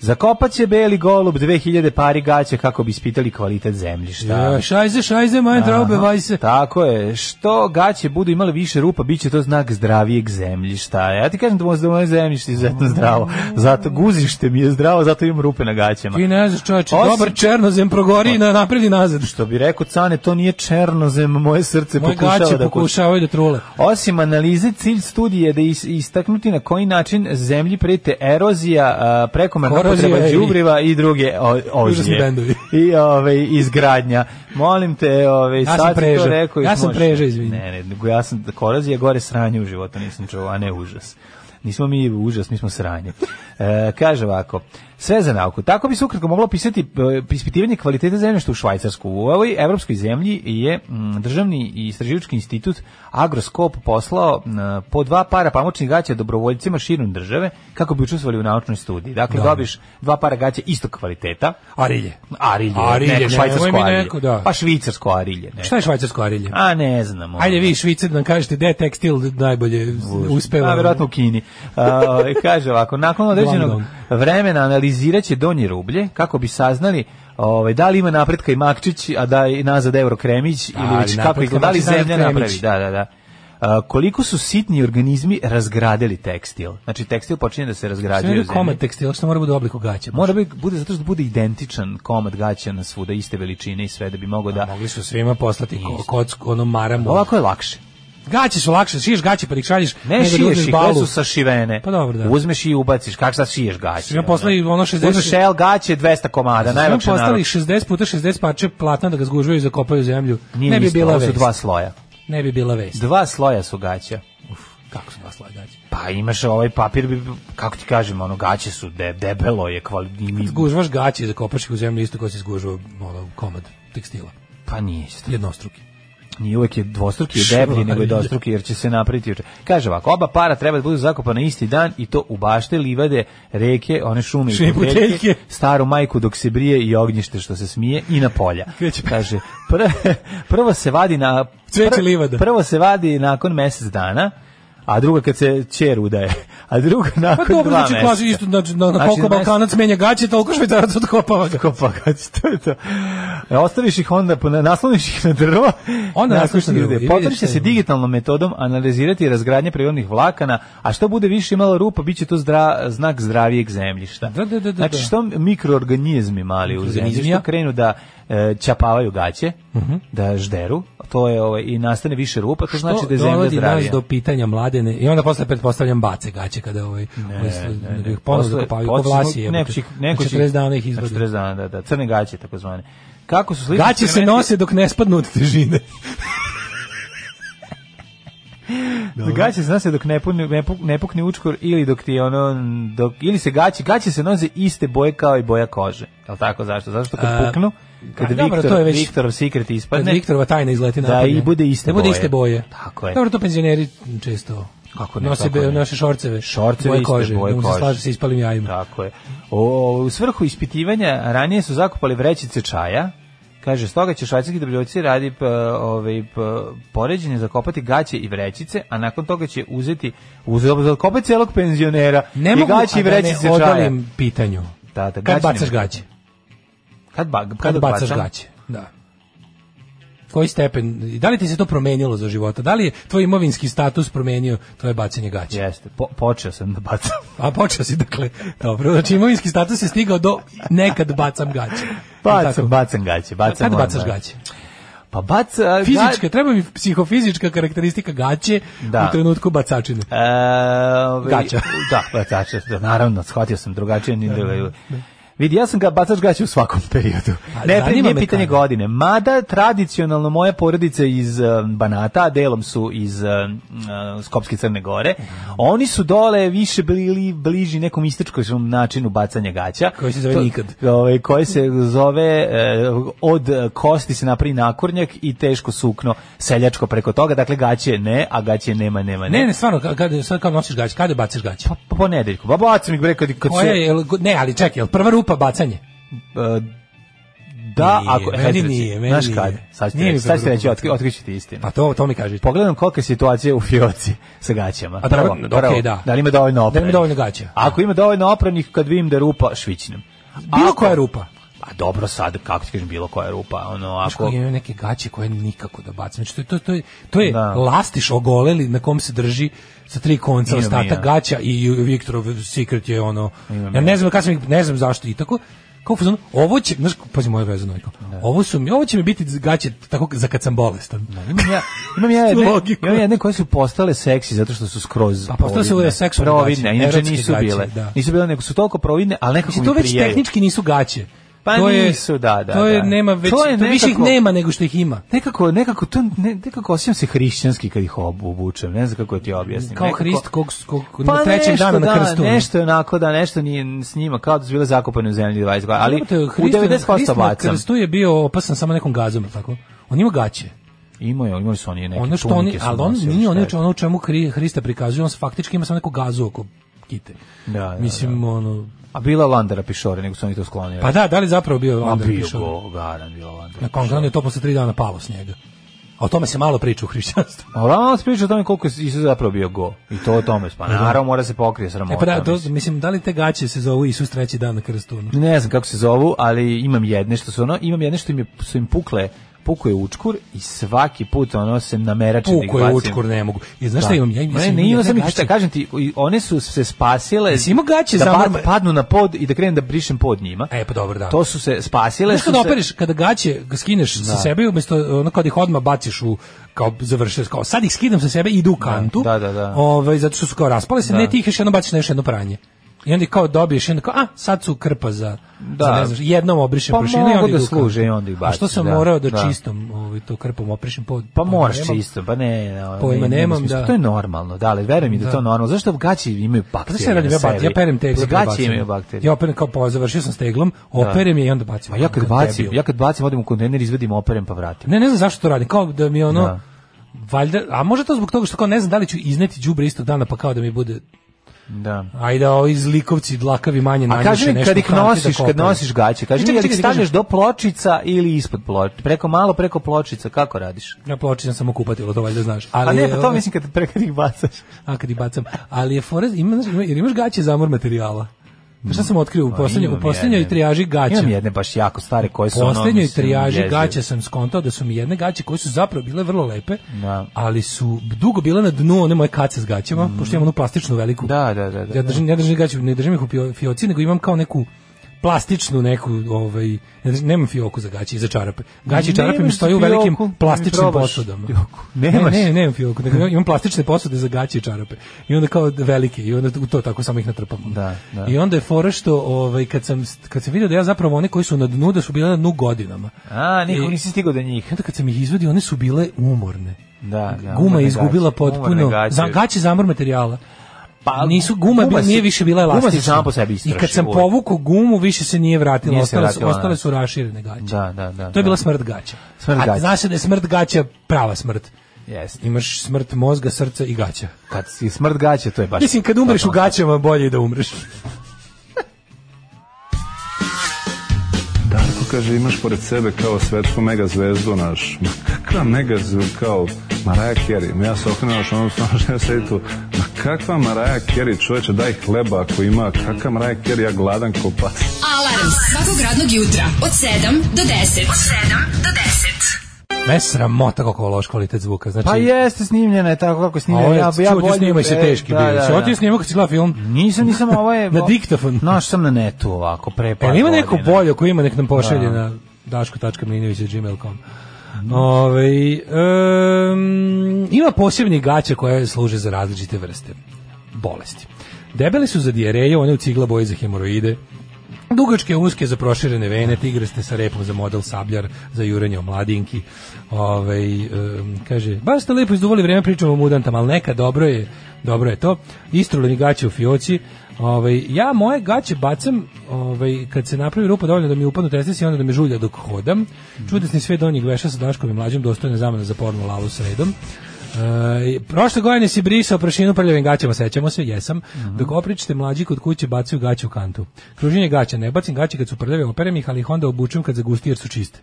Speaker 6: Zakopat će beli golub 2000 pari gaće kako bi ispitali kvalitet zemljišta.
Speaker 5: Ja, E, šajze, šajze, moje traube,
Speaker 6: Aha.
Speaker 5: vajse.
Speaker 6: Tako je. Što gaće budu imale više rupa, bit će to znak zdravijeg zemljišta. Ja ti kažem da možda moje zemljište je izuzetno zdravo. Zato guzište mi je zdravo, zato imam rupe na gaćama.
Speaker 5: Ti ne znaš čoveče,
Speaker 6: Osim-
Speaker 5: dobar černozem progori na napred i nazad.
Speaker 6: Što bi rekao Cane, to nije černozem, moje srce
Speaker 5: Moje
Speaker 6: pokušava
Speaker 5: gaće
Speaker 6: da
Speaker 5: pokušavaju da trule.
Speaker 6: Osim analize, cilj studije je da is- istaknuti na koji način zemlji prete erozija, a, prekomerna
Speaker 5: Korozija
Speaker 6: potreba
Speaker 5: i-
Speaker 6: đubriva i druge o-
Speaker 5: Užasni
Speaker 6: ožnje.
Speaker 5: bendovi.
Speaker 6: I ove, izgradnja. Molim te, ovaj, ove,
Speaker 5: sam
Speaker 6: sad si
Speaker 5: preža.
Speaker 6: to rekao. i
Speaker 5: Ja sam
Speaker 6: možeš-
Speaker 5: preža, izvini.
Speaker 6: Ne, ne, nego ja sam, korozija je gore sranje u životu, nisam čuo, a ne užas. Nismo mi užas, mi smo sranje. E, kaže ovako, sve za nauku. Tako bi se ukratko moglo pisati ispitivanje kvalitete zemljišta u Švajcarsku. U ovoj evropskoj zemlji je mm, Državni i istraživački institut Agroskop poslao mm, po dva para pamučnih gaća dobrovoljcima širom države kako bi učestvovali u naučnoj studiji. Dakle, dobiš dva para gaća istog kvaliteta,
Speaker 5: Arilje.
Speaker 6: arilje,
Speaker 5: Arilje,
Speaker 6: neko
Speaker 5: nemoj
Speaker 6: švajcarsko
Speaker 5: mi
Speaker 6: arilje.
Speaker 5: neko, da.
Speaker 6: Pa švicarsko arilje. Ne.
Speaker 5: Šta je švajcarsko arilje?
Speaker 6: A ne znam. ono.
Speaker 5: Ajde vi Švicar da nam kažete gde je tekstil najbolje uspeva.
Speaker 6: A, verovatno u Kini. A, ovaj, kaže ovako, nakon određenog
Speaker 5: Guangdong.
Speaker 6: vremena analizirat će donje rublje kako bi saznali ovaj, da li ima napretka i Makčić, a da je nazad Euro Kremić, ili
Speaker 5: Ali
Speaker 6: već kako
Speaker 5: napretka
Speaker 6: izgleda, da li
Speaker 5: Makčić, nazad
Speaker 6: zemlja
Speaker 5: Kremić.
Speaker 6: napravi. Da, da, da. A, koliko su sitni organizmi razgradili tekstil. Znači, tekstil počinje da se
Speaker 5: Sve
Speaker 6: razgrađuje u
Speaker 5: je
Speaker 6: zemlji.
Speaker 5: komad tekstila, što mora bude u obliku gaća.
Speaker 6: Mora bi, bude zato što bude identičan komad gaća na svuda, iste veličine i sve, da bi mogo da...
Speaker 5: Mogli su svima poslati ko- kocku, ono maramu.
Speaker 6: Ovako je lakše.
Speaker 5: Gaće su lakše, šiješ gaće pa ih šalješ.
Speaker 6: Ne
Speaker 5: nego da
Speaker 6: šiješ
Speaker 5: uzmeš
Speaker 6: ih, koje su
Speaker 5: balu.
Speaker 6: sašivene.
Speaker 5: Pa dobro, da.
Speaker 6: Uzmeš i ubaciš, kak sad šiješ gaće.
Speaker 5: Svima poslali ono 60
Speaker 6: Uzmeš el gaće 200 komada,
Speaker 5: Svima
Speaker 6: najlakše
Speaker 5: poslali
Speaker 6: naravno.
Speaker 5: 60 puta 60 parče platna da ga zgužvaju i zakopaju u zemlju.
Speaker 6: Nije
Speaker 5: ne bi
Speaker 6: ništa,
Speaker 5: bila
Speaker 6: ovo su
Speaker 5: vest.
Speaker 6: dva sloja.
Speaker 5: Ne bi bila vest.
Speaker 6: Dva sloja su gaća.
Speaker 5: Kako su dva slaja gaće?
Speaker 6: Pa imaš ovaj papir, bi, kako ti kažem, ono, gaće su de, debelo je kvalitetno.
Speaker 5: Zgužvaš gaće i zakopaš ih u zemlju isto kao si zgužvao ono, komad tekstila.
Speaker 6: Pa nije isto.
Speaker 5: Jednostruki.
Speaker 6: Nije uvek je dvostruki, je deblji, nego je dvostruki, jer će se napraviti juče. Kaže ovako, oba para treba da budu zakopana isti dan i to u bašte, livade, reke, one šume
Speaker 5: Šume i
Speaker 6: i
Speaker 5: buteljke.
Speaker 6: buteljke, staru majku dok se brije i ognjište što se smije i na polja.
Speaker 5: Kreće.
Speaker 6: Kaže, pr- prvo se vadi na...
Speaker 5: Cveće
Speaker 6: pr-
Speaker 5: livada.
Speaker 6: Prvo se vadi nakon mesec dana, a druga kad se čer udaje, a druga
Speaker 5: Pa
Speaker 6: nakon
Speaker 5: dobro,
Speaker 6: dva
Speaker 5: znači
Speaker 6: meseca.
Speaker 5: kvazi isto znači, na, na
Speaker 6: Znači,
Speaker 5: koliko
Speaker 6: na mesec-
Speaker 5: Balkanac menja gaće, toliko Švajcarac odkopava ga.
Speaker 6: Kopa gaće, to je to. E, Ostaviš ih onda, po- nasloniš ih na drvo.
Speaker 5: Onda nasloniš na drvo i vidiš
Speaker 6: Potom
Speaker 5: šta
Speaker 6: će se
Speaker 5: ima.
Speaker 6: digitalnom metodom analizirati razgradnje prirodnih vlakana, a što bude više imalo rupa, bit će to zdra, znak zdravijeg zemljišta.
Speaker 5: Da, da, da, da,
Speaker 6: Znači,
Speaker 5: da.
Speaker 6: što mikroorganizmi mali u
Speaker 5: Mikroorganizmi,
Speaker 6: zemljištu
Speaker 5: ja. Mhm.
Speaker 6: krenu da e, ćapavaju gaće, da žderu, to je ovaj, i nastane više rupa, to znači da je zemlja
Speaker 5: dovodi nas
Speaker 6: zdravija.
Speaker 5: do pitanja mladene i onda posle pretpostavljam bace gaće kada ovaj ovaj sl- da ih ponovo
Speaker 6: Posle-
Speaker 5: zakopavaju ko
Speaker 6: posle-
Speaker 5: vlasi je.
Speaker 6: neko će- neko će-
Speaker 5: 40 dana ih
Speaker 6: na
Speaker 5: izvade.
Speaker 6: 40 dana, da, da, crne gaće takozvane. Kako su slični
Speaker 5: Gaće se
Speaker 6: elementi-
Speaker 5: nose dok ne spadnu od težine.
Speaker 6: Gaće se nose dok ne pukne, ne puk- ne pukne učkor ili dok ti ono dok ili se gaće, gaće se nose iste boje kao i boja kože. Jel tako zašto? Zašto kad
Speaker 5: A,
Speaker 6: puknu? Kad
Speaker 5: a dobro,
Speaker 6: Viktor,
Speaker 5: to je već-
Speaker 6: Viktorov secret
Speaker 5: Pa
Speaker 6: ispadne.
Speaker 5: ne, Viktorova tajna izleti
Speaker 6: Da,
Speaker 5: napolje.
Speaker 6: i bude iste
Speaker 5: da bude
Speaker 6: boje.
Speaker 5: iste boje.
Speaker 6: Tako je.
Speaker 5: Dobro, to penzioneri često
Speaker 6: Kako ne,
Speaker 5: nose
Speaker 6: kako
Speaker 5: be-
Speaker 6: ne.
Speaker 5: naše šorceve.
Speaker 6: Šorceve
Speaker 5: boje
Speaker 6: iste
Speaker 5: kože,
Speaker 6: boje
Speaker 5: da mu se
Speaker 6: kože.
Speaker 5: slaže sa ispalim jajima.
Speaker 6: Tako je. O, u svrhu ispitivanja ranije su zakupali vrećice čaja. Kaže, stoga će švajcarski dobrovoljci radi p, ovaj, p, poređenje zakopati gaće i vrećice, a nakon toga će uzeti, uzeti zakopati celog penzionera
Speaker 5: Ne
Speaker 6: i
Speaker 5: mogu a
Speaker 6: gaće i
Speaker 5: da ne
Speaker 6: vrećice čaja.
Speaker 5: odalim pitanju.
Speaker 6: Da, da,
Speaker 5: Kad
Speaker 6: gaće
Speaker 5: bacaš
Speaker 6: ne-
Speaker 5: gaće?
Speaker 6: Kad, ba,
Speaker 5: Kad bacaš
Speaker 6: bacam?
Speaker 5: gaće? Da. Koji stepen? i Da li ti se to promenilo za života? Da li je tvoj imovinski status promenio tvoje bacanje gaće?
Speaker 6: Jeste, po, počeo sam da bacam.
Speaker 5: A počeo si, dakle, dobro, znači imovinski status je stigao do nekad bacam gaće.
Speaker 6: Bacam,
Speaker 5: Tako.
Speaker 6: bacam gaće, bacam.
Speaker 5: Kad
Speaker 6: onda.
Speaker 5: bacaš gaće?
Speaker 6: Pa baca... ga-
Speaker 5: Fizička, treba mi psihofizička karakteristika gaće
Speaker 6: Da.
Speaker 5: u trenutku bacačine.
Speaker 6: E, ovaj,
Speaker 5: Gaća.
Speaker 6: Da, bacača, da, naravno, shvatio sam drugačije. ni da- Vidi, ja sam ga bacač gaća u svakom periodu.
Speaker 5: A
Speaker 6: Ne,
Speaker 5: Pa, zanima
Speaker 6: nije
Speaker 5: me
Speaker 6: pitanje
Speaker 5: kada.
Speaker 6: godine. Mada, tradicionalno, moja porodica je iz eh, Banata, a delom su iz eh, eh, Skopske Crne Gore, oni su dole više bili bliži nekom istočkom načinu bacanja gaća.
Speaker 5: Koji se zove
Speaker 6: To-
Speaker 5: nikad.
Speaker 6: Ovaj, koji se zove eh, od eh, kosti se napravi nakurnjak i teško sukno seljačko preko toga. Dakle, gaće ne, a gaće nema, nema,
Speaker 5: Ne, ne, stvarno, ka- kad, sad kao nosiš gaće, kada bacaš gaće?
Speaker 6: Pa po ponedeljku. Pa bacam ih bre kad kad
Speaker 5: Koja
Speaker 6: se
Speaker 5: je, jel- ne, ali čekaj, jel prva rupa bacanje?
Speaker 6: e, da
Speaker 5: Nije,
Speaker 6: ako e,
Speaker 5: meni
Speaker 6: sad ću reći,
Speaker 5: nije, meni
Speaker 6: znaš
Speaker 5: nije.
Speaker 6: kad? Sad ću
Speaker 5: Nije mi
Speaker 6: reći, sad ću
Speaker 5: prvo
Speaker 6: reći,
Speaker 5: rupa.
Speaker 6: otkri, otkriću ti istinu.
Speaker 5: Pa to, to mi kažete.
Speaker 6: Pogledam kolika je situacija u fioci sa gaćama.
Speaker 5: A dobro,
Speaker 6: Prvo,
Speaker 5: okej,
Speaker 6: prvo,
Speaker 5: da.
Speaker 6: li ima dovoljno
Speaker 5: Da li
Speaker 6: oprane?
Speaker 5: ima dovoljno gaća?
Speaker 6: Ako ima dovoljno opranih, kad vidim da je rupa, švićnem.
Speaker 5: Bilo
Speaker 6: Ako-
Speaker 5: koja rupa.
Speaker 6: A dobro sad, kako ti kažem, bilo koja rupa. Ono,
Speaker 5: Ako
Speaker 6: ako,
Speaker 5: imaju neke gaće koje nikako da bacim. Znači, to, je- to, to, je- to je
Speaker 6: Da.
Speaker 5: lastiš ogoleli na kom se drži sa tri konca
Speaker 6: Imam i ja.
Speaker 5: ostatak gaća i Viktorov secret je ono...
Speaker 6: Imam
Speaker 5: ja
Speaker 6: i
Speaker 5: ne znam, kad sam, ih- ne znam zašto i tako... Kao fazon, ovo će, znaš, pazi moje vezano, kao, ovo, su mi, ovo će mi biti gaće tako za kad sam bolestan.
Speaker 6: imam ja, imam ja jedne,
Speaker 5: Logiku.
Speaker 6: imam jedne koje su postale seksi zato što su skroz
Speaker 5: Pa postale su
Speaker 6: providne.
Speaker 5: ove seksualne
Speaker 6: providne,
Speaker 5: gaće,
Speaker 6: inače
Speaker 5: erotske
Speaker 6: nisu
Speaker 5: gaće,
Speaker 6: bile.
Speaker 5: da.
Speaker 6: Nisu bile, nego su toliko providne, ali nekako
Speaker 5: Mislim,
Speaker 6: mi
Speaker 5: to već
Speaker 6: prijaju.
Speaker 5: tehnički nisu gaće.
Speaker 6: Pa
Speaker 5: to je,
Speaker 6: nisu, da, da,
Speaker 5: To je,
Speaker 6: da.
Speaker 5: nema već,
Speaker 6: To
Speaker 5: to,
Speaker 6: je
Speaker 5: više ih
Speaker 6: nekako-
Speaker 5: nema nego što ih ima.
Speaker 6: Nekako, nekako, to, ne, nekako osjećam se hrišćanski kad ih obu- obučem, ne znam kako ti objasnim.
Speaker 5: Kao
Speaker 6: Nekako- Pa
Speaker 5: Hrist kog, kog, na trećem
Speaker 6: nešto,
Speaker 5: danu na
Speaker 6: da,
Speaker 5: krstu.
Speaker 6: nešto je onako, da, nešto nije s njima, kao da su bile zakopane u zemlji 20 godina, ali
Speaker 5: Znate,
Speaker 6: u
Speaker 5: Hristo-
Speaker 6: 90%
Speaker 5: Hristo na
Speaker 6: bacam.
Speaker 5: Krstu je bio opasan samo nekom gazom, jel tako? On ima gaće.
Speaker 6: Imaju, imali su oni neke
Speaker 5: ono što oni,
Speaker 6: tunike su
Speaker 5: ali on
Speaker 6: nosili,
Speaker 5: nije
Speaker 6: šta
Speaker 5: ono
Speaker 6: je.
Speaker 5: u čemu- ono u čemu Hri- Hrista prikazuje, on faktički ima samo neku gazu oko kite.
Speaker 6: Da, da,
Speaker 5: Mislim, ono...
Speaker 6: A bila je Landara Pišore, nego su oni to sklonili.
Speaker 5: Pa da, da li zapravo bio
Speaker 6: A
Speaker 5: onda
Speaker 6: bio
Speaker 5: pišao?
Speaker 6: go, garan bila Landara.
Speaker 5: Na Kongranu je to posle tri dana palo s njega. A o tome se malo priča u hrišćanstvu.
Speaker 6: A Ronald priča o tome koliko je Isus zapravo bio go. I to o tome. Pa naravno mora se pokrije sramota.
Speaker 5: E pa da, to,
Speaker 6: mislim.
Speaker 5: mislim, da li te gaće se zovu Isus treći dan na krstu? ono?
Speaker 6: Ne znam kako se zovu, ali imam jedne što su ono, imam jedne što im, je, su im pukle, pukuje učkur i svaki put ono se namerače da ih
Speaker 5: Puko je
Speaker 6: bacim.
Speaker 5: učkur, ne mogu. I znaš šta imam? Ja
Speaker 6: ne,
Speaker 5: imam
Speaker 6: ne imam
Speaker 5: jedne
Speaker 6: sam ih
Speaker 5: gaće.
Speaker 6: šta, kažem ti, i one su se spasile
Speaker 5: Jesi imao gaće
Speaker 6: da
Speaker 5: za
Speaker 6: pad-
Speaker 5: mrme?
Speaker 6: padnu na pod i da krenem da brišem pod njima.
Speaker 5: E, pa dobro, da.
Speaker 6: To su se spasile.
Speaker 5: Znaš
Speaker 6: su
Speaker 5: kada
Speaker 6: se-
Speaker 5: opereš, kada gaće ga skineš sa sebe, umjesto ono kad ih odmah baciš u, kao završio, kao sad ih skidam sa sebe i idu u kantu,
Speaker 6: da, da, da.
Speaker 5: Ovaj, zato što su kao raspale se, ne ti ih još jedno baciš na još jedno pranje. I onda ih kao dobiješ, i onda kao, a, sad su krpa za,
Speaker 6: Da.
Speaker 5: za ne znaš, jednom obrišem
Speaker 6: Pa
Speaker 5: prašinu i
Speaker 6: mogu
Speaker 5: onda
Speaker 6: da
Speaker 5: idu u kantu.
Speaker 6: služe i onda ih
Speaker 5: A što
Speaker 6: baciš,
Speaker 5: sam
Speaker 6: da,
Speaker 5: morao da,
Speaker 6: da.
Speaker 5: čistom ovaj, to krpom oprišem pod...
Speaker 6: Pa moraš
Speaker 5: nemam.
Speaker 6: čisto, pa ne, ne,
Speaker 5: Pojma
Speaker 6: ne,
Speaker 5: nemam,
Speaker 6: smisla.
Speaker 5: da.
Speaker 6: To je normalno, da, ali veruj mi da, je to normalno. Zašto gaći imaju
Speaker 5: Pa da
Speaker 6: bakterije?
Speaker 5: se radim,
Speaker 6: na
Speaker 5: ja, bat,
Speaker 6: sebi?
Speaker 5: ja perem te
Speaker 6: Pa
Speaker 5: egzem,
Speaker 6: Gaći
Speaker 5: bacim.
Speaker 6: imaju bakterije.
Speaker 5: Ja operem kao, po, završio sam steglom, operem je i onda bacim.
Speaker 6: Pa ja kad
Speaker 5: Kao
Speaker 6: bacim,
Speaker 5: debil.
Speaker 6: ja kad bacim odem u kontejner, izvadim operem pa vratim.
Speaker 5: Ne, ne znam zašto to radim, kao da mi ono,
Speaker 6: Da.
Speaker 5: valjda, a možda to zbog toga što kao ne znam da li ću izneti đubre istog dana pa kao da mi bude,
Speaker 6: Da.
Speaker 5: ajde da ovi zlikovici dlakavi manje
Speaker 6: A
Speaker 5: nanjuše
Speaker 6: kaži
Speaker 5: nešto.
Speaker 6: mi kad ih
Speaker 5: u kanti da
Speaker 6: nosiš, kad
Speaker 5: kopaju.
Speaker 6: nosiš gaće, kaži mi
Speaker 5: Čekaj,
Speaker 6: jel ih
Speaker 5: čekaj, da
Speaker 6: stavljaš
Speaker 5: kažem.
Speaker 6: do pločica ili ispod pločica, preko malo preko pločica, kako radiš?
Speaker 5: Ja počinjem samo kupatilo, to valjda znaš. Ali
Speaker 6: A ne,
Speaker 5: je,
Speaker 6: pa to
Speaker 5: ono,
Speaker 6: mislim kad preko ih bacaš.
Speaker 5: A kad ih bacam. Ali je forez, ima, znaš, ima- jer imaš gaće zamor materijala. Znaš šta sam otkrio u poslednjoj, u
Speaker 6: Pa imam
Speaker 5: poslednjoj
Speaker 6: jedne.
Speaker 5: trijaži gaća?
Speaker 6: Imam jedne baš jako stare koje su ono...
Speaker 5: poslednjoj
Speaker 6: mislim,
Speaker 5: trijaži
Speaker 6: jezive.
Speaker 5: gaća sam skontao da su mi jedne gaće koje su zapravo bile vrlo lepe,
Speaker 6: Da. Mm.
Speaker 5: ali su dugo bile na dnu one moje kace s gaćama, pošto imam onu plastičnu veliku.
Speaker 6: Da, da, da, da,
Speaker 5: ja držim, ja držim gaće, ne držim ih u pio- fioci, nego imam kao neku plastičnu neku, ovaj, nema fioku za gaće i za čarape. Gaće i čarape mi
Speaker 6: Nemaš
Speaker 5: stoje u velikim
Speaker 6: fioku,
Speaker 5: plastičnim
Speaker 6: ne probaš
Speaker 5: posudama.
Speaker 6: fioku.
Speaker 5: Ne,
Speaker 6: Nemaš?
Speaker 5: ne, nemam fioku, nego imam plastične posude za gaće i čarape. I onda kao velike, i onda u to tako samo ih natrpam.
Speaker 6: Da, da.
Speaker 5: I onda je fora što, ovaj, kad sam, kad sam vidio da ja zapravo oni koji su na dnu, da su bile na dnu godinama.
Speaker 6: A, nikog
Speaker 5: I-
Speaker 6: nisi stigao do
Speaker 5: I
Speaker 6: njih.
Speaker 5: onda kad sam ih izvadio, one su bile umorne.
Speaker 6: Da, da,
Speaker 5: Guma
Speaker 6: umorne
Speaker 5: je izgubila
Speaker 6: Pa, gaće,
Speaker 5: potpuno,
Speaker 6: umorne gaće.
Speaker 5: za, gaće zamor materijala.
Speaker 6: Pa,
Speaker 5: nisu guma,
Speaker 6: guma
Speaker 5: bi-
Speaker 6: se-
Speaker 5: nije više bila
Speaker 6: guma se
Speaker 5: elastična.
Speaker 6: sama po sebi
Speaker 5: I
Speaker 6: istroši
Speaker 5: kad sam
Speaker 6: uvek.
Speaker 5: povukao gumu, više se nije vratila,
Speaker 6: Nije se
Speaker 5: ostale, su,
Speaker 6: vratila,
Speaker 5: ostale
Speaker 6: da.
Speaker 5: su raširene gaće.
Speaker 6: Da, da, da,
Speaker 5: To je bila
Speaker 6: da.
Speaker 5: smrt gaća.
Speaker 6: Smrt
Speaker 5: A
Speaker 6: gaća.
Speaker 5: znaš da je smrt gaća prava smrt.
Speaker 6: Jeste.
Speaker 5: Imaš smrt mozga, srca i gaća.
Speaker 6: Kad si smrt gaće, to znači? je baš...
Speaker 5: Mislim, kad umreš u
Speaker 6: totalno.
Speaker 5: gaćama, bolje je da umreš.
Speaker 11: Darko kaže, imaš pored sebe kao svetsku megazvezdu naš. Ma kakva megazvezdu kao Mariah Carey? Ma ja se okrenuo što ono stano što ja sedi tu. Ma kakva Mariah Carey, čoveče, daj hleba ako ima. Kakva Mariah Carey, ja gladan ko pas.
Speaker 4: Alarm svakog radnog jutra od 7 do 10. Od 7 do 10.
Speaker 5: Me sramota koliko je loš kvalitet zvuka. Znači,
Speaker 6: Pa jeste snimljena je tako kako
Speaker 5: a
Speaker 6: snimljena.
Speaker 5: ovo je,
Speaker 6: ja, ja
Speaker 5: čuo ti
Speaker 6: bolje-
Speaker 5: snimaj se
Speaker 6: e,
Speaker 5: teški.
Speaker 6: da,
Speaker 5: bio.
Speaker 6: da,
Speaker 5: Si
Speaker 6: da.
Speaker 5: otišao snimao kad si gledao film?
Speaker 6: Nisam, nisam, ovo je...
Speaker 5: Na diktafon.
Speaker 6: Naš sam na netu ovako, pre par
Speaker 5: Pa ima neko
Speaker 6: godina.
Speaker 5: bolje ako ima nek nam pošalje na daško.milinović.gmail.com Ove, um, ima posebnih gaća koje služe za različite vrste bolesti. Debeli su za dijareju, one u cigla boji za hemoroide, dugačke uske za proširene vene, tigraste sa repom za model sabljar, za jurenje o mladinki. Ove, um, kaže, baš ste lepo izduvali vreme pričamo o mudantama, ali neka, dobro je, dobro je to. Istruleni gaće u fioci, Ovaj ja moje gaće bacam, ovaj kad se napravi rupa dovoljno da mi upadnu testis i onda da me žulja dok hodam. Čudesni sve donjih veša sa Daškom i mlađim dostojna zamena za porno lalu sredom. E, prošle godine si brisao prašinu prljavim gaćama, sećamo se, jesam. Dok opričite mlađi kod kuće bacaju gaće u kantu. Kruženje gaća, ne bacim gaće kad su prljave, operem ih, ali ih onda obučem kad zagusti jer su čiste.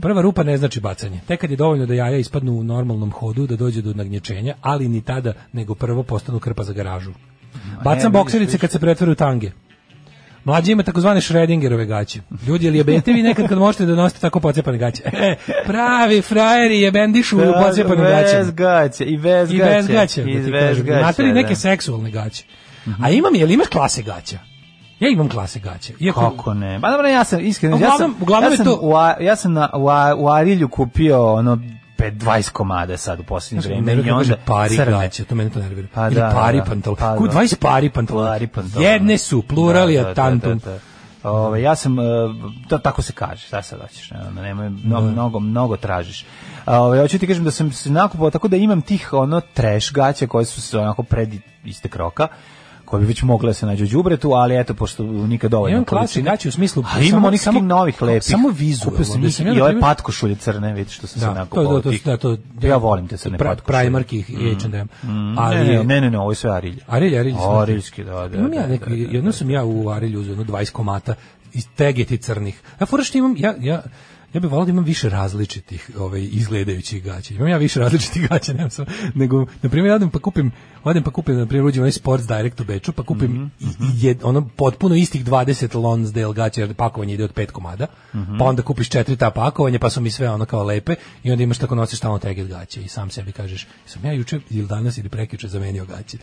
Speaker 5: Prva rupa ne znači bacanje. Tek kad je dovoljno da jaja ispadnu u normalnom hodu, da dođe do nagnječenja, ali ni tada, nego prvo postanu krpa za garažu. Bacam bokserice kad se pretvore u tange. Mlađi ima takozvane Schrödingerove gaće. Ljudi, jel jebete vi nekad kad možete da nosite tako pocepane gaće? E, pravi frajeri jebendišu u pocepanim gaćama.
Speaker 6: Bez gaće, i bez
Speaker 5: I
Speaker 6: gaće.
Speaker 5: bez gaće.
Speaker 6: I
Speaker 5: da ti
Speaker 6: bez
Speaker 5: kažem.
Speaker 6: gaće,
Speaker 5: Znate li neke
Speaker 6: da. Mhm.
Speaker 5: seksualne gaće? A imam, jel imaš klase gaća? Ja imam klase gaće. Iako,
Speaker 6: Kako ne? Pa dobro, ja sam iskreno, ja sam,
Speaker 5: Uglavnom- uglavnom
Speaker 6: ja
Speaker 5: je
Speaker 6: sam,
Speaker 5: to-
Speaker 6: u, A- ja sam na, u, A- u Arilju kupio ono pe- 20 komada sad u posljednje
Speaker 5: Znaš,
Speaker 6: vreme
Speaker 5: nervira
Speaker 6: i
Speaker 5: kad
Speaker 6: onda
Speaker 5: kaže pari
Speaker 6: crne.
Speaker 5: gaće, to mene to nervira.
Speaker 6: Pa
Speaker 5: Ili
Speaker 6: da,
Speaker 5: pari
Speaker 6: da, da.
Speaker 5: pantalo.
Speaker 6: Pa
Speaker 5: Ku
Speaker 6: da.
Speaker 5: 20 pari pantalo.
Speaker 6: Pari pantalona.
Speaker 5: Jedne su, plural je
Speaker 6: Da, da, da,
Speaker 5: tantum.
Speaker 6: da, da. Ove, ja sam, e, to tako se kaže, šta sad hoćeš, ne, ono, nemoj, mnogo, mnogo, mnogo tražiš. A, Ove, hoću ti kažem da sam se nakupao, tako da imam tih ono trash gaća koje su se onako pred istek roka, koje bi već mogle da se nađu u đubretu, ali eto, pošto nikad dovoljno
Speaker 5: Imam klase
Speaker 6: količine.
Speaker 5: gaće u smislu
Speaker 6: Ali imam
Speaker 5: samo-
Speaker 6: onih
Speaker 5: samo-
Speaker 6: samo novih lepih.
Speaker 5: samo vizualno,
Speaker 6: Kupio sam
Speaker 5: da
Speaker 6: ih
Speaker 5: sam ja,
Speaker 6: i
Speaker 5: na
Speaker 6: ove
Speaker 5: primjer-
Speaker 6: patkošulje crne, vidite što sam se
Speaker 5: Da, to,
Speaker 6: nakupao.
Speaker 5: to, to,
Speaker 6: tih.
Speaker 5: da, to,
Speaker 6: ja volim te crne
Speaker 5: pra,
Speaker 6: patkošulje.
Speaker 5: Primark i H&M.
Speaker 6: Ali,
Speaker 5: Ali,
Speaker 6: ne, ne, ne, ne, ovo je sve Arilje.
Speaker 5: Arilje, Arilje.
Speaker 6: O, Ariljski, da, da.
Speaker 5: Imam ja
Speaker 6: da,
Speaker 5: neki,
Speaker 6: da, da,
Speaker 5: jedno sam ja u Arilju uzeo jedno 20 komata iz tegeti crnih. Ja fora što imam, ja, ja, ja bih volao da imam više različitih ovaj, izgledajućih gaća. Imam ja više različitih gaća, nemam sam, nego, na primjer, ja odem pa kupim, odem pa kupim, na primjer, uđem u onaj Sports Direct u Beču, pa kupim
Speaker 6: Mhm,
Speaker 5: i- jed, ono potpuno istih 20 Lonsdale gaća, jer pakovanje ide od pet komada, pa onda kupiš četiri ta pakovanja, pa su mi sve ono kao lepe, i onda imaš tako nosiš tamo teget gaće i sam sebi kažeš, sam ja juče ili danas ili prekjuče zamenio gaće.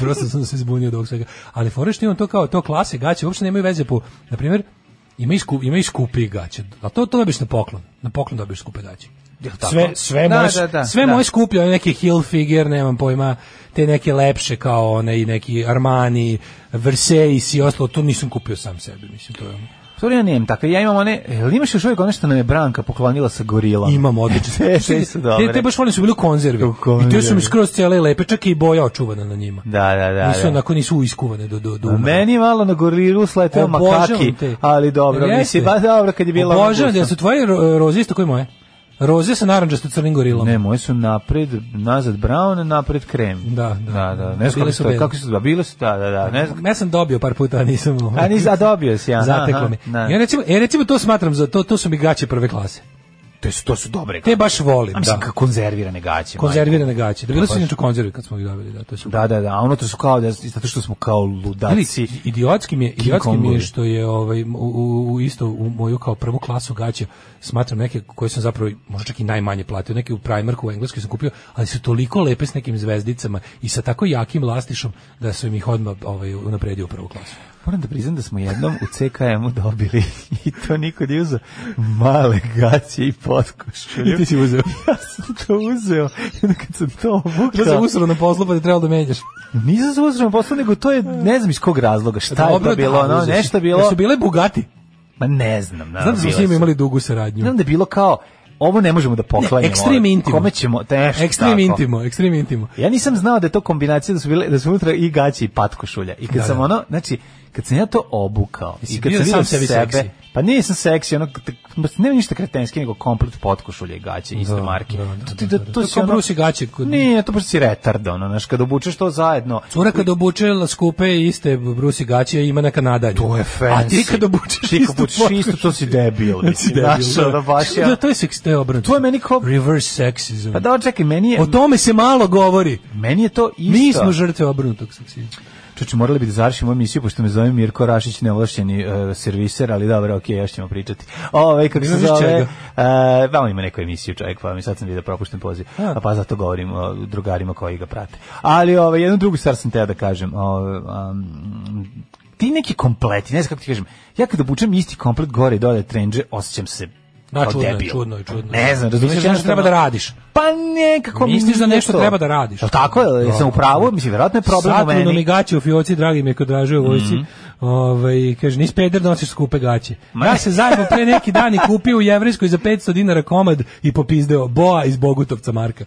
Speaker 5: Prosto sam se zbunio od ovog svega. Ali fore što imam to kao to klase gaće, uopšte nemaju veze po, na primjer, ima i, skup, ima i skupi gaće, a to, to dobiješ na poklon, na poklon dobiješ skupe gaće.
Speaker 6: tako?
Speaker 5: Sve, sve
Speaker 6: Da,
Speaker 5: moje,
Speaker 6: da, da,
Speaker 5: sve
Speaker 6: da.
Speaker 5: moje skuplje, one neke Hilfiger, nemam pojma, te neke lepše kao one i neki Armani, Versace i ostalo, to nisam kupio sam sebi, mislim, to je ono.
Speaker 6: Sorry, ja nemam takve. Ja imam one, jel imaš još uvijek one što nam je Branka poklonila sa gorilom?
Speaker 5: Imam odlične.
Speaker 6: Te- te su dobre.
Speaker 5: Te, te baš volim su bili u konzervi.
Speaker 6: U konzervi.
Speaker 5: I te su mi skroz cijele lepe, čak je i boja očuvana na njima.
Speaker 6: Da, da, da.
Speaker 5: nisu
Speaker 6: da.
Speaker 5: onako nisu iskuvane do do do.
Speaker 6: U
Speaker 5: umra.
Speaker 6: Meni je malo na gorilu sleteo
Speaker 5: Obožavam
Speaker 6: makaki,
Speaker 5: te.
Speaker 6: ali dobro,
Speaker 5: Jeste.
Speaker 6: mislim, ba dobro kad je bila... ona
Speaker 5: Obožavam
Speaker 6: gusta.
Speaker 5: da su tvoje ro- roze isto koje moje. Roze sa narandžasto crnim gorilom.
Speaker 6: Ne, moje su napred, nazad brown, napred krem.
Speaker 5: Da, da.
Speaker 6: da. da. Ne znam kako
Speaker 5: Bile su
Speaker 6: su, to-
Speaker 5: bele.
Speaker 6: kako su, da, bile su, da, da, da, ne znam.
Speaker 5: Ja sam dobio par puta, a nisam. ovaj,
Speaker 6: A nis, a dobio si, ja.
Speaker 5: Zateklo mi. Ja recimo, e, recimo to smatram za to, to su mi gaće prve klase.
Speaker 6: Te su, to su dobre.
Speaker 5: Te baš volim,
Speaker 6: A mislim,
Speaker 5: da.
Speaker 6: kako konzervirane gaće.
Speaker 5: Konzervirane gaće. Da bilo
Speaker 6: Pa
Speaker 5: su
Speaker 6: baš.
Speaker 5: inače konzervi kad smo ih dobili, da, to je super.
Speaker 6: majko. Da, da, da, a ono to su kao, da, zato što smo kao
Speaker 5: Ili,
Speaker 6: ludaci.
Speaker 5: idiotskim je, idiotskim je
Speaker 6: Kongovi.
Speaker 5: što je ovaj, u, u- u isto u moju kao prvu klasu gaća smatram neke koje sam zapravo možda čak i najmanje platio, neke u Primarku u Engleskoj sam kupio, ali su toliko lepe s nekim zvezdicama i sa tako jakim lastišom da su mi ih odmah ovaj, unapredio u prvu klasu.
Speaker 6: Moram da priznam da smo jednom u CKM-u dobili i to niko nije uzeo male gaće i potkošulju.
Speaker 5: I ti si uzeo.
Speaker 6: ja sam to uzeo. I onda kad sam to obukao...
Speaker 5: Da se usro na poslu pa te trebalo da menjaš.
Speaker 6: Nisam se uzeo na poslu, nego to je, ne znam iz kog razloga, šta je
Speaker 5: Dobro,
Speaker 6: to bilo,
Speaker 5: da,
Speaker 6: ono,
Speaker 5: uzeš.
Speaker 6: nešto bilo...
Speaker 5: Jer su bile bugati.
Speaker 6: Ma ne znam. Da,
Speaker 5: Znam da smo s
Speaker 6: bile
Speaker 5: njima
Speaker 6: su.
Speaker 5: imali dugu saradnju.
Speaker 6: Znam da je bilo kao, ovo ne možemo da poklanjamo. ono,
Speaker 5: Extreme intimo.
Speaker 6: Kome ćemo, teško
Speaker 5: Ekstrem
Speaker 6: tako.
Speaker 5: intimo, ekstrem intimo.
Speaker 6: Ja nisam znao da je to kombinacija da su bile da su unutra i gaće i patkošulja. I kad
Speaker 5: Da,
Speaker 6: sam
Speaker 5: da.
Speaker 6: ono, znači kad sam ja to obukao
Speaker 5: Jesi
Speaker 6: i kad
Speaker 5: bio
Speaker 6: sam vidio
Speaker 5: sam sebi
Speaker 6: sebe,
Speaker 5: seksi?
Speaker 6: pa nisam seksi, ono t- ma, nema ništa kretenski, nego komplet potkošulja i gaće iste
Speaker 5: Da,
Speaker 6: marke.
Speaker 5: da, da,
Speaker 6: to ti
Speaker 5: da,
Speaker 6: da, to,
Speaker 5: da. To je
Speaker 6: si
Speaker 5: kao
Speaker 6: ono-
Speaker 5: Bruce i gaće kod-
Speaker 6: Nije, to baš si retard, ono, znaš, kad obučeš to zajedno.
Speaker 5: Cura kad obuče skupe iste brusi gaće ima neka nadalje.
Speaker 6: To je fancy.
Speaker 5: A ti kad obučeš
Speaker 6: Ti kad
Speaker 5: istu
Speaker 6: obučeš
Speaker 5: potkošulju-
Speaker 6: isto, to si debil,
Speaker 5: Da si
Speaker 6: mislim, znaš,
Speaker 5: Znači debil,
Speaker 6: ono, baš je-
Speaker 5: Da, to je seks, to je obrnuto.
Speaker 6: To je meni kao-
Speaker 5: Reverse sexism.
Speaker 6: Pa da, čekaj, meni je,
Speaker 5: O tome se malo govori.
Speaker 6: meni je to isto.
Speaker 5: Mi smo žrtve obrnutog seksizma.
Speaker 6: Čuči, morali bi da završimo emisiju, pošto me zove Mirko Rašić, neovlašćeni uh, serviser, ali dobro, okej, još ćemo pričati. Ove, kako se
Speaker 5: Imaš
Speaker 6: zove,
Speaker 5: čega?
Speaker 6: uh, vama ima neku emisiju, čovjek, pa mi sad sam vidio propušten poziv,
Speaker 5: A.
Speaker 6: a pa zato govorim o drugarima koji ga prate. Ali ove, jednu drugu stvar sam teo da kažem, ove, um, ti neki kompleti, ne znam kako ti kažem, ja kad obučem isti komplet gore i dole trendže, osjećam se
Speaker 5: Da,
Speaker 6: kao
Speaker 5: čudno je,
Speaker 6: debil.
Speaker 5: čudno je, čudno je.
Speaker 6: Ne znam, razumiješ?
Speaker 5: Misliš da nešto treba da radiš?
Speaker 6: Pa nekako mi
Speaker 5: Misliš da
Speaker 6: nije
Speaker 5: nešto
Speaker 6: to.
Speaker 5: treba da radiš?
Speaker 6: Jel tako, je, sam u pravu, mislim, vjerojatno je problem u
Speaker 5: Satruno mi
Speaker 6: meni. Mhm.
Speaker 5: gaće u fioci, dragi mi je kod draže u vojci. Ovaj, kaže, nis peder nosiš skupe gaće.
Speaker 6: Ma
Speaker 5: Ja
Speaker 6: ne.
Speaker 5: se zajedno pre neki dan i kupio u Jevrijskoj za 500 dinara komad i popizdeo boa iz Bogutovca Marka.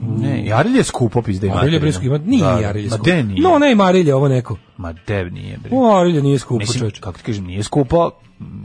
Speaker 6: Ne, Jarilj je skupo pizda i
Speaker 5: Arilje
Speaker 6: materina.
Speaker 5: Brisko ima, nije
Speaker 6: Da,
Speaker 5: da,
Speaker 6: da.
Speaker 5: Arilje
Speaker 6: Ma de nije?
Speaker 5: No, ne ima Arilje ovo neko.
Speaker 6: Ma de nije, bre.
Speaker 5: O, Arilje nije skupo,
Speaker 6: Mislim,
Speaker 5: čoveče.
Speaker 6: kako ti kažem, nije skupo,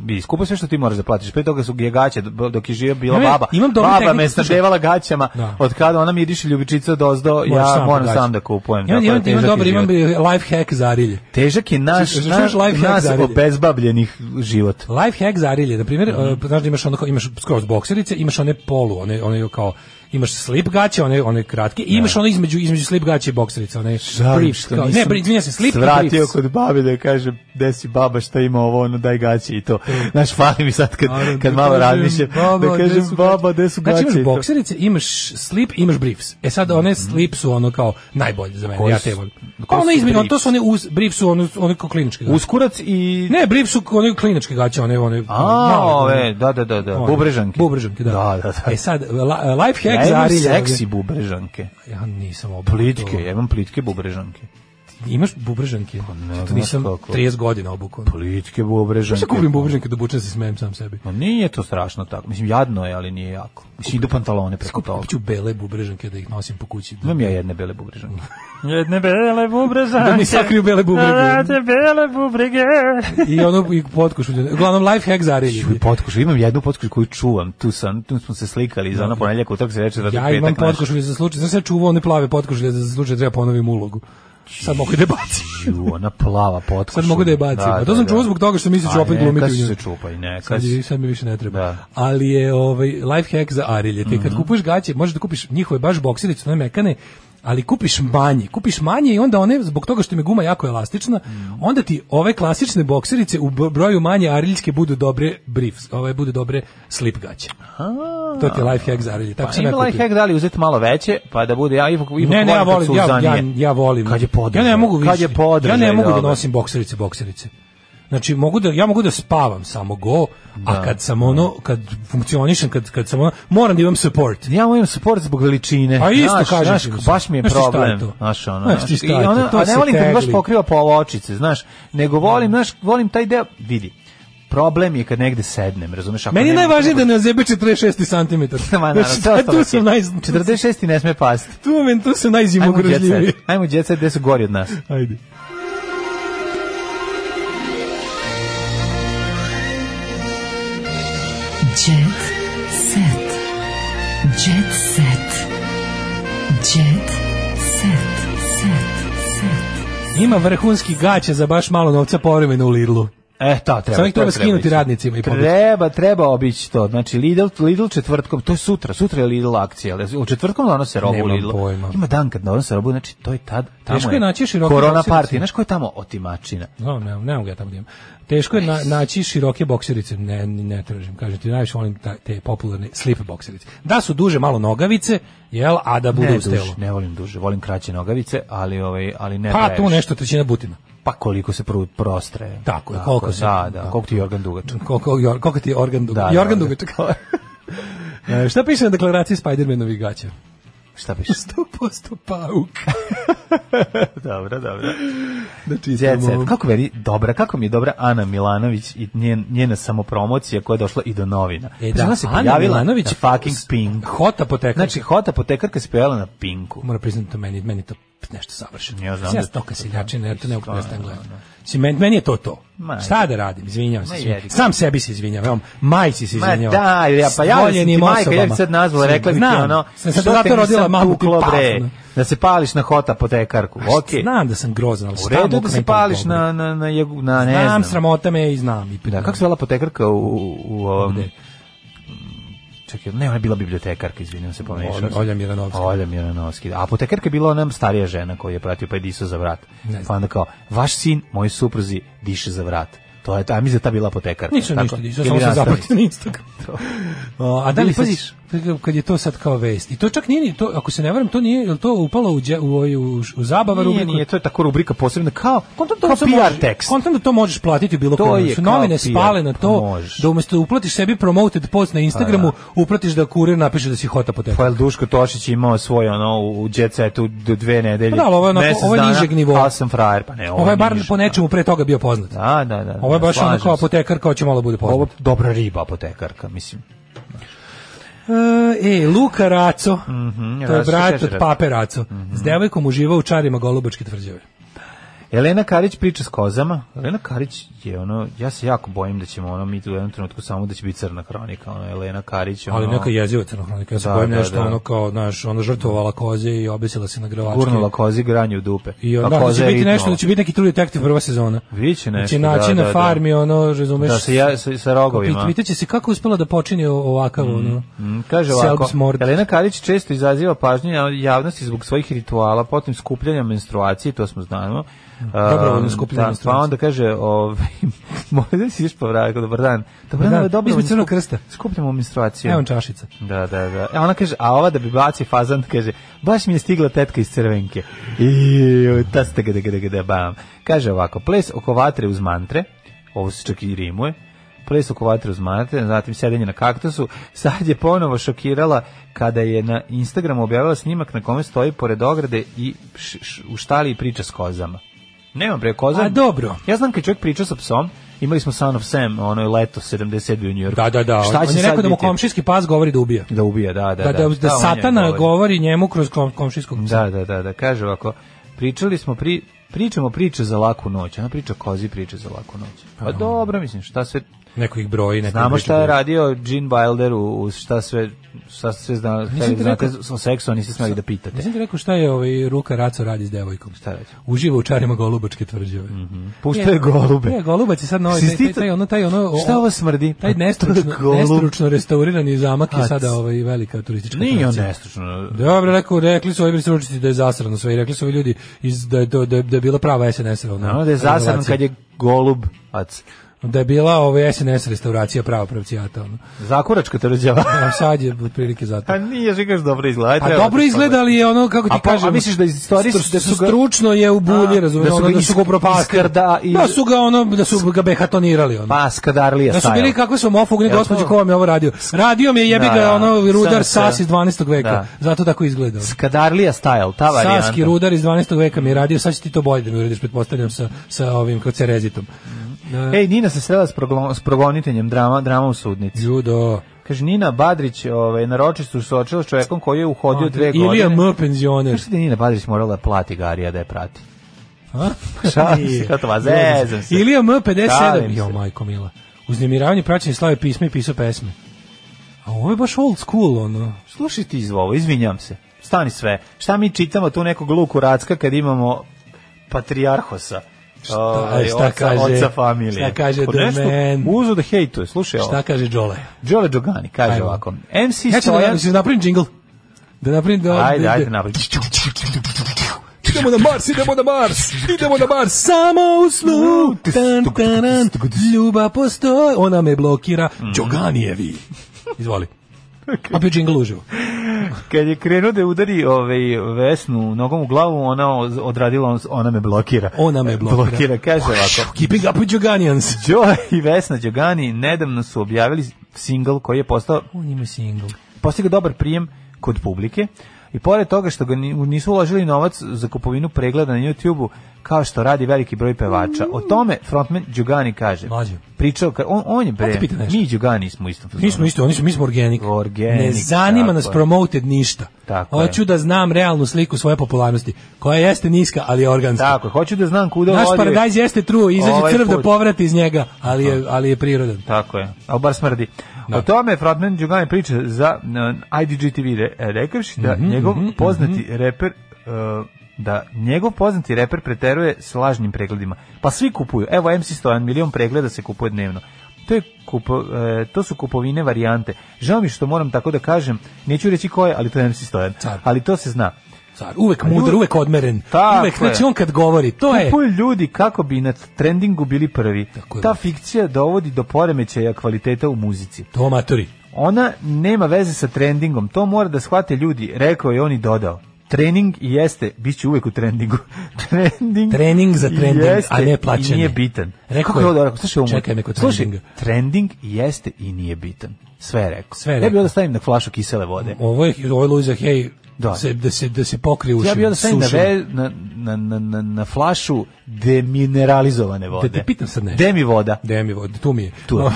Speaker 6: bi skupo sve što ti moraš da platiš. Pre toga su je gaće, do- dok je živa bila
Speaker 5: Ne, ne,
Speaker 6: baba.
Speaker 5: imam dobru
Speaker 6: baba
Speaker 5: tehniku,
Speaker 6: me
Speaker 5: slušaj.
Speaker 6: snabdevala gaćama,
Speaker 5: Da.
Speaker 6: od kada ona miriše ljubičica dozdo,
Speaker 5: Moraš
Speaker 6: ja
Speaker 5: sam
Speaker 6: moram
Speaker 5: gaće.
Speaker 6: sam da kupujem.
Speaker 5: Imam,
Speaker 6: tako
Speaker 5: imam,
Speaker 6: da
Speaker 5: imam
Speaker 6: težak
Speaker 5: dobar,
Speaker 6: je
Speaker 5: imam
Speaker 6: život.
Speaker 5: life hack za Arilje.
Speaker 6: Težak je naš,
Speaker 5: Čuješ
Speaker 6: naš,
Speaker 5: life hack
Speaker 6: nas
Speaker 5: za Arilje?
Speaker 6: obezbabljenih život.
Speaker 5: Life hack za arilje, na primjer,
Speaker 6: Mhm.
Speaker 5: e, znaš da imaš ono kao, imaš skroz bokserice, imaš one polu, one one kao imaš slip gaće, one one kratke, i imaš ono između između slip gaće i bokserice, one briefs, kao, ne, bri- izvinjam se, slip i
Speaker 6: Vratio
Speaker 5: briefs.
Speaker 6: kod babe da kaže, gde si baba, šta ima ovo, ono, daj gaće i to. Znaš, fali mi sad kad,
Speaker 5: E. Naravno,
Speaker 6: kad
Speaker 5: da
Speaker 6: malo
Speaker 5: kažem,
Speaker 6: razmišljam,
Speaker 5: baba,
Speaker 6: da
Speaker 5: gde
Speaker 6: kažem,
Speaker 5: su gaće?
Speaker 6: baba, gde su gaće
Speaker 5: Znači
Speaker 6: i
Speaker 5: imaš
Speaker 6: to. Mhm.
Speaker 5: bokserice, imaš slip, imaš briefs. E sad one slip su ono kao najbolje za mene,
Speaker 6: Koji
Speaker 5: ja
Speaker 6: su-
Speaker 5: te volim.
Speaker 6: koji
Speaker 5: Pa ono
Speaker 6: su
Speaker 5: između,
Speaker 6: briefs?
Speaker 5: to su one uz, briefs su one, one kao kliničke gaće.
Speaker 6: Uskurac i...
Speaker 5: Ne, briefs su one kliničke gaće, one, one,
Speaker 6: A, ove, da, da, da, da,
Speaker 5: One,
Speaker 6: bubrežanke.
Speaker 5: Bubrežanke, da.
Speaker 6: Da, da, da.
Speaker 5: E sad, la- life hack
Speaker 6: ja
Speaker 5: za
Speaker 6: imam
Speaker 5: arilje.
Speaker 6: seksi bubrežanke.
Speaker 5: Ja nisam obrnuto.
Speaker 6: Plitke, ja imam plitke bubrežanke.
Speaker 5: Imaš bubrežanke?
Speaker 6: ne
Speaker 5: Zato
Speaker 6: znam
Speaker 5: nisam
Speaker 6: kako.
Speaker 5: 30 godina obuko.
Speaker 6: Plitke pa. bubrežanke.
Speaker 5: Šta kupim bubrežanke da obučem da se smejem sam sebi?
Speaker 6: Ma nije to strašno tako. Mislim, jadno je, ali nije jako. Mislim, idu pantalone preko toga.
Speaker 5: Kupit ću bele bubrežanke da ih nosim po kući. Da,
Speaker 6: Imam ja jedne bele bubrežanke. jedne bele bubrežanke.
Speaker 5: da mi sakriju bele bubrege.
Speaker 6: bele bubrege.
Speaker 5: I ono i potkošulje. Uglavnom, life hack za arilje.
Speaker 6: Čuj potkošu, imam jednu potkošu koju čuvam, tu, sam, tu smo se slikali za ono ponedljak, utorak se reče da
Speaker 5: Ja imam potkošulje za slučaj. Znaš, ja čuvao one plave potkošulje za slučaj da treba ponovim ulogu. Sad mogu da je bacim.
Speaker 6: Ju, ona plava potkoša.
Speaker 5: Sad mogu da je bacim. A to sam čuo zbog toga što mislim da ću opet glumiti u
Speaker 6: u
Speaker 5: njoj.
Speaker 6: se čupa i neka
Speaker 5: Sad,
Speaker 6: si-
Speaker 5: je- sad mi više ne treba.
Speaker 6: Da. Mhm.
Speaker 5: Ali je ovaj life hack za arilje. Ti kad kupuješ gaće, možeš da kupiš njihove baš bokserice, one mekane, ali kupiš manje. Kupiš manje i onda one, zbog toga što mi guma jako elastična,
Speaker 6: Mhm.
Speaker 5: onda ti ove klasične bokserice u b- broju manje ariljske budu dobre briefs, ove budu dobre slip gaće. To ti je life hack za arilje. Tako
Speaker 6: Pa
Speaker 5: sam ja
Speaker 6: ima
Speaker 5: kupio.
Speaker 6: life hack da li uzeti malo veće, pa da bude ja ipak ipak
Speaker 5: Ne, ne, ja
Speaker 6: volim kad su
Speaker 5: volim, ja, ja,
Speaker 6: uzdanije.
Speaker 5: ja volim.
Speaker 6: Kad je podržaj.
Speaker 5: Ja ne mogu više.
Speaker 6: Kad je podržaj,
Speaker 5: ja ne mogu da
Speaker 6: dobro.
Speaker 5: nosim bokserice, bokserice. Znači, mogu da, ja mogu da spavam samo go, a kad sam ono, kad funkcionišem, kad, kad sam ono, moram da imam support.
Speaker 6: Ja mojem sport zbog veličine.
Speaker 5: Pa isto
Speaker 6: Znaš,
Speaker 5: kažem
Speaker 6: znaš,
Speaker 5: ti, mislim.
Speaker 6: baš mi je
Speaker 5: Znaš ti šta je
Speaker 6: problem.
Speaker 5: to?
Speaker 6: Znaš, ono,
Speaker 5: Znaš ti
Speaker 6: znaš,
Speaker 5: šta
Speaker 6: i
Speaker 5: je to?
Speaker 6: ona,
Speaker 5: To
Speaker 6: a ne
Speaker 5: se
Speaker 6: volim kad mi baš
Speaker 5: tegli.
Speaker 6: pokriva pola očice, znaš, nego volim, znaš, volim taj deo, vidi, problem je kad negde sednem, razumeš? Ako
Speaker 5: Meni je
Speaker 6: nemam-
Speaker 5: najvažnije da ne zebe 46 cm.
Speaker 6: Ma, naravno, to
Speaker 5: znači, tu
Speaker 6: ostalo
Speaker 5: sam
Speaker 6: ti.
Speaker 5: naj...
Speaker 6: 46. ne sme pasti.
Speaker 5: Tu, men,
Speaker 6: Ajmo
Speaker 5: tu sam
Speaker 6: djeca,
Speaker 5: najzimogružljiviji.
Speaker 6: ajmo djeca, gde su gori od nas?
Speaker 5: Ajde.
Speaker 4: Jet set. Jet set. Jet set. Set. Set.
Speaker 5: Ima vrhunski gaće za baš malo novca povremeno u Lidlu.
Speaker 6: E, to treba.
Speaker 5: Samo ih
Speaker 6: to
Speaker 5: treba skinuti
Speaker 6: ići.
Speaker 5: radnicima i pobiti.
Speaker 6: Treba, treba obići to. Znači, Lidl, Lidl četvrtkom, to je sutra, sutra je Lidl akcija, ali u četvrtkom donose robu u
Speaker 5: Nemam
Speaker 6: Lidlu.
Speaker 5: pojma.
Speaker 6: Ima dan kad donose robu, znači to je tad, tamo
Speaker 5: Teško je naći široke
Speaker 6: korona
Speaker 5: bokserice.
Speaker 6: partija. Znaš ko je tamo otimačina?
Speaker 5: No, ne, ne mogu ja tamo da imam. Teško je na, naći široke bokserice, ne, ni ne tražim, kažem ti, najviše volim ta- te popularne slip bokserice. Da su duže malo nogavice, jel, a da bude
Speaker 6: Ne,
Speaker 5: uz
Speaker 6: duže,
Speaker 5: telo.
Speaker 6: ne volim duže, volim kraće nogavice, ali, ovaj, ali ne
Speaker 5: Pa
Speaker 6: previše.
Speaker 5: tu nešto trećina butina.
Speaker 6: pa koliko se pru, prostre.
Speaker 5: Tako je, koliko se-
Speaker 6: Da, da,
Speaker 5: da.
Speaker 6: koliko ti je organ dugačak.
Speaker 5: Koliko, jor- koliko ti je organ dugačak?
Speaker 6: Da,
Speaker 5: Jorgan
Speaker 6: da, da.
Speaker 5: dugačak. E, šta piše na deklaraciji Spider-Manovih gaća?
Speaker 6: Šta piše?
Speaker 5: 100% pauk.
Speaker 6: dobro, dobro.
Speaker 5: Da
Speaker 6: Jet set.
Speaker 5: čitamo.
Speaker 6: Kako meni dobra, kako mi je dobra Ana Milanović i njen, njena samopromocija koja je došla i do novina.
Speaker 5: E,
Speaker 6: Pa
Speaker 5: da,
Speaker 6: ona se
Speaker 5: Ana
Speaker 6: pojavila
Speaker 5: Milanović-
Speaker 6: na fucking Pink.
Speaker 5: Hot apotekar.
Speaker 6: Znači, hot apotekarka se pojavila na Pinku.
Speaker 5: Moram priznati to meni, meni je to nešto savršeno.
Speaker 6: Ja znam
Speaker 5: Mislim,
Speaker 6: da-
Speaker 5: ja to kad se ljačine, ja to ne mogu
Speaker 6: Da,
Speaker 5: prestan
Speaker 6: da,
Speaker 5: gledati. Mislim, meni, meni je to to.
Speaker 6: Ma,
Speaker 5: Šta da radim? Izvinjavam se.
Speaker 6: Ma,
Speaker 5: svima.
Speaker 6: jebi ga.
Speaker 5: Sam sebi se izvinjavam. Majci se
Speaker 6: Ma
Speaker 5: izvinjavam.
Speaker 6: da, ja pa ja sam ti
Speaker 5: Voljenim
Speaker 6: majka, ja
Speaker 5: osobama.
Speaker 6: bi sad nazvala, rekla bi ti
Speaker 5: Znam,
Speaker 6: ono,
Speaker 5: sam se
Speaker 6: što
Speaker 5: zato
Speaker 6: te nisam
Speaker 5: rodila mamu, ti
Speaker 6: tuklo,
Speaker 5: paf,
Speaker 6: bre,
Speaker 5: ono.
Speaker 6: da se pališ na hot apotekarku. Okej.
Speaker 5: Znam da sam grozan, ali
Speaker 6: U
Speaker 5: šta
Speaker 6: redu je
Speaker 5: mogu
Speaker 6: da
Speaker 5: meni
Speaker 6: se
Speaker 5: to
Speaker 6: pališ
Speaker 5: dobro?
Speaker 6: na, na, na, jegu- na ne znam.
Speaker 5: Znam, sramota me je i znam. I
Speaker 6: Da, kako se zvala apotekarka u, u, u ovom... Čekaj, ne, ona je bila bibliotekarka, izvinjam se, pomešao.
Speaker 5: Olja-
Speaker 6: sam.
Speaker 5: Olja Miranovska.
Speaker 6: Pa Olja Miranovski. da. A apotekarka je bila ona starija žena koju je pratio, pa je disao za vrat.
Speaker 5: znam.
Speaker 6: Pa onda kao, vaš sin, moj supruzi, diše za vrat. To je ta, a mislim da je ta bila apotekarka.
Speaker 5: Nisam
Speaker 6: tako?
Speaker 5: ništa, nisam,
Speaker 6: Ili
Speaker 5: samo sam
Speaker 6: nastavnica.
Speaker 5: zapratio na Instagram. O, a da
Speaker 6: Ili
Speaker 5: li
Speaker 6: sad-
Speaker 5: paziš, kad je to sad kao vest, i to čak nije, ni to, ako se ne varam, to nije, jel to upalo u, dje- u, ovu- u, š- u zabava
Speaker 6: Nije,
Speaker 5: rubriku?
Speaker 6: nije, to je tako rubrika posebna, kao,
Speaker 5: Kontam da
Speaker 6: kao
Speaker 5: se
Speaker 6: PR
Speaker 5: može-
Speaker 6: tekst.
Speaker 5: Kontam da to možeš platiti u bilo
Speaker 6: To
Speaker 5: kojem.
Speaker 6: je
Speaker 5: Su
Speaker 6: kao
Speaker 5: novine
Speaker 6: PR,
Speaker 5: spale na to
Speaker 6: pa možeš.
Speaker 5: da umesto da uplatiš sebi promoted post na Instagramu, uplatiš da kurir napiše da si hota po
Speaker 6: Pa jel Duško Tošić imao svoj ono u jet setu do dve nedelje.
Speaker 5: Pa da, ali ovo je onako-
Speaker 6: mjesec
Speaker 5: ovo je
Speaker 6: dana,
Speaker 5: nižeg nivoa.
Speaker 6: Pa sam frajer, pa ne.
Speaker 5: Ovo je bar
Speaker 6: niže,
Speaker 5: po nečemu pre toga bio poznat.
Speaker 6: Da, da, da.
Speaker 5: Ovo je
Speaker 6: da,
Speaker 5: baš ono
Speaker 6: slažem
Speaker 5: kao
Speaker 6: se.
Speaker 5: apotekar kao će malo bude poznat.
Speaker 6: Ovo je dobra riba apotekarka, mislim.
Speaker 5: E, Luka Raco,
Speaker 6: Mhm,
Speaker 5: to je
Speaker 6: Raco Mhm.
Speaker 5: brat od
Speaker 6: Šešelj.
Speaker 5: Pape Raco, s devojkom uživa u čarima Golubačke tvrđave.
Speaker 6: Elena Karić priča s kozama. Elena Karić je ono, ja se jako bojim da ćemo ono, mi tu u jednom trenutku samo da će biti crna hronika. Ono, Elena Karić, ono,
Speaker 5: Ali neka jeziva crnohronika, ja se
Speaker 6: Da,
Speaker 5: bojim
Speaker 6: da,
Speaker 5: nešto
Speaker 6: da.
Speaker 5: ono kao, znaš, ono žrtvovala koze i obesila se na gravačke.
Speaker 6: gurnula kozi granje u dupe.
Speaker 5: I
Speaker 6: Pa
Speaker 5: onda da
Speaker 6: koza
Speaker 5: će
Speaker 6: je
Speaker 5: biti nešto,
Speaker 6: ritnula.
Speaker 5: da će biti neki True Detective prva sezona.
Speaker 6: Biće
Speaker 5: Da
Speaker 6: nešto,
Speaker 5: će naći
Speaker 6: da,
Speaker 5: Znači, na
Speaker 6: da, da.
Speaker 5: farmi, ono, razumeš,
Speaker 6: Da, sa, ja, sa, sa
Speaker 5: Pit-
Speaker 6: rogovima.
Speaker 5: Pitaće se kako je uspela da počini o- ovakav, ono,
Speaker 6: Mm, Kaže ovako,
Speaker 5: self-mord.
Speaker 6: Elena Karić često izaziva pažnju javnosti zbog svojih rituala, potom skupljanja menstruacije, to smo znamo.
Speaker 5: Dobrovoljno
Speaker 6: Um,
Speaker 5: skupljanje
Speaker 6: da,
Speaker 5: menstruacije.
Speaker 6: Pa onda kaže, ovaj, možda si još povratio, dobar dan. Dobar
Speaker 5: dan,
Speaker 6: dan, dobro.
Speaker 5: mi smo Crvenog krsta.
Speaker 6: Skupljamo menstruaciju.
Speaker 5: Evo čašica.
Speaker 6: Da, da, da. A ona kaže, a ova da bi baci fazan, kaže, baš mi je stigla tetka iz crvenke. I ta ste gada, gada, gada, bam. Kaže ovako, ples oko vatre uz mantre, ovo se čak i rimuje, ples oko vatre uz mantre, zatim sedenje na kaktusu, sad je ponovo šokirala kada je na Instagramu objavila snimak na kome stoji pored ograde i š, š- u štali i priča s kozama. Nema bre, koza.
Speaker 5: A dobro.
Speaker 6: Ja znam kad čovjek priča sa psom, imali smo Son of Sam, ono je leto 70 u New Yorku.
Speaker 5: Da, da, da.
Speaker 6: Šta
Speaker 5: on
Speaker 6: će
Speaker 5: je
Speaker 6: sad
Speaker 5: rekao da mu
Speaker 6: biti?
Speaker 5: komšijski pas govori da ubija. Pa
Speaker 6: Da ubija, da, da.
Speaker 5: Da, da, da
Speaker 6: Šta on
Speaker 5: satana
Speaker 6: njemu
Speaker 5: govori njemu kroz kom, komšijskog psa.
Speaker 6: Da, da, da, da, kaže ovako, pričali smo, pri, pričamo priče za laku noć, ona priča kozi priče za laku noć. Pa dobro, mislim, šta sve,
Speaker 5: Neko ih broji, neko
Speaker 6: znamo
Speaker 5: priča
Speaker 6: šta je
Speaker 5: broji.
Speaker 6: radio Gene Wilder, u, u šta sve, šta sve zna,
Speaker 5: ti
Speaker 6: znate
Speaker 5: rekao-
Speaker 6: o seksu, a niste smeli da pitate.
Speaker 5: Nisam ti rekao šta je ovaj Ruka Raco radi s devojkom.
Speaker 6: Šta radi?
Speaker 5: Uživa u čarima Golubačke tvrđave.
Speaker 6: Pušta je golube.
Speaker 5: Ne, Golubac je sad novi,
Speaker 6: Si
Speaker 5: taj,
Speaker 6: ti
Speaker 5: taj,
Speaker 6: to-
Speaker 5: taj, ono, taj, ono,
Speaker 6: Šta ovo smrdi?
Speaker 5: Taj
Speaker 6: Pa to je
Speaker 5: nestručno,
Speaker 6: golub.
Speaker 5: nestručno restaurirani zamak
Speaker 6: A,
Speaker 5: je sada
Speaker 6: c-
Speaker 5: ovaj velika turistička
Speaker 6: Nije on
Speaker 5: atrakcija.
Speaker 6: nestručno.
Speaker 5: Dobro, rekao, rekli su ovi stručnjaci da je zasrano sve i rekli su ovi ljudi iz, da, je, to- da, je- da je bila prava SNS -a, ono,
Speaker 6: Naravno da je zasadan
Speaker 5: renovacija.
Speaker 6: kad je golub, ac.
Speaker 5: da je bila ovaj SNS restauracija prava pravcijata. Ono.
Speaker 6: Zakuračka te rođava.
Speaker 5: A sad je otprilike zato.
Speaker 6: A nije, že kažeš dobro izgleda.
Speaker 5: Pa dobro izgleda, ali je ono, kako ti
Speaker 6: A pa- a
Speaker 5: kažem...
Speaker 6: misliš da iz istorije
Speaker 5: stru-
Speaker 6: da su ga-
Speaker 5: stručno je u bulji,
Speaker 6: A,
Speaker 5: razumiješ,
Speaker 6: da su
Speaker 5: ono,
Speaker 6: ga
Speaker 5: da su ga
Speaker 6: isk-
Speaker 5: upropastili.
Speaker 6: iskrda i-
Speaker 5: Da su ga, ono, da su ga behatonirali, ono.
Speaker 6: Pa, skadarlija
Speaker 5: Da su
Speaker 6: sajala.
Speaker 5: bili kakve su mofugni,
Speaker 6: Jel to-
Speaker 5: gospođo, ko vam je ovo radio? Radio mi je jebi
Speaker 6: Da,
Speaker 5: ga,
Speaker 6: da.
Speaker 5: ono, rudar
Speaker 6: Sam se-
Speaker 5: Sas iz 12. veka.
Speaker 6: Da.
Speaker 5: Zato tako izgleda. ono.
Speaker 6: Skadarlija style, ta varijanta.
Speaker 5: Saski rudar iz 12. veka mi je radio, sad će ti to bolje da mi uradiš, pretpostavljam, sa, sa ovim kao cerezitom.
Speaker 6: Ej, Nina se srela s, proglo- s progoniteljem drama, drama u sudnici.
Speaker 5: Judo.
Speaker 6: Kaže, Nina Badrić ovaj, na ročištu se suočila s čovjekom koji je uhodio dve godine.
Speaker 5: Ilija M. penzioner.
Speaker 6: Kaže da je Nina Badrić morala da plati Garija da je prati.
Speaker 5: A?
Speaker 6: Šalim
Speaker 5: Nije.
Speaker 6: se, kao to, ma zezam se.
Speaker 5: Ilija
Speaker 6: Šalim
Speaker 5: M57.
Speaker 6: se.
Speaker 5: Jo, majko mila. Uznemiravanje, praćenje slave pisme i pisao pesme. A ovo je baš old school, ono.
Speaker 6: Slušaj ti izvovo, izvinjam se. Stani sve. Šta mi čitamo tu nekog luku racka kad imamo patrijarhosa? Ovaj,
Speaker 5: šta kaže-
Speaker 6: oca familije.
Speaker 5: šta kaže
Speaker 6: Ko
Speaker 5: The
Speaker 6: nešto
Speaker 5: Man?
Speaker 6: Uzo da hejtuje, slušaj ovo.
Speaker 5: Šta kaže Đole?
Speaker 6: Đole Đogani kaže
Speaker 5: Ajmo.
Speaker 6: ovako. MC
Speaker 5: Ja ću da,
Speaker 6: Stojan...
Speaker 5: da napravim džingl. Da napravim... Da,
Speaker 6: Ajde,
Speaker 5: da-
Speaker 6: ajde, napravi.
Speaker 5: Idemo na Mars, idemo na Mars, idemo na Mars, samo u snu, tan, tanan, ljubav postoji,
Speaker 6: Mhm.
Speaker 5: ona me blokira, Đoganijevi. Izvoli. A bio džingl uživo.
Speaker 6: kad je krenuo da udari ovaj Vesnu nogom u glavu, ona oz- odradila on- ona me blokira.
Speaker 5: Ona me blokira.
Speaker 6: kaže ovako.
Speaker 5: Keeping up with Joganians.
Speaker 6: Joe i Vesna Đogani nedavno su objavili single koji je postao
Speaker 5: On ima single.
Speaker 6: postigao dobar prijem kod publike i pored toga što ga ni- nisu uložili novac za kupovinu pregleda na YouTubeu kao što radi veliki broj pevača. O tome frontman Đugani kaže.
Speaker 5: Mlađe.
Speaker 6: Pričao ka- on on je bre.
Speaker 5: te pitam nešto.
Speaker 6: Mi i Đugani smo isto.
Speaker 5: Mi smo isto, oni su, mi smo organic.
Speaker 6: Organic,
Speaker 5: ne zanima
Speaker 6: tako
Speaker 5: nas
Speaker 6: je.
Speaker 5: promoted ništa.
Speaker 6: Tako
Speaker 5: Hoću da znam realnu sliku svoje popularnosti, koja jeste niska, ali je organska.
Speaker 6: Tako, je, hoću da znam kuda
Speaker 5: Naš
Speaker 6: vodi-
Speaker 5: paradajz jeste true, izađe
Speaker 6: Ovaj
Speaker 5: crv da
Speaker 6: put.
Speaker 5: povrati iz njega, ali je, ali je prirodan.
Speaker 6: Tako je, ali bar smrdi. O tome Frontman Đugani priča za uh, IDGTV re, rekavši da njegov poznati reper uh, da njegov poznati reper preteruje s lažnim pregledima. Pa svi kupuju. Evo MC Stojan, milion pregleda se kupuje dnevno. To, je kupo, e, to su kupovine varijante. Žao mi je što moram tako da kažem, neću reći ko je, ali to je MC Stojan.
Speaker 5: Car.
Speaker 6: Ali to se zna.
Speaker 5: Car, uvek
Speaker 6: Ali
Speaker 5: mudar,
Speaker 6: uvek-
Speaker 5: uvek odmeren.
Speaker 6: Tako
Speaker 5: uvek,
Speaker 6: je.
Speaker 5: znači on kad govori, to je...
Speaker 6: Kupuju ljudi kako bi na trendingu bili prvi.
Speaker 5: Tako je.
Speaker 6: Ta fikcija dovodi do poremećaja kvaliteta u muzici.
Speaker 5: To matori.
Speaker 6: Ona nema veze sa trendingom, to mora da shvate ljudi, rekao je on i dodao. Trening i jeste, bit će uvek u trendingu. Trending,
Speaker 5: Trening za trending, a ne plaćanje.
Speaker 6: I nije bitan.
Speaker 5: Rekao
Speaker 6: Kako
Speaker 5: je,
Speaker 6: ovo rekao? Slušaj, ovo mu-
Speaker 5: čekaj me kod
Speaker 6: slušaj,
Speaker 5: trendinga.
Speaker 6: trending i jeste i nije bitan. Sve je rekao.
Speaker 5: Sve je
Speaker 6: Ja bih
Speaker 5: rekao.
Speaker 6: onda stavim na flašu kisele vode.
Speaker 5: Ovo je, ovo je Luisa Hay,
Speaker 6: Da.
Speaker 5: da. Se, da, se, da se pokrije ušima.
Speaker 6: Ja bih onda stavim na,
Speaker 5: sušima.
Speaker 6: ve, na, na, na, na, na flašu demineralizovane vode.
Speaker 5: Da te pitam sad nešto.
Speaker 6: Demi voda.
Speaker 5: Demi voda, tu mi je.
Speaker 6: Tu je.
Speaker 5: No,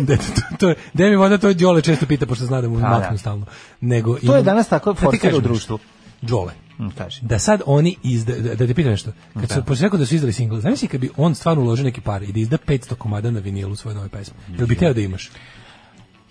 Speaker 5: da, to, to je Demi voda, to je Đole često pita, pošto zna da mu
Speaker 6: Pa da.
Speaker 5: maknu stalno. Nego,
Speaker 6: To je danas tako
Speaker 5: ti
Speaker 6: forsira
Speaker 5: kažem
Speaker 6: u
Speaker 5: nešto?
Speaker 6: društvu.
Speaker 5: Đole.
Speaker 6: Mm, kaži.
Speaker 5: Da sad oni izda, da, da te pitam nešto. Kad su, pošto si rekao da su izdali single, znaš si kad bi on stvarno uložio neke pare i da izda 500 komada na vinilu svoje nove pesme, jel bi teo da imaš?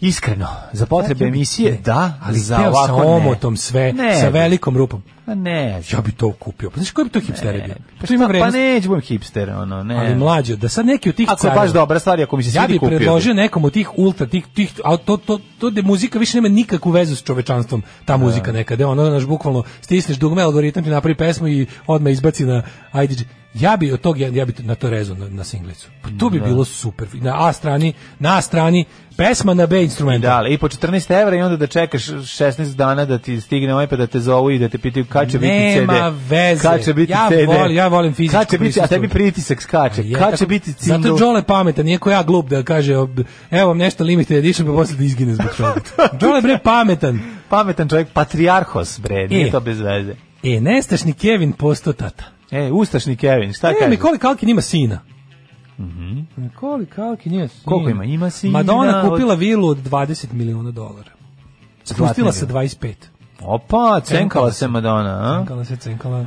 Speaker 6: Iskreno, za potrebe
Speaker 5: Ja bi-
Speaker 6: emisije,
Speaker 5: ne.
Speaker 6: da, ali
Speaker 5: ali
Speaker 6: za
Speaker 5: teo
Speaker 6: ovako
Speaker 5: sa
Speaker 6: ne.
Speaker 5: omotom sve,
Speaker 6: Ne
Speaker 5: sa
Speaker 6: bi.
Speaker 5: velikom rupom.
Speaker 6: Pa ne.
Speaker 5: Ja bi to kupio. Pa znaš koji bi to hipster bio?
Speaker 6: Pa,
Speaker 5: To ima
Speaker 6: šta- pa
Speaker 5: vrednost.
Speaker 6: neću budem hipster, ono, ne.
Speaker 5: Ali mlađe, da sad neki od tih
Speaker 6: Ako je
Speaker 5: careva-
Speaker 6: baš dobra stvar, i ako mi se
Speaker 5: Ja
Speaker 6: svidi
Speaker 5: bih
Speaker 6: kupio.
Speaker 5: predložio nekom od tih ultra, tih, tih, a to, to, to da muzika više nema nikakvu vezu s čovečanstvom, ta muzika nekada, ono, naš bukvalno stisneš dugme, algoritam ti napravi pesmu i odmah izbaci na IDG. Ja bi od tog, ja, ja bi na to rezo na, na singlicu. Pa to bi bilo super. Na A strani, na A strani, pesma na B instrumenta.
Speaker 6: Da, ali i po 14 evra i onda da čekaš 16 dana da ti stigne ovaj pa da te zovu i da te pitaju kad će biti CD.
Speaker 5: Nema veze.
Speaker 6: Kad će biti
Speaker 5: Ja
Speaker 6: CD.
Speaker 5: volim- ja volim fizičko
Speaker 6: Kad će biti, a tebi
Speaker 5: prisustvo.
Speaker 6: pritisak skače.
Speaker 5: Je,
Speaker 6: kad
Speaker 5: tako-
Speaker 6: će biti
Speaker 5: Zato
Speaker 6: single?
Speaker 5: je Đole pametan, iako ja glup da kaže ob- evo vam nešto limited edition pa posle da izgine zbog toga. Đole bre pametan.
Speaker 6: Pametan čovjek, patrijarhos, bre, nije
Speaker 5: E.
Speaker 6: to bez veze.
Speaker 5: E, nestašni Kevin posto tata.
Speaker 6: E, Ustašni Kevin, šta
Speaker 5: E,
Speaker 6: kaže?
Speaker 5: Nikoli Kalkin ima sina. Mhm. Nikoli Kalkin ima sina.
Speaker 6: Koliko ima? Ima sina
Speaker 5: Madonna
Speaker 6: od-
Speaker 5: kupila vilu od 20 miliona dolara. Spustila se 25.
Speaker 6: Opa, cenkala se Madonna, a?
Speaker 5: Cenkala se, cenkala.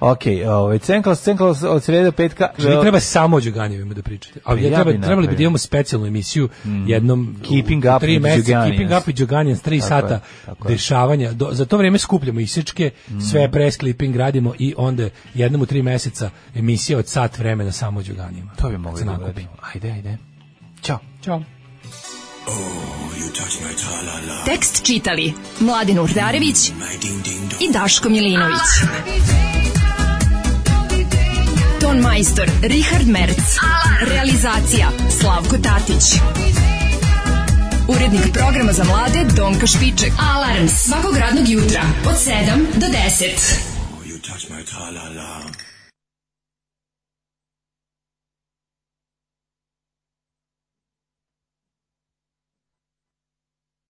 Speaker 6: Ok, ovaj, cenkala se, cenkala se od sreda petka.
Speaker 5: Znači, treba samo o Đoganjevima da pričate. A
Speaker 6: Pa Ja
Speaker 5: ja treba,
Speaker 6: bi
Speaker 5: trebali bi da
Speaker 6: napravio. Mhm.
Speaker 5: imamo specijalnu emisiju jednom u
Speaker 6: Keeping up
Speaker 5: tri
Speaker 6: with
Speaker 5: meseca,
Speaker 6: Đuganijans.
Speaker 5: Keeping up with Đoganjans, tri
Speaker 6: Tako
Speaker 5: sata
Speaker 6: je, tako je. Mhm.
Speaker 5: dešavanja. Do, za to vrijeme skupljamo isečke, sve press clipping radimo i onda jednom u tri meseca emisija od sat vremena samo o Đoganjima.
Speaker 6: To bi mogli
Speaker 5: Se
Speaker 6: da
Speaker 5: nakupi.
Speaker 6: uradimo. Ajde, ajde. Ćao.
Speaker 5: Ćao.
Speaker 4: Tekst čitali Mladin Urdarević i Daško Milinović. Ton majstor Richard Merc. Realizacija Slavko Tatić. Urednik programa za mlade Donka Špiček. Alarms svakog radnog jutra od 7 do 10.
Speaker 9: Oh, you touch my tra-la-la.